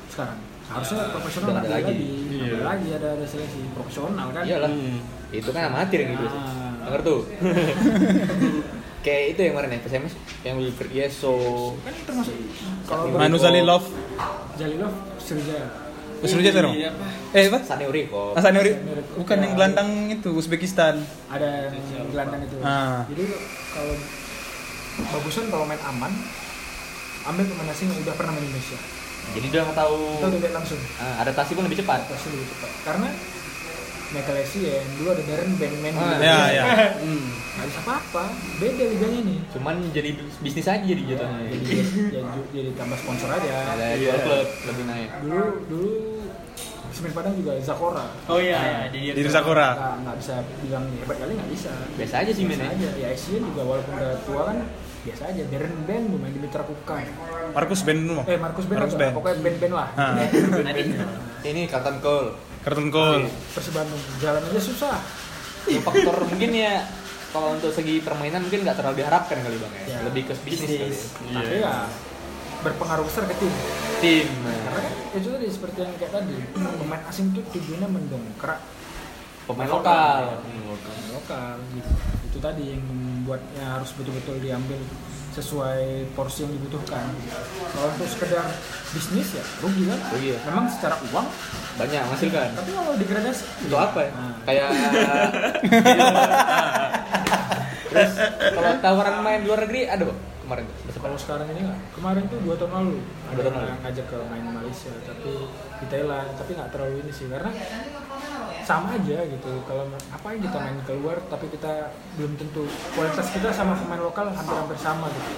Speaker 7: sekarang harusnya profesional
Speaker 1: Udah
Speaker 7: nggak
Speaker 1: ada
Speaker 7: ada lagi
Speaker 1: lagi.
Speaker 7: Nggak ada lagi ada, ada seleksi profesional kan
Speaker 1: Iyalah. Iya Itu kan amatir yang gitu.
Speaker 7: Ah.
Speaker 1: Dengar tuh. Kayak itu yang kemarin ya, SMS yang Iya, Wilfried Yeso.
Speaker 7: kan termasuk kalau
Speaker 3: Manuzali Love.
Speaker 7: Jalilov Sriwijaya
Speaker 3: Serunya seru. Eh, apa?
Speaker 1: Sane Uriko.
Speaker 3: Hasan Uri- bukan yang gelandang itu Uzbekistan.
Speaker 7: ada yang gelandang itu
Speaker 3: Ah.
Speaker 7: jadi kalau bagusan kalau main aman ambil pemain asing yang udah pernah main Indonesia
Speaker 1: Jadi udah tahu
Speaker 7: kita udah lihat langsung
Speaker 1: eh, adaptasi pun lebih cepat.
Speaker 7: pasti lebih cepat karena Michael Essien ya yang dulu ada Darren gitu. Ben main di
Speaker 1: Ah,
Speaker 7: Liga
Speaker 3: Ya,
Speaker 7: Inggris.
Speaker 3: ya.
Speaker 7: nggak bisa apa-apa beda liganya nih
Speaker 1: Cuman jadi bisnis aja jadi jatuhnya.
Speaker 7: jadi jadi, jadi tambah sponsor aja
Speaker 1: Ada jual klub lebih naik.
Speaker 7: dulu dulu Semen Padang juga Zakora
Speaker 5: Oh iya, iya.
Speaker 3: Di Sakura.
Speaker 7: nggak nggak bisa bilang hebat kali nggak bisa
Speaker 1: Biasa aja sih Iya,
Speaker 7: biasa
Speaker 1: mainnya.
Speaker 7: aja ya Essien juga walaupun udah tua kan biasa aja Darren Ben lu main di Mitra Kukan
Speaker 3: Markus Ben dulu.
Speaker 7: eh Markus Ben
Speaker 3: Markus
Speaker 7: atau-
Speaker 3: Ben.
Speaker 7: pokoknya Ben Ben lah
Speaker 3: Ah.
Speaker 1: Ini Carlton Cole.
Speaker 3: Kartun Cole.
Speaker 7: Persib Bandung jalan aja susah
Speaker 1: Faktor mungkin ya kalau untuk segi permainan mungkin nggak terlalu diharapkan kali bang ya.
Speaker 7: Ya.
Speaker 1: Lebih ke bisnis. kali ya.
Speaker 7: tapi ya berpengaruh besar ke tim
Speaker 1: Tim. nah,
Speaker 7: karena kan itu tadi seperti yang kayak tadi pemain asing itu tujuannya mendongkrak
Speaker 1: Pemain lokal. Hmm,
Speaker 7: pemain lokal gitu itu tadi yang membuatnya harus betul-betul diambil sesuai porsi yang dibutuhkan kalau untuk sekedar bisnis ya rugi kan
Speaker 1: Rugi ya.
Speaker 7: memang secara uang
Speaker 1: Banyak menghasilkan.
Speaker 7: tapi kalau degradasi
Speaker 1: Untuk apa ya?
Speaker 7: Nah.
Speaker 1: Kayak Terus kalau tawaran main di luar negeri ada, Bang? Kemarin tuh.
Speaker 7: Gitu, kalau sekarang ini nggak kemarin tuh dua tahun lalu ada
Speaker 1: Dua tahun
Speaker 7: yang
Speaker 1: lalu.
Speaker 7: ngajak ke main Malaysia tapi di Thailand tapi nggak terlalu ini sih karena sama aja gitu kalau apa yang kita main keluar tapi kita belum tentu kualitas kita sama pemain lokal hampir-hampir sama gitu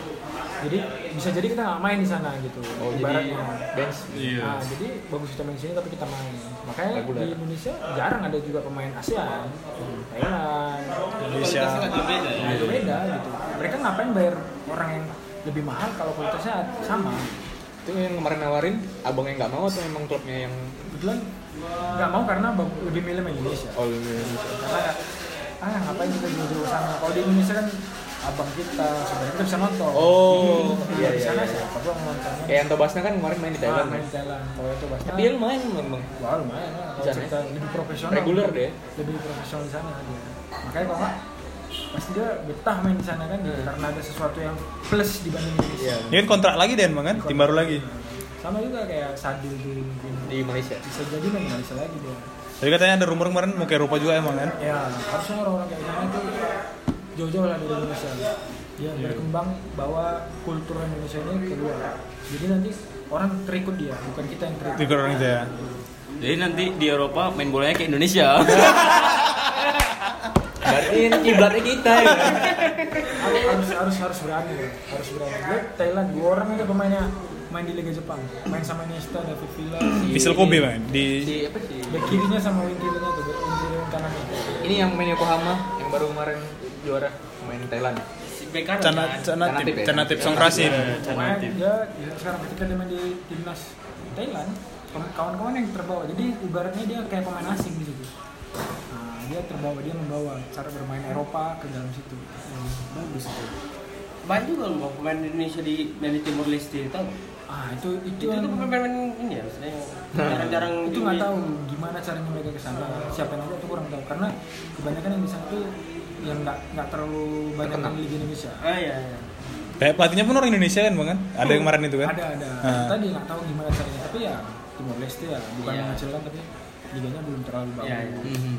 Speaker 7: jadi bisa jadi kita nggak main di sana gitu
Speaker 1: Oh, jadi
Speaker 7: ibaratnya
Speaker 1: bench.
Speaker 7: Nah, jadi bagus kita main di sini tapi kita main. Makanya
Speaker 1: Reguler.
Speaker 7: di Indonesia jarang ada juga pemain ASEAN, Thailand,
Speaker 3: Indonesia.
Speaker 7: Nah, itu beda gitu. Mereka ngapain bayar orang yang lebih mahal kalau kualitasnya sama?
Speaker 1: Itu yang kemarin nawarin, abang yang nggak mau atau emang klubnya yang
Speaker 7: Kebetulan nggak mau karena bang- lebih milih main Indonesia.
Speaker 1: oh iya, iya.
Speaker 7: Karena ah ngapain kita jauh-jauh sana? Kalau di Indonesia kan abang kita sebenarnya kita bisa nonton.
Speaker 1: Oh,
Speaker 7: iya,
Speaker 1: iya,
Speaker 7: di sana
Speaker 1: iya, iya.
Speaker 7: siapa bang nontonnya?
Speaker 1: Kayak Anto Basna kan kemarin main di
Speaker 7: Ah,
Speaker 1: Thailand.
Speaker 7: main di Thailand. Kalau itu bahasnya.
Speaker 1: Dia lumayan main, Bang.
Speaker 7: Wah lumayan lah, kalau
Speaker 1: Bisa,
Speaker 7: cerita lebih profesional
Speaker 1: ya? Reguler deh.
Speaker 7: Lebih profesional di sana dia Makanya kalau nggak, pasti dia betah main di sana kan
Speaker 1: Hmm.
Speaker 7: Karena ada sesuatu yang plus dibanding
Speaker 1: Iya,
Speaker 7: Indonesia
Speaker 3: Ini kan kontrak lagi Dan Bang kan, tim baru lagi.
Speaker 7: Sama juga kayak Sadil dulu mungkin
Speaker 1: di Malaysia.
Speaker 7: Bisa jadi main Malaysia lagi dia
Speaker 3: Tapi katanya ada rumor kemarin mau ke Eropa juga emang kan.
Speaker 7: Ya harusnya orang-orang kayak sana itu jauh-jauh lah dari Indonesia Dia berkembang bawa kultur Indonesia ini keluar Jadi nanti orang terikut dia, bukan kita yang terikut
Speaker 3: Tiga orang aja.
Speaker 5: Jadi nanti di Eropa main bolanya kayak Indonesia.
Speaker 1: Berarti ini kiblatnya kita ya.
Speaker 7: harus harus- harus harus berani bro. harus berani Lihat Thailand dua orang aja pemainnya main di Liga Jepang main sama Iniesta David Villa
Speaker 3: Vissel Kobe Bang di
Speaker 1: Si apa sih?
Speaker 7: back kirinya sama wing kirinya tuh wing kiri wing kanannya
Speaker 1: Ini yang main Yokohama yang baru kemarin juara main Thailand.
Speaker 4: Si Beckham
Speaker 3: Cana Canatip,
Speaker 1: Canatip ya?
Speaker 3: Canatip Songkrasin.
Speaker 7: pemain dia dia ya, sekarang ketika dia main di timnas Thailand pem- kawan-kawan yang terbawa jadi ibaratnya dia kayak pemain asing di situ nah, dia terbawa dia membawa cara bermain Eropa ke dalam situ Hmm, bagus itu
Speaker 4: banyak juga loh Bang, pemain Indonesia di dari Timor Leste tahu nggak?
Speaker 7: ah itu itu,
Speaker 4: itu tuh
Speaker 7: yang-
Speaker 4: pemain-pemain ini ya maksudnya yang jarang-jarang
Speaker 7: itu
Speaker 4: di-
Speaker 7: nggak tahu gimana caranya mereka ke sana siapa yang ada itu kurang tahu karena kebanyakan yang di sana tuh yang nggak nggak terlalu banyak
Speaker 1: Terkenal.
Speaker 7: yang di Liga Indonesia
Speaker 4: ah iya iya
Speaker 3: Kayak pelatihnya pun orang Indonesia kan Bang kan? Ada yang kemarin itu kan.
Speaker 7: ada ada
Speaker 3: Ah.
Speaker 7: tadi nggak tahu gimana caranya tapi ya Timor Leste ya bukan
Speaker 4: Iya.
Speaker 7: mengecilkan tapi liganya belum terlalu bagus
Speaker 4: Iya, iya.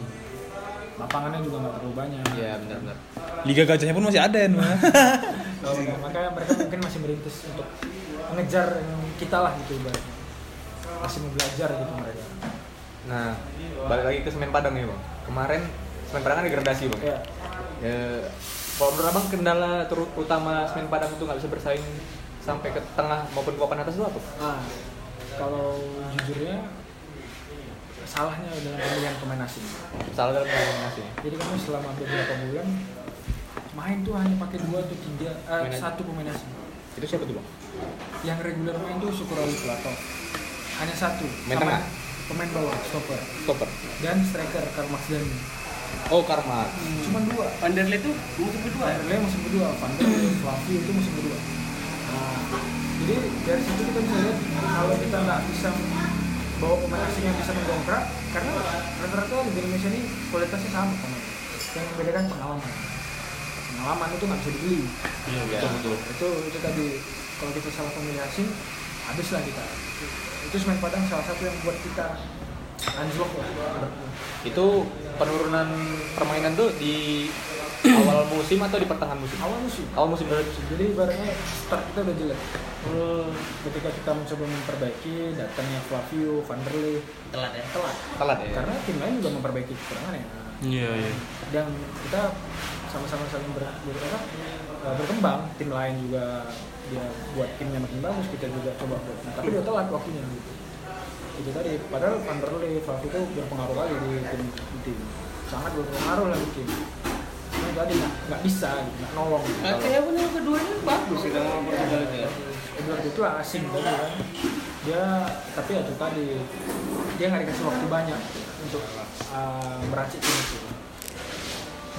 Speaker 7: lapangannya juga nggak terlalu banyak
Speaker 1: Iya, benar-benar.
Speaker 3: Liga Gajahnya pun masih ada kan Bang.
Speaker 7: Kalau nggak, makanya mereka mungkin masih merintis untuk mengejar yang kita lah gitu ibaratnya masih mau belajar gitu mereka
Speaker 1: Nah, balik lagi ke Semen Padang ya, Bang. Kemarin Semen Padang kan degradasi, Bang.
Speaker 4: Iya.
Speaker 7: ya
Speaker 1: Ya, kalau menurut abang kendala terutama Semen Padang itu nggak bisa bersaing sampai ke tengah maupun ke papan atas itu apa?
Speaker 7: Ah, kalau jujurnya salahnya dalam pemilihan pemain asing.
Speaker 1: Salah dalam koordinasi.
Speaker 7: Jadi kami selama beberapa bulan main tuh hanya pakai dua atau tiga, eh,
Speaker 1: Pemain asing.
Speaker 7: satu pemain asing.
Speaker 1: Itu siapa tuh bang?
Speaker 7: yang reguler main tuh syukur Ali Plato hanya satu
Speaker 1: Main
Speaker 7: Sama
Speaker 1: tengah?
Speaker 7: pemain bawah stopper
Speaker 1: Stopper.
Speaker 7: dan striker Karmax dan
Speaker 1: Oh Karma.
Speaker 7: cuma dua
Speaker 4: Vanderlei itu musim kedua ya?
Speaker 7: Leo musim kedua Van der Leeuw, Flavio itu musim kedua nah, jadi dari situ kita bisa lihat kalau kita nggak bisa bawa pemain asing yang bisa mendongkrak karena rata-rata di Indonesia ini kualitasnya sama pemain yang membedakan pengalaman pengalaman itu nggak bisa dibeli
Speaker 1: Iya betul.
Speaker 7: itu itu tadi kalau kita salah pemilih asing habislah kita itu semen padang salah satu yang buat kita anjlok lah
Speaker 1: Itu penurunan permainan tuh di awal musim atau di pertengahan musim?
Speaker 7: awal musim
Speaker 1: Awal musim berarti.
Speaker 7: jadi ibaratnya start kita udah jelek
Speaker 5: Hmm.
Speaker 7: ketika kita mencoba memperbaiki datangnya Flavio, Van der Leeuw
Speaker 4: Telat ya? Telat.
Speaker 1: Telat ya.
Speaker 7: karena tim lain juga memperbaiki kekurangannya
Speaker 5: Iya, iya.
Speaker 7: dan kita sama-sama saling ber, ber- apa, eh, berkembang tim lain juga dia buat timnya makin bagus kita juga coba buat nah, tapi udah telat waktunya gitu itu tadi padahal Van der Leeuw Flavio itu berpengaruh kali di tim, di tim. sangat berpengaruh lah di tim cuma tadi nggak nggak bisa gitu, nggak nolong
Speaker 5: Eh,
Speaker 7: gitu.
Speaker 4: Kayaknya pun yang kedua ini bagus sih sama Portugal itu ya.
Speaker 7: Edward itu asing tadi kan dia tapi ya itu tadi dia nggak dikasih waktu banyak untuk uh, meracik tim itu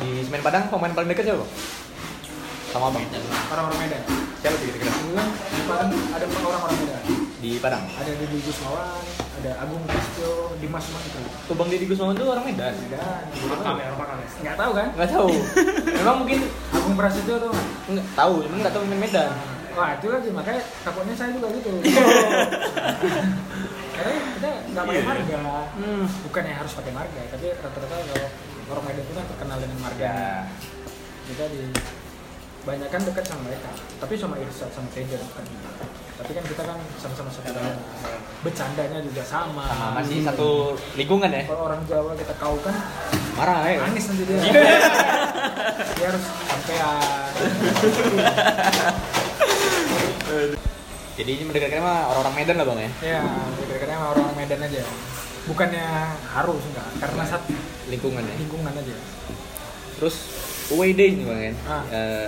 Speaker 1: Di Semen Padang pemain paling dekat siapa bang? Sama bang.
Speaker 7: orang-orang Medan
Speaker 1: Siapa tuh kira-kira?
Speaker 7: kemudian di Padang ada empat orang-orang Medan
Speaker 1: Di Padang.
Speaker 7: ada Didi Gusmawan ada Agung Prasetyo Dimas Mantri
Speaker 1: Tuh Bang Deddy Gusmawan tuh orang Medan.
Speaker 7: Medan
Speaker 1: ya,
Speaker 7: nggak tahu kan
Speaker 1: Nggak tahu. Memang mungkin
Speaker 7: Agung Prasetyo tuh nggak
Speaker 1: nggak tahu, memang nggak tahu main Medan.
Speaker 7: Wah itu lagi makanya takutnya saya juga gitu. Karena kita nggak pakai marga,
Speaker 1: Hmm.
Speaker 7: bukan yang harus pakai marga, tapi rata-rata kalau orang Medan itu kan terkenal dengan marga.
Speaker 1: Ya.
Speaker 7: Kita di banyak kan dekat sama mereka, tapi sama Irsa sama Teja bukan. Tapi kan kita kan sama-sama satu daerah. bercandanya juga sama.
Speaker 1: Sama masih satu lingkungan ya.
Speaker 7: Kalau orang Jawa kita kau kan
Speaker 1: Marah ya.
Speaker 7: manis nanti dia. dia harus sampean.
Speaker 1: Jadi ini mendekatkan sama orang-orang Medan lah bang ya.
Speaker 7: Ya, kira-kira sama orang Medan aja. Bukannya harus enggak, karena saat
Speaker 1: Lingkungan ya.
Speaker 7: lingkungan aja.
Speaker 1: Terus away day nih bang kan.
Speaker 7: Ah.
Speaker 1: Eh,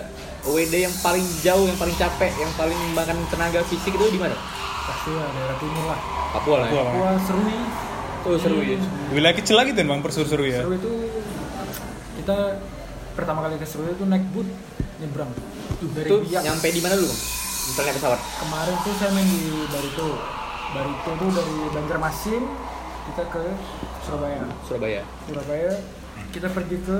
Speaker 1: away day yang paling jauh, yang paling capek, yang paling makan tenaga fisik itu di mana?
Speaker 7: Pasti lah daerah timur lah.
Speaker 1: Papua lah. Ya?
Speaker 3: Papua.
Speaker 7: Gua serui,
Speaker 1: Tuh seru ya. Iya.
Speaker 3: Wilayah kecil lagi tuh bang perseru-seru ya.
Speaker 7: Iya. seru itu kita pertama kali ke Serui itu naik boot nyebrang dari
Speaker 1: Itu
Speaker 7: Biak.
Speaker 1: nyampe di mana dulu bang? Misalnya pesawat.
Speaker 7: Kemarin tuh saya main di Barito. Barito tuh dari Banjarmasin kita ke Surabaya.
Speaker 1: Surabaya,
Speaker 7: Surabaya kita pergi ke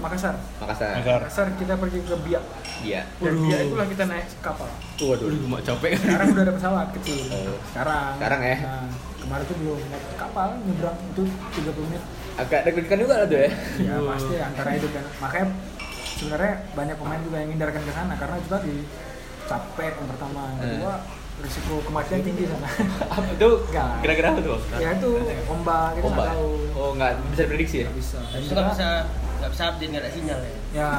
Speaker 7: Makassar.
Speaker 1: Makassar.
Speaker 3: Makassar.
Speaker 7: Makassar kita pergi ke Biak.
Speaker 1: Iya.
Speaker 7: Dari Biak itulah kita naik kapal.
Speaker 1: Tuh waduh.
Speaker 5: Cuma capek kan.
Speaker 7: sekarang udah ada pesawat kecil
Speaker 1: Oh.
Speaker 7: sekarang
Speaker 1: Sekarang ya?
Speaker 7: Nah, kemarin tuh belum naik kapal nyebrang itu 30 menit
Speaker 1: Agak deg-degan juga lah tuh ya.
Speaker 7: ya pasti antara itu kan makanya sebenarnya banyak pemain juga yang hindarkan ke sana karena itu tadi capek yang pertama yang
Speaker 1: Eh.
Speaker 7: kedua risiko kematian tinggi sana
Speaker 1: Apa tuh?
Speaker 7: Nggak.
Speaker 1: Kira-kira apa tuh bang?
Speaker 7: ya itu ombak kita nggak
Speaker 1: Ombak. ya?
Speaker 7: tahu
Speaker 1: Oh nggak bisa diprediksi ya.
Speaker 7: nggak bisa Dan
Speaker 4: Itu nggak
Speaker 7: kita-
Speaker 4: bisa nggak bisa update nggak ada sinyal ya.
Speaker 7: ya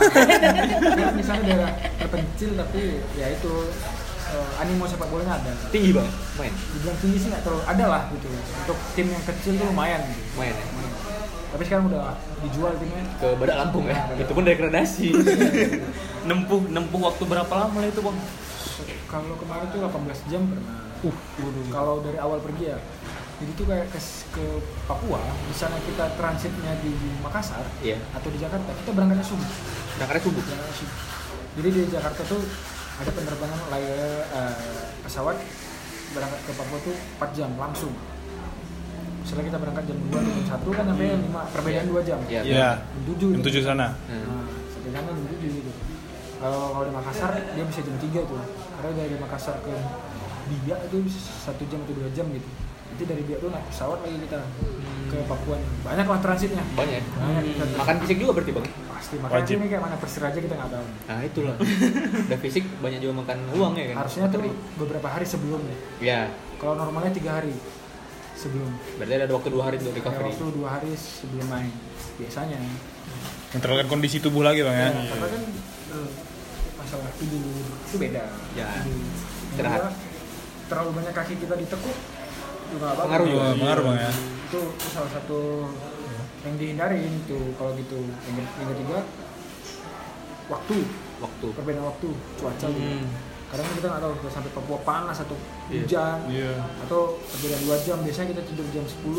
Speaker 7: di sana daerah terpencil tapi ya itu eh, animo sepak bolanya ada
Speaker 1: Tinggi bang. Main,
Speaker 7: dibilang tinggi sih nggak terlalu ada lah gitu untuk tim yang kecil tuh lumayan gitu.
Speaker 1: main ya.
Speaker 7: tapi sekarang udah dijual timnya
Speaker 1: Ke Badak Lampung ya. Itu pun degradasi.
Speaker 5: Nempuh nempuh waktu berapa lama lah itu bang?
Speaker 7: kalau kemarin tuh 18 jam pernah uh kalau dari awal pergi ya jadi tuh kayak ke, ke Papua di sana kita transitnya di Makassar
Speaker 1: Iya.
Speaker 7: atau di Jakarta kita berangkatnya subuh
Speaker 1: Berangkatnya subuh.
Speaker 7: berangkatnya subuh jadi di Jakarta tuh ada penerbangan layar eh, pesawat berangkat ke Papua tuh 4 jam langsung misalnya kita berangkat jam 2 jam 1 kan sampai jam 5 perbedaan 2 jam
Speaker 1: Hmm. Iya.
Speaker 3: Iya.
Speaker 7: jam gitu. 7
Speaker 3: Jam tujuh sana.
Speaker 1: Hmm.
Speaker 7: Nah, sampai sana jam tujuh gitu. Kalau kalau di Makassar dia bisa jam 3 tuh. Karena dari Makassar ke Biak itu bisa satu jam atau dua jam gitu. Itu dari Biak tuh naik pesawat lagi kita ke Papua. nih. Banyak lah transitnya.
Speaker 1: Banyak. ya?
Speaker 7: Banyak kita-
Speaker 1: Makan fisik juga berarti bang.
Speaker 7: pasti makanya
Speaker 3: Wajib.
Speaker 7: ini kayak mana persiraja kita nggak tahu.
Speaker 1: Nah itulah. Udah fisik banyak juga makan uang ya kan.
Speaker 7: Harusnya tuh beberapa hari sebelumnya.
Speaker 1: Ya.
Speaker 7: Kalau normalnya tiga hari sebelum.
Speaker 1: Berarti ada waktu dua hari untuk
Speaker 7: Ada
Speaker 1: recovery.
Speaker 7: Iya, waktu dua hari sebelum main biasanya.
Speaker 3: Memperlihatkan kondisi tubuh lagi bang ya.
Speaker 7: Ya, karena kan eh, masalah tidur itu beda.
Speaker 1: Ya.
Speaker 7: Tidur.
Speaker 1: Istirahat.
Speaker 7: Yang kedua, Iya. Terlalu banyak kaki kita ditekuk juga nggak bagus.
Speaker 1: Pengaruh juga.
Speaker 3: Wah, pengaruh bang ya.
Speaker 7: Itu salah satu yang dihindarin itu kalau gitu. Yang, ke- yang ketiga waktu,
Speaker 1: Waktu.
Speaker 7: Hmm. perbedaan waktu, cuaca juga. kadang kita nggak tahu udah sampai Papua panas atau hujan
Speaker 3: Hmm. Iya.
Speaker 7: atau berbeda dua jam biasanya kita tidur jam 10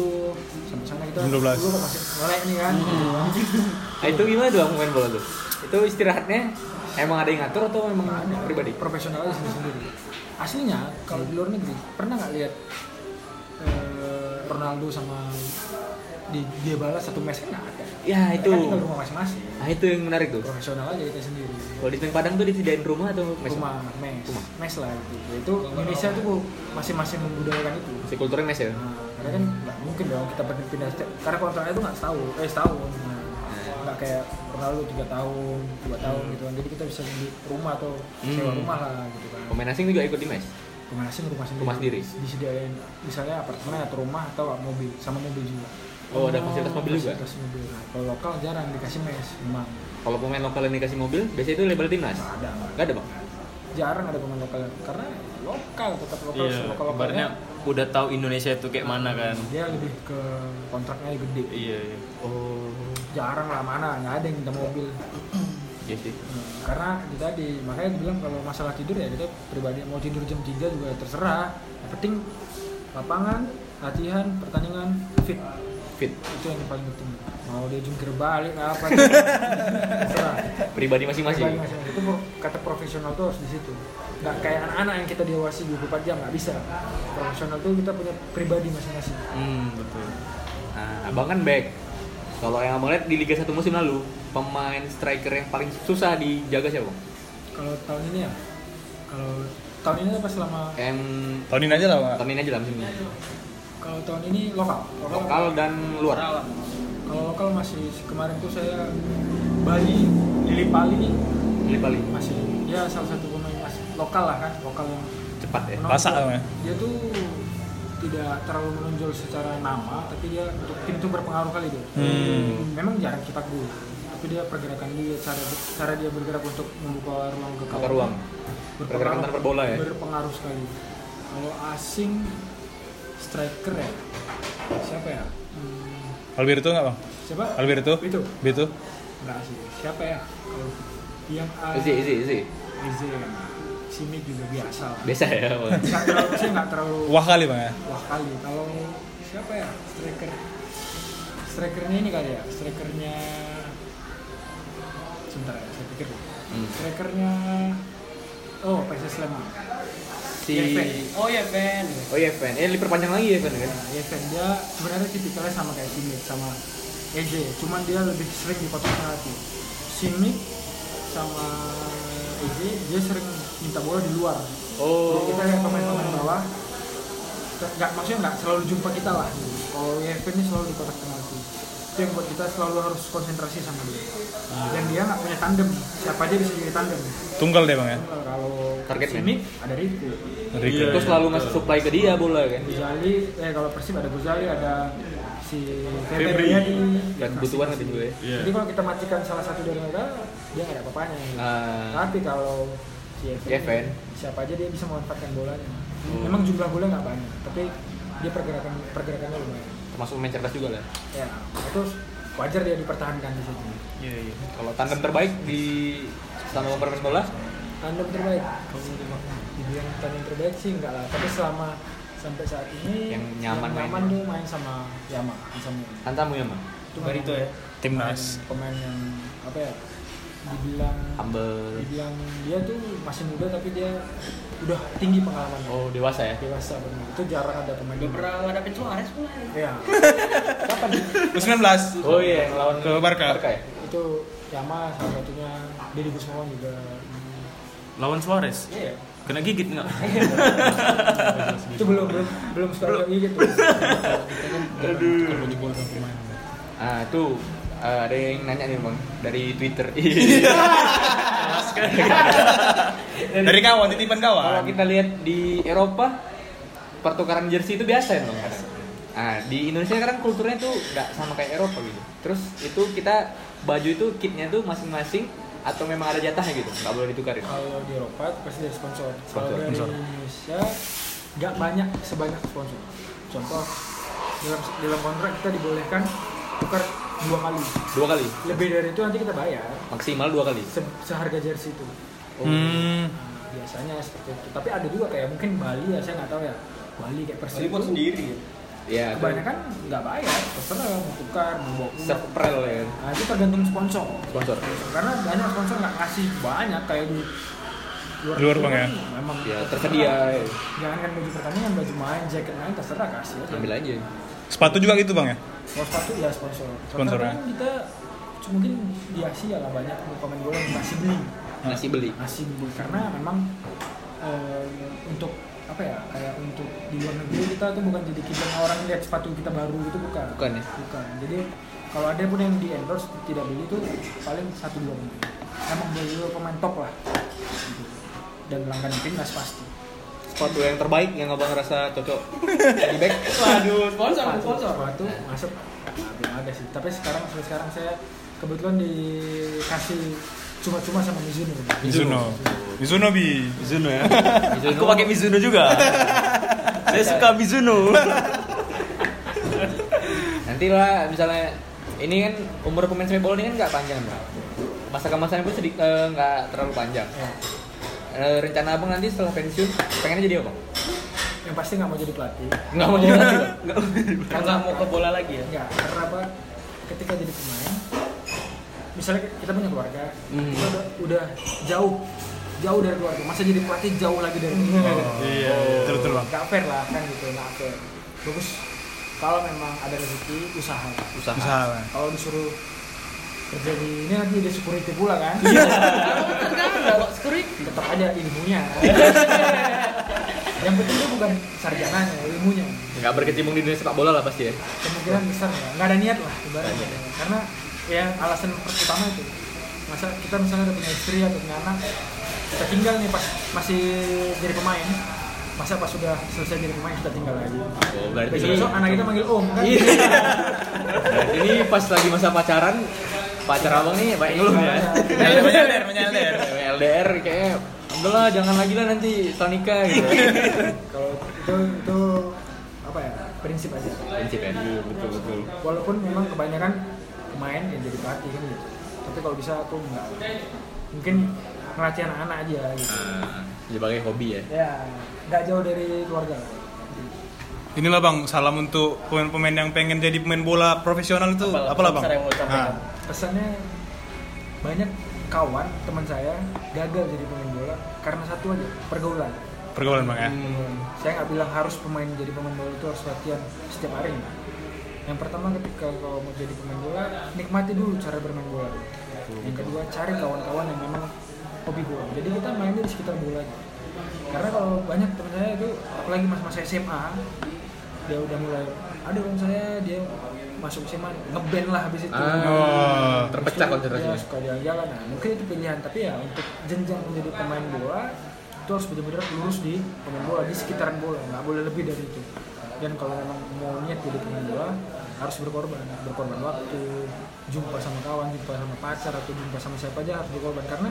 Speaker 7: sampai sana kita
Speaker 3: Jam 12.
Speaker 7: 10 kok masih melek nih kan gitu kan.
Speaker 3: Hmm.
Speaker 1: Nah, itu gimana tuh main bola tuh? Itu istirahatnya emang ada yang ngatur atau emang pribadi?
Speaker 7: profesional sendiri sendiri aslinya kalau di luar negeri pernah nggak lihat eh, Ronaldo sama di dia balas satu match kan nggak ada
Speaker 1: Ya itu.
Speaker 7: Mereka tinggal di rumah masing-masing
Speaker 1: Nah, itu yang menarik tuh.
Speaker 7: profesional aja kita sendiri
Speaker 1: Kalau di Semen Padang tuh disediain rumah atau mes?
Speaker 7: rumah mes mes lah itu itu Indonesia tuh masing-masing membudayakan itu
Speaker 1: Si kulturnya mes ya.
Speaker 7: Nah, karena kan nggak mungkin dong kita pindah pindah setiap- karena kontraknya itu nggak setahun eh setahun Nah, nggak kayak Ronaldo tiga tahun dua tahun gitu kan jadi kita bisa beli rumah atau sewa
Speaker 1: Hmm.
Speaker 7: rumah lah gitu kan
Speaker 1: Pemain asing juga ikut di mes.
Speaker 7: rumah asing rumah sendiri,
Speaker 1: Rumah sendiri.
Speaker 7: disediain misalnya apartemen atau rumah atau mobil sama mobil juga
Speaker 1: Oh, ada fasilitas mobil juga.
Speaker 7: Fasilitas mobil. Nah, kalau lokal jarang dikasih mes memang
Speaker 1: Kalau pemain lokal yang dikasih mobil, biasanya itu label timnas.
Speaker 7: nggak ada
Speaker 1: Gak ada bang.
Speaker 7: jarang ada pemain lokal karena lokal tetap lokal
Speaker 5: Iya,
Speaker 7: lokal
Speaker 5: Ibaratnya udah tahu Indonesia itu kayak mana kan.
Speaker 7: dia lebih ke kontraknya gede Oh.
Speaker 5: Iya, iya.
Speaker 7: jarang lah mana nggak ada yang minta mobil
Speaker 1: Iya sih.
Speaker 7: Hmm, karena itu tadi makanya bilang kalau masalah tidur ya kita pribadi mau tidur jam 3 juga terserah yang penting lapangan latihan pertandingan fit
Speaker 1: Fit.
Speaker 7: itu yang paling penting mau dia jungkir balik apa terserah
Speaker 1: Pribadi masing-masing.
Speaker 7: Pribadi masing-masing. itu pro- kata profesional tuh harus di situ nggak kayak anak-anak yang kita diawasi 24 jam nggak bisa profesional tuh kita punya pribadi masing-masing
Speaker 1: Hmm, betul. Nah, abang kan back. Kalau yang abang lihat di Liga 1 musim lalu, pemain striker yang paling susah dijaga siapa? Bang?
Speaker 7: kalau tahun ini ya kalau tahun ini apa selama
Speaker 1: Yang
Speaker 3: Tahun ini aja lah, Pak.
Speaker 1: tahun ini aja lah musim ini.
Speaker 7: kalau tahun ini lokal
Speaker 1: Lokal dan luar.
Speaker 7: Kalau lokal masih kemarin tuh saya Bali, Lili Pali
Speaker 1: Ini paling
Speaker 7: masih dia salah satu pemain masih lokal lah kan, lokal yang
Speaker 1: cepat ya.
Speaker 7: menonjol.
Speaker 3: Rasa namanya.
Speaker 7: Dia tuh tidak terlalu menonjol secara nama, tapi dia untuk tim tuh berpengaruh kali dia.
Speaker 3: Hmm.
Speaker 7: Memang jarang cetak gol, tapi dia pergerakan dia, cara cara dia bergerak untuk membuka ruang ke
Speaker 1: Buka ruang. Pergerakan tanpa bola ya?
Speaker 7: Berpengaruh sekali. Kalau asing striker ya, siapa ya? Hmm,
Speaker 3: Alberto nggak bang?
Speaker 7: siapa?
Speaker 3: Alberto?
Speaker 7: Itu.
Speaker 3: Beto?
Speaker 7: Enggak sih. Siapa ya? Kalau yang A,
Speaker 1: Easy, easy, easy.
Speaker 7: Eze, Simi juga biasa. lah.
Speaker 1: Biasa ya. Bang.
Speaker 7: Nggak terlalu, saya nggak terlalu
Speaker 3: Wah kali bang ya?
Speaker 7: wah kali. Kalau siapa ya striker? Strikernya ini kali ya. Strikernya sebentar ya, saya pikir. dulu.
Speaker 1: Hmm.
Speaker 7: Strikernya Oh, PSS Sleman.
Speaker 1: Si
Speaker 7: Yeven.
Speaker 4: Oh ya Ben.
Speaker 1: Oh iya, Fan. Eh, diperpanjang lagi ya, Fan kan?
Speaker 7: Nah, Yeven dia sebenarnya tipikalnya sama kayak Simic sama Eze, cuman dia lebih sering dipotong penalti. Simic sama Eze dia sering minta bola di luar.
Speaker 1: Oh.
Speaker 7: Jadi kita yang pemain-pemain bawah nggak maksudnya nggak selalu jumpa kita lah. gitu. Kalau Yeven ini selalu di kotak penalti. Itu yang buat kita selalu harus konsentrasi sama dia. Dan dia nggak punya tandem. Siapa aja bisa jadi tandem.
Speaker 3: Tunggal deh bang ya?
Speaker 7: Kalau
Speaker 1: Target man.
Speaker 7: Simic ada Riku.
Speaker 3: Rico.
Speaker 1: Terus selalu ngasih supply ke dia bola kan?
Speaker 7: Gozali, eh kalau Persib ada Gozali, ada si Febri Iya.
Speaker 3: Febri.
Speaker 7: Riyadi.
Speaker 1: Dan kebutuhan ada juga ya.
Speaker 7: Jadi kalau kita matikan salah satu dari mereka, dia nggak ada apa-apanya.
Speaker 1: Ah.
Speaker 7: Tapi kalau si
Speaker 1: Evan.
Speaker 7: Evan, siapa aja dia bisa memanfaatkan bolanya. Memang jumlah bola nggak banyak, tapi dia pergerakan pergerakannya lumayan.
Speaker 1: Termasuk main cerdas juga lah.
Speaker 7: Ya, itu wajar dia dipertahankan di situ.
Speaker 1: Kalau tandem terbaik di selama pemain bola,
Speaker 7: Tandem terbaik. Dibilang tandem terbaik sih nggak lah, tapi selama sampai saat ini
Speaker 1: Yang nyaman
Speaker 7: yang nyaman
Speaker 1: mainnya.
Speaker 7: tuh main sama Yama, sama
Speaker 1: hantamu ya, Bang.
Speaker 7: itu Barito ya.
Speaker 3: Timnas.
Speaker 7: pemain yang apa ya dibilang
Speaker 1: Humble.
Speaker 7: dibilang dia tuh masih muda tapi dia udah tinggi pengalamannya
Speaker 1: Oh, dewasa ya.
Speaker 7: dewasa benar itu jarang ada pemain
Speaker 4: Gak pernah ngadapin Suarez pula.
Speaker 7: ya kapan
Speaker 3: U19.
Speaker 1: Oh iya, yang lawan
Speaker 3: Ke Barca.
Speaker 1: ya?
Speaker 7: itu Yama salah satunya Deddy Gusmawan juga
Speaker 5: Lawan Suarez.
Speaker 7: iya
Speaker 5: Kena gigit nggak?
Speaker 7: itu belum belum belum sekarang lagi gitu
Speaker 1: Ah, itu eh, ada yang nanya nih, Bang, dari Twitter. Iya.
Speaker 3: Dari kawan, titipan
Speaker 1: Kalau
Speaker 3: kawan.
Speaker 1: kita lihat di Eropa, pertukaran jersey itu biasa ya, Bang. Nah, di Indonesia sekarang kulturnya tuh nggak sama kayak Eropa gitu. Terus itu kita baju itu kitnya tuh masing-masing atau memang ada jatahnya gitu, nggak boleh ditukarin.
Speaker 7: kalau di Eropa pasti dari sponsor
Speaker 1: Sponsor,
Speaker 7: kalau dari
Speaker 1: sponsor.
Speaker 7: Indonesia nggak banyak sebanyak sponsor contoh dalam dalam kontrak kita dibolehkan tukar dua kali
Speaker 1: Dua kali,
Speaker 7: lebih dari itu nanti kita bayar
Speaker 1: maksimal dua kali.
Speaker 7: se- seharga jersey itu
Speaker 1: Hmm.
Speaker 7: Nah, biasanya seperti itu tapi ada juga kayak mungkin Bali ya saya nggak tahu ya Bali kayak Persib
Speaker 10: Ribut
Speaker 7: itu
Speaker 10: sendiri.
Speaker 1: ya
Speaker 7: kebanyakan nggak bayar terserah mau tukar mau bawa uang.
Speaker 1: seprel ya kan?
Speaker 7: nah, itu tergantung sponsor
Speaker 1: sponsor
Speaker 7: karena banyak sponsor nggak kasih banyak kayak di
Speaker 3: Di luar bang ya?
Speaker 7: memang
Speaker 1: ya tersedia ya.
Speaker 7: jangan kan baju pertandingan baju main jaket main terserah kasih aja
Speaker 1: ambil aja
Speaker 3: Sepatu juga gitu bang ya?
Speaker 7: kalau sepatu ya sponsor
Speaker 3: Sponsor, ya.
Speaker 7: Karena kan kita mungkin di Asia lah banyak pemain bola yang masih beli
Speaker 1: nasi beli
Speaker 7: masih unggul karena memang eh, untuk apa ya kayak untuk di luar negeri kita tuh bukan jadi kita orang lihat sepatu kita baru itu bukan
Speaker 1: Bukan ya?
Speaker 7: bukan jadi kalau ada pun yang di endorse tidak beli itu paling satu dua minggu emang beli dulu pemain top lah Gitu. dan langganan timnas pasti
Speaker 1: sepatu yang terbaik yang abang rasa cocok di bag
Speaker 10: Waduh, sponsor, sponsor.
Speaker 7: sepatu masuk nah, belum ada sih tapi sekarang sampai sekarang saya kebetulan dikasih cuma-cuma sama Mizuno
Speaker 3: Mizuno. Mizuno bi.
Speaker 5: Mizuno ya. Aku pakai Mizuno juga. Saya suka Mizuno.
Speaker 1: nanti lah misalnya ini kan umur pemain sepak bola ini kan nggak panjang bang masa kemasannya pun sedikit eh, nggak terlalu panjang Eh, rencana abang nanti setelah pensiun pengennya jadi apa Bang?
Speaker 7: yang pasti nggak mau jadi pelatih
Speaker 1: nggak mau jadi pelatih, Bang?
Speaker 4: Enggak mau ke bola lagi ya?
Speaker 7: Enggak, karena apa? Ketika jadi pemain, misalnya kita punya keluarga,
Speaker 1: Hmm.
Speaker 7: kita udah, udah jauh, jauh dari keluarga. Masa jadi pelatih jauh lagi dari
Speaker 1: Hmm.
Speaker 7: keluarga.
Speaker 3: Iya, betul betul bang.
Speaker 7: Nggak fair lah kan gitu, nggak fair. Bagus kalau memang ada rezeki usaha.
Speaker 1: usaha
Speaker 3: Usaha.
Speaker 7: Kalau disuruh kerja di ini nanti jadi security pula kan? Tetap aja ilmunya. Yang penting itu bukan sarjananya, ilmunya.
Speaker 1: nggak berkecimpung di dunia sepak bola lah pasti ya
Speaker 7: kemungkinan besar ya nggak ada niat lah ibaratnya karena ya alasan pertama itu masa kita misalnya udah punya istri atau punya anak kita tinggal nih pas masih jadi pemain masa pas sudah selesai jadi pemain kita tinggal lagi
Speaker 1: oh, berarti
Speaker 7: besok besok anak kita manggil om kan
Speaker 1: Iya. berarti ini pas lagi masa pacaran pacar abang nih banyak ngeluh ya
Speaker 5: Menyalder, menyalder.
Speaker 1: LDR kayaknya udahlah jangan lagi lah nanti setelah nikah gitu
Speaker 7: kalau itu itu apa ya prinsip aja
Speaker 1: prinsip ya betul betul
Speaker 7: walaupun memang kebanyakan pemain yang jadi pelatih kan gitu tapi kalau bisa aku nggak mungkin ngelatih anak-anak aja gitu
Speaker 1: sebagai hobi ya
Speaker 7: ya nggak jauh dari keluarga
Speaker 3: Inilah bang, salam untuk pemain-pemain yang pengen jadi pemain bola profesional itu.
Speaker 4: Apalah,
Speaker 3: Apalah bang?
Speaker 4: pesan yang mau disampaikan.
Speaker 3: Ah.
Speaker 7: pesannya banyak kawan teman saya gagal jadi pemain bola karena satu aja pergaulan
Speaker 3: pergaulan bang ya.
Speaker 7: Hmm, saya nggak bilang harus pemain jadi pemain bola itu harus latihan setiap hari enggak. yang pertama ketika kalau mau jadi pemain bola nikmati dulu cara bermain bola yang kedua cari kawan-kawan yang memang hobi bola jadi kita mainnya di sekitar bola aja. karena kalau banyak teman saya itu apalagi masa-masa SMA dia udah mulai ada teman saya dia masuk SMA ngeband lah habis itu
Speaker 1: Ah,
Speaker 7: Habis
Speaker 1: terpecah
Speaker 7: itu,
Speaker 1: konsentrasinya.
Speaker 7: ya, suka jalan-jalan nah, mungkin itu pilihan tapi ya untuk jenjang menjadi pemain bola itu harus benar-benar lurus di pemain bola di sekitaran bola nggak boleh lebih dari itu dan kalau memang mau niat jadi pemain bola harus berkorban berkorban waktu jumpa sama kawan jumpa sama pacar atau jumpa sama siapa aja harus berkorban karena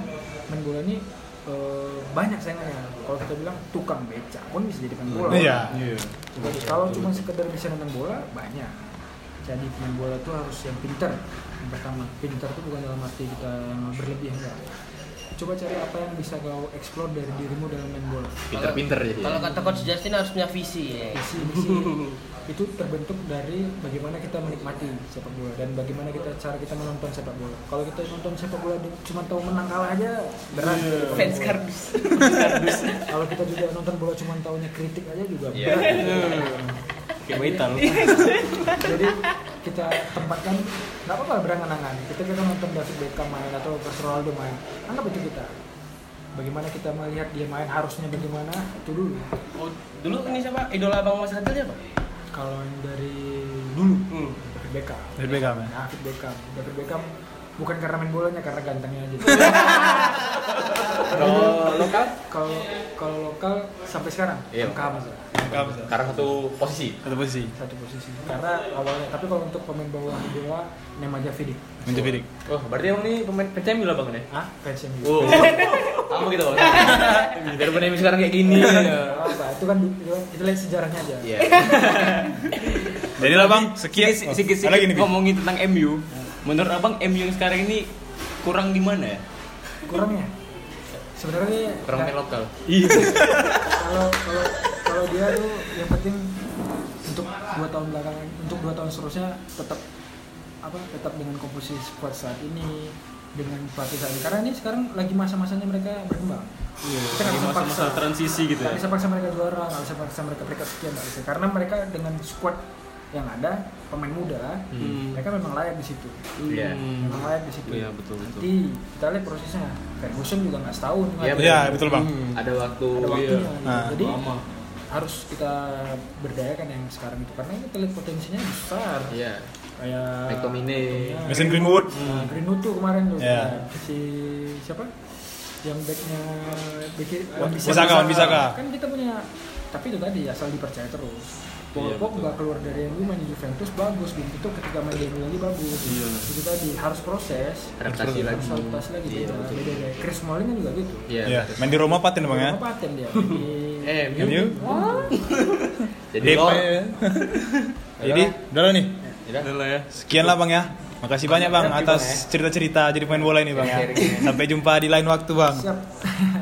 Speaker 7: main bola ini eh, banyak saingannya kalau kita bilang tukang beca pun bisa jadi pemain bola
Speaker 3: Iya.
Speaker 7: jadi kalau cuma sekedar bisa nonton bola banyak. Jadi pemain bola itu harus yang pinter. Yang pertama, pinter itu bukan dalam arti kita berlebih enggak. Coba cari apa yang bisa kau explore dari dirimu dalam main bola.
Speaker 1: pinter-pinter jadi ya.
Speaker 4: Kalau kata coach Justin harus punya visi ya.
Speaker 7: Visi, misi itu terbentuk dari bagaimana kita menikmati sepak bola dan bagaimana kita cara kita menonton sepak bola. Kalau kita nonton sepak bola di- cuma tahu menang kalah aja berat.
Speaker 4: Fans kardus.
Speaker 7: Kalau kita juga nonton bola cuma tahunya kritik aja juga
Speaker 1: Iya.
Speaker 7: berat.
Speaker 5: Kayak metal.
Speaker 7: jadi kita tempatkan nggak apa-apa berangan-angan kita kita nonton David Beckham main atau Cristiano Ronaldo main anggap itu kita bagaimana kita melihat dia main harusnya bagaimana itu dulu
Speaker 4: Oh, dulu ini siapa? Idola Abang Mas Hadil siapa?
Speaker 7: kalau yang dari dulu David Beckham
Speaker 3: Dari Beckham ya.
Speaker 7: David Beckham David Beckham bukan karena main bolanya karena gantengnya aja
Speaker 1: Kalau lokal
Speaker 7: kalau kalau lokal sampai sekarang
Speaker 1: Iya.
Speaker 7: MK Hamzah.
Speaker 3: Beckham.
Speaker 1: sekarang satu posisi.
Speaker 3: Satu posisi.
Speaker 7: satu posisi karena awalnya tapi kalau untuk pemain bola bola Nema Javidik
Speaker 3: Menjepirik.
Speaker 1: Oh, berarti emang ini pemain PCM lah Bang ya?
Speaker 7: ah fans yang gitu.
Speaker 1: Wow. Kamu gitu Bang. Daripada ini sekarang kayak gini. ya.
Speaker 7: Nggak apa itu kan itu kan- kita lihat sejarahnya aja
Speaker 1: Iya.
Speaker 3: Jadi lah bang, sekian.
Speaker 5: Sikit- Sikit-sikit
Speaker 3: Oh, ada gini, Bi.
Speaker 5: ngomongin tentang MU. Menurut Abang MU yang sekarang ini kurang di mana ya?
Speaker 7: kurangnya sebenarnya
Speaker 1: Orang main lokal.
Speaker 7: kalau kalau kalau dia tuh yang penting untuk dua tahun belakangan untuk dua tahun seterusnya tetap apa tetap dengan komposisi squad saat ini dengan pelatih saat ini karena ini sekarang lagi masa-masanya mereka berkembang kita nggak
Speaker 5: Di
Speaker 7: bisa paksa
Speaker 5: masa-masa transisi gitu
Speaker 7: nggak
Speaker 5: ya.
Speaker 7: bisa paksa mereka juara nggak bisa paksa mereka peringkat sekian nggak bisa karena mereka dengan squad yang ada pemain muda mereka memang layak di situ
Speaker 1: Iya.
Speaker 5: Hmm.
Speaker 7: memang layak di situ
Speaker 1: Iya, betul, betul.
Speaker 7: nanti kita lihat prosesnya Ferguson juga nggak setahun
Speaker 1: Iya,
Speaker 7: kan?
Speaker 3: Iya, betul bang.
Speaker 1: Ada waktu.
Speaker 7: ada
Speaker 1: iya.
Speaker 7: waktunya
Speaker 3: Nah,
Speaker 7: jadi harus kita berdayakan yang sekarang itu karena kita lihat potensinya besar
Speaker 1: Iya.
Speaker 7: kayak
Speaker 1: McTominay.
Speaker 7: Iya,
Speaker 3: Mason Greenwood.
Speaker 7: nah, Greenwood tuh kemarin tuh
Speaker 3: Iya.
Speaker 7: si siapa yang backnya back kiri- Wan
Speaker 3: Bisaka, Wan Bisaka.
Speaker 7: kan kita punya tapi itu tadi asal dipercaya terus
Speaker 1: Iya,
Speaker 7: Pogba Pogba keluar dari MU main di Juventus bagus begitu ketika main di MU lagi bagus itu tadi harus proses
Speaker 1: Iya. Adaptasi
Speaker 7: harus
Speaker 1: lagi.
Speaker 7: adaptasi lagi beda beda kayak Chris Smalling kan juga gitu
Speaker 1: Iya.
Speaker 3: Iya, main di Roma patin bang ya.
Speaker 7: apa paten dia Di-
Speaker 1: Eh,
Speaker 3: Main yuk.
Speaker 1: jadi
Speaker 3: Dep.
Speaker 1: lo.
Speaker 3: Jadi, udah lah nih.
Speaker 5: Adalah ya.
Speaker 3: Sekian lah bang ya. Makasih banyak bang
Speaker 1: Makasih, Bang,
Speaker 3: atas cerita-cerita jadi pemain bola ini bang ya.
Speaker 1: Sharing-sharing.
Speaker 3: Sampai jumpa di lain waktu bang.
Speaker 7: siap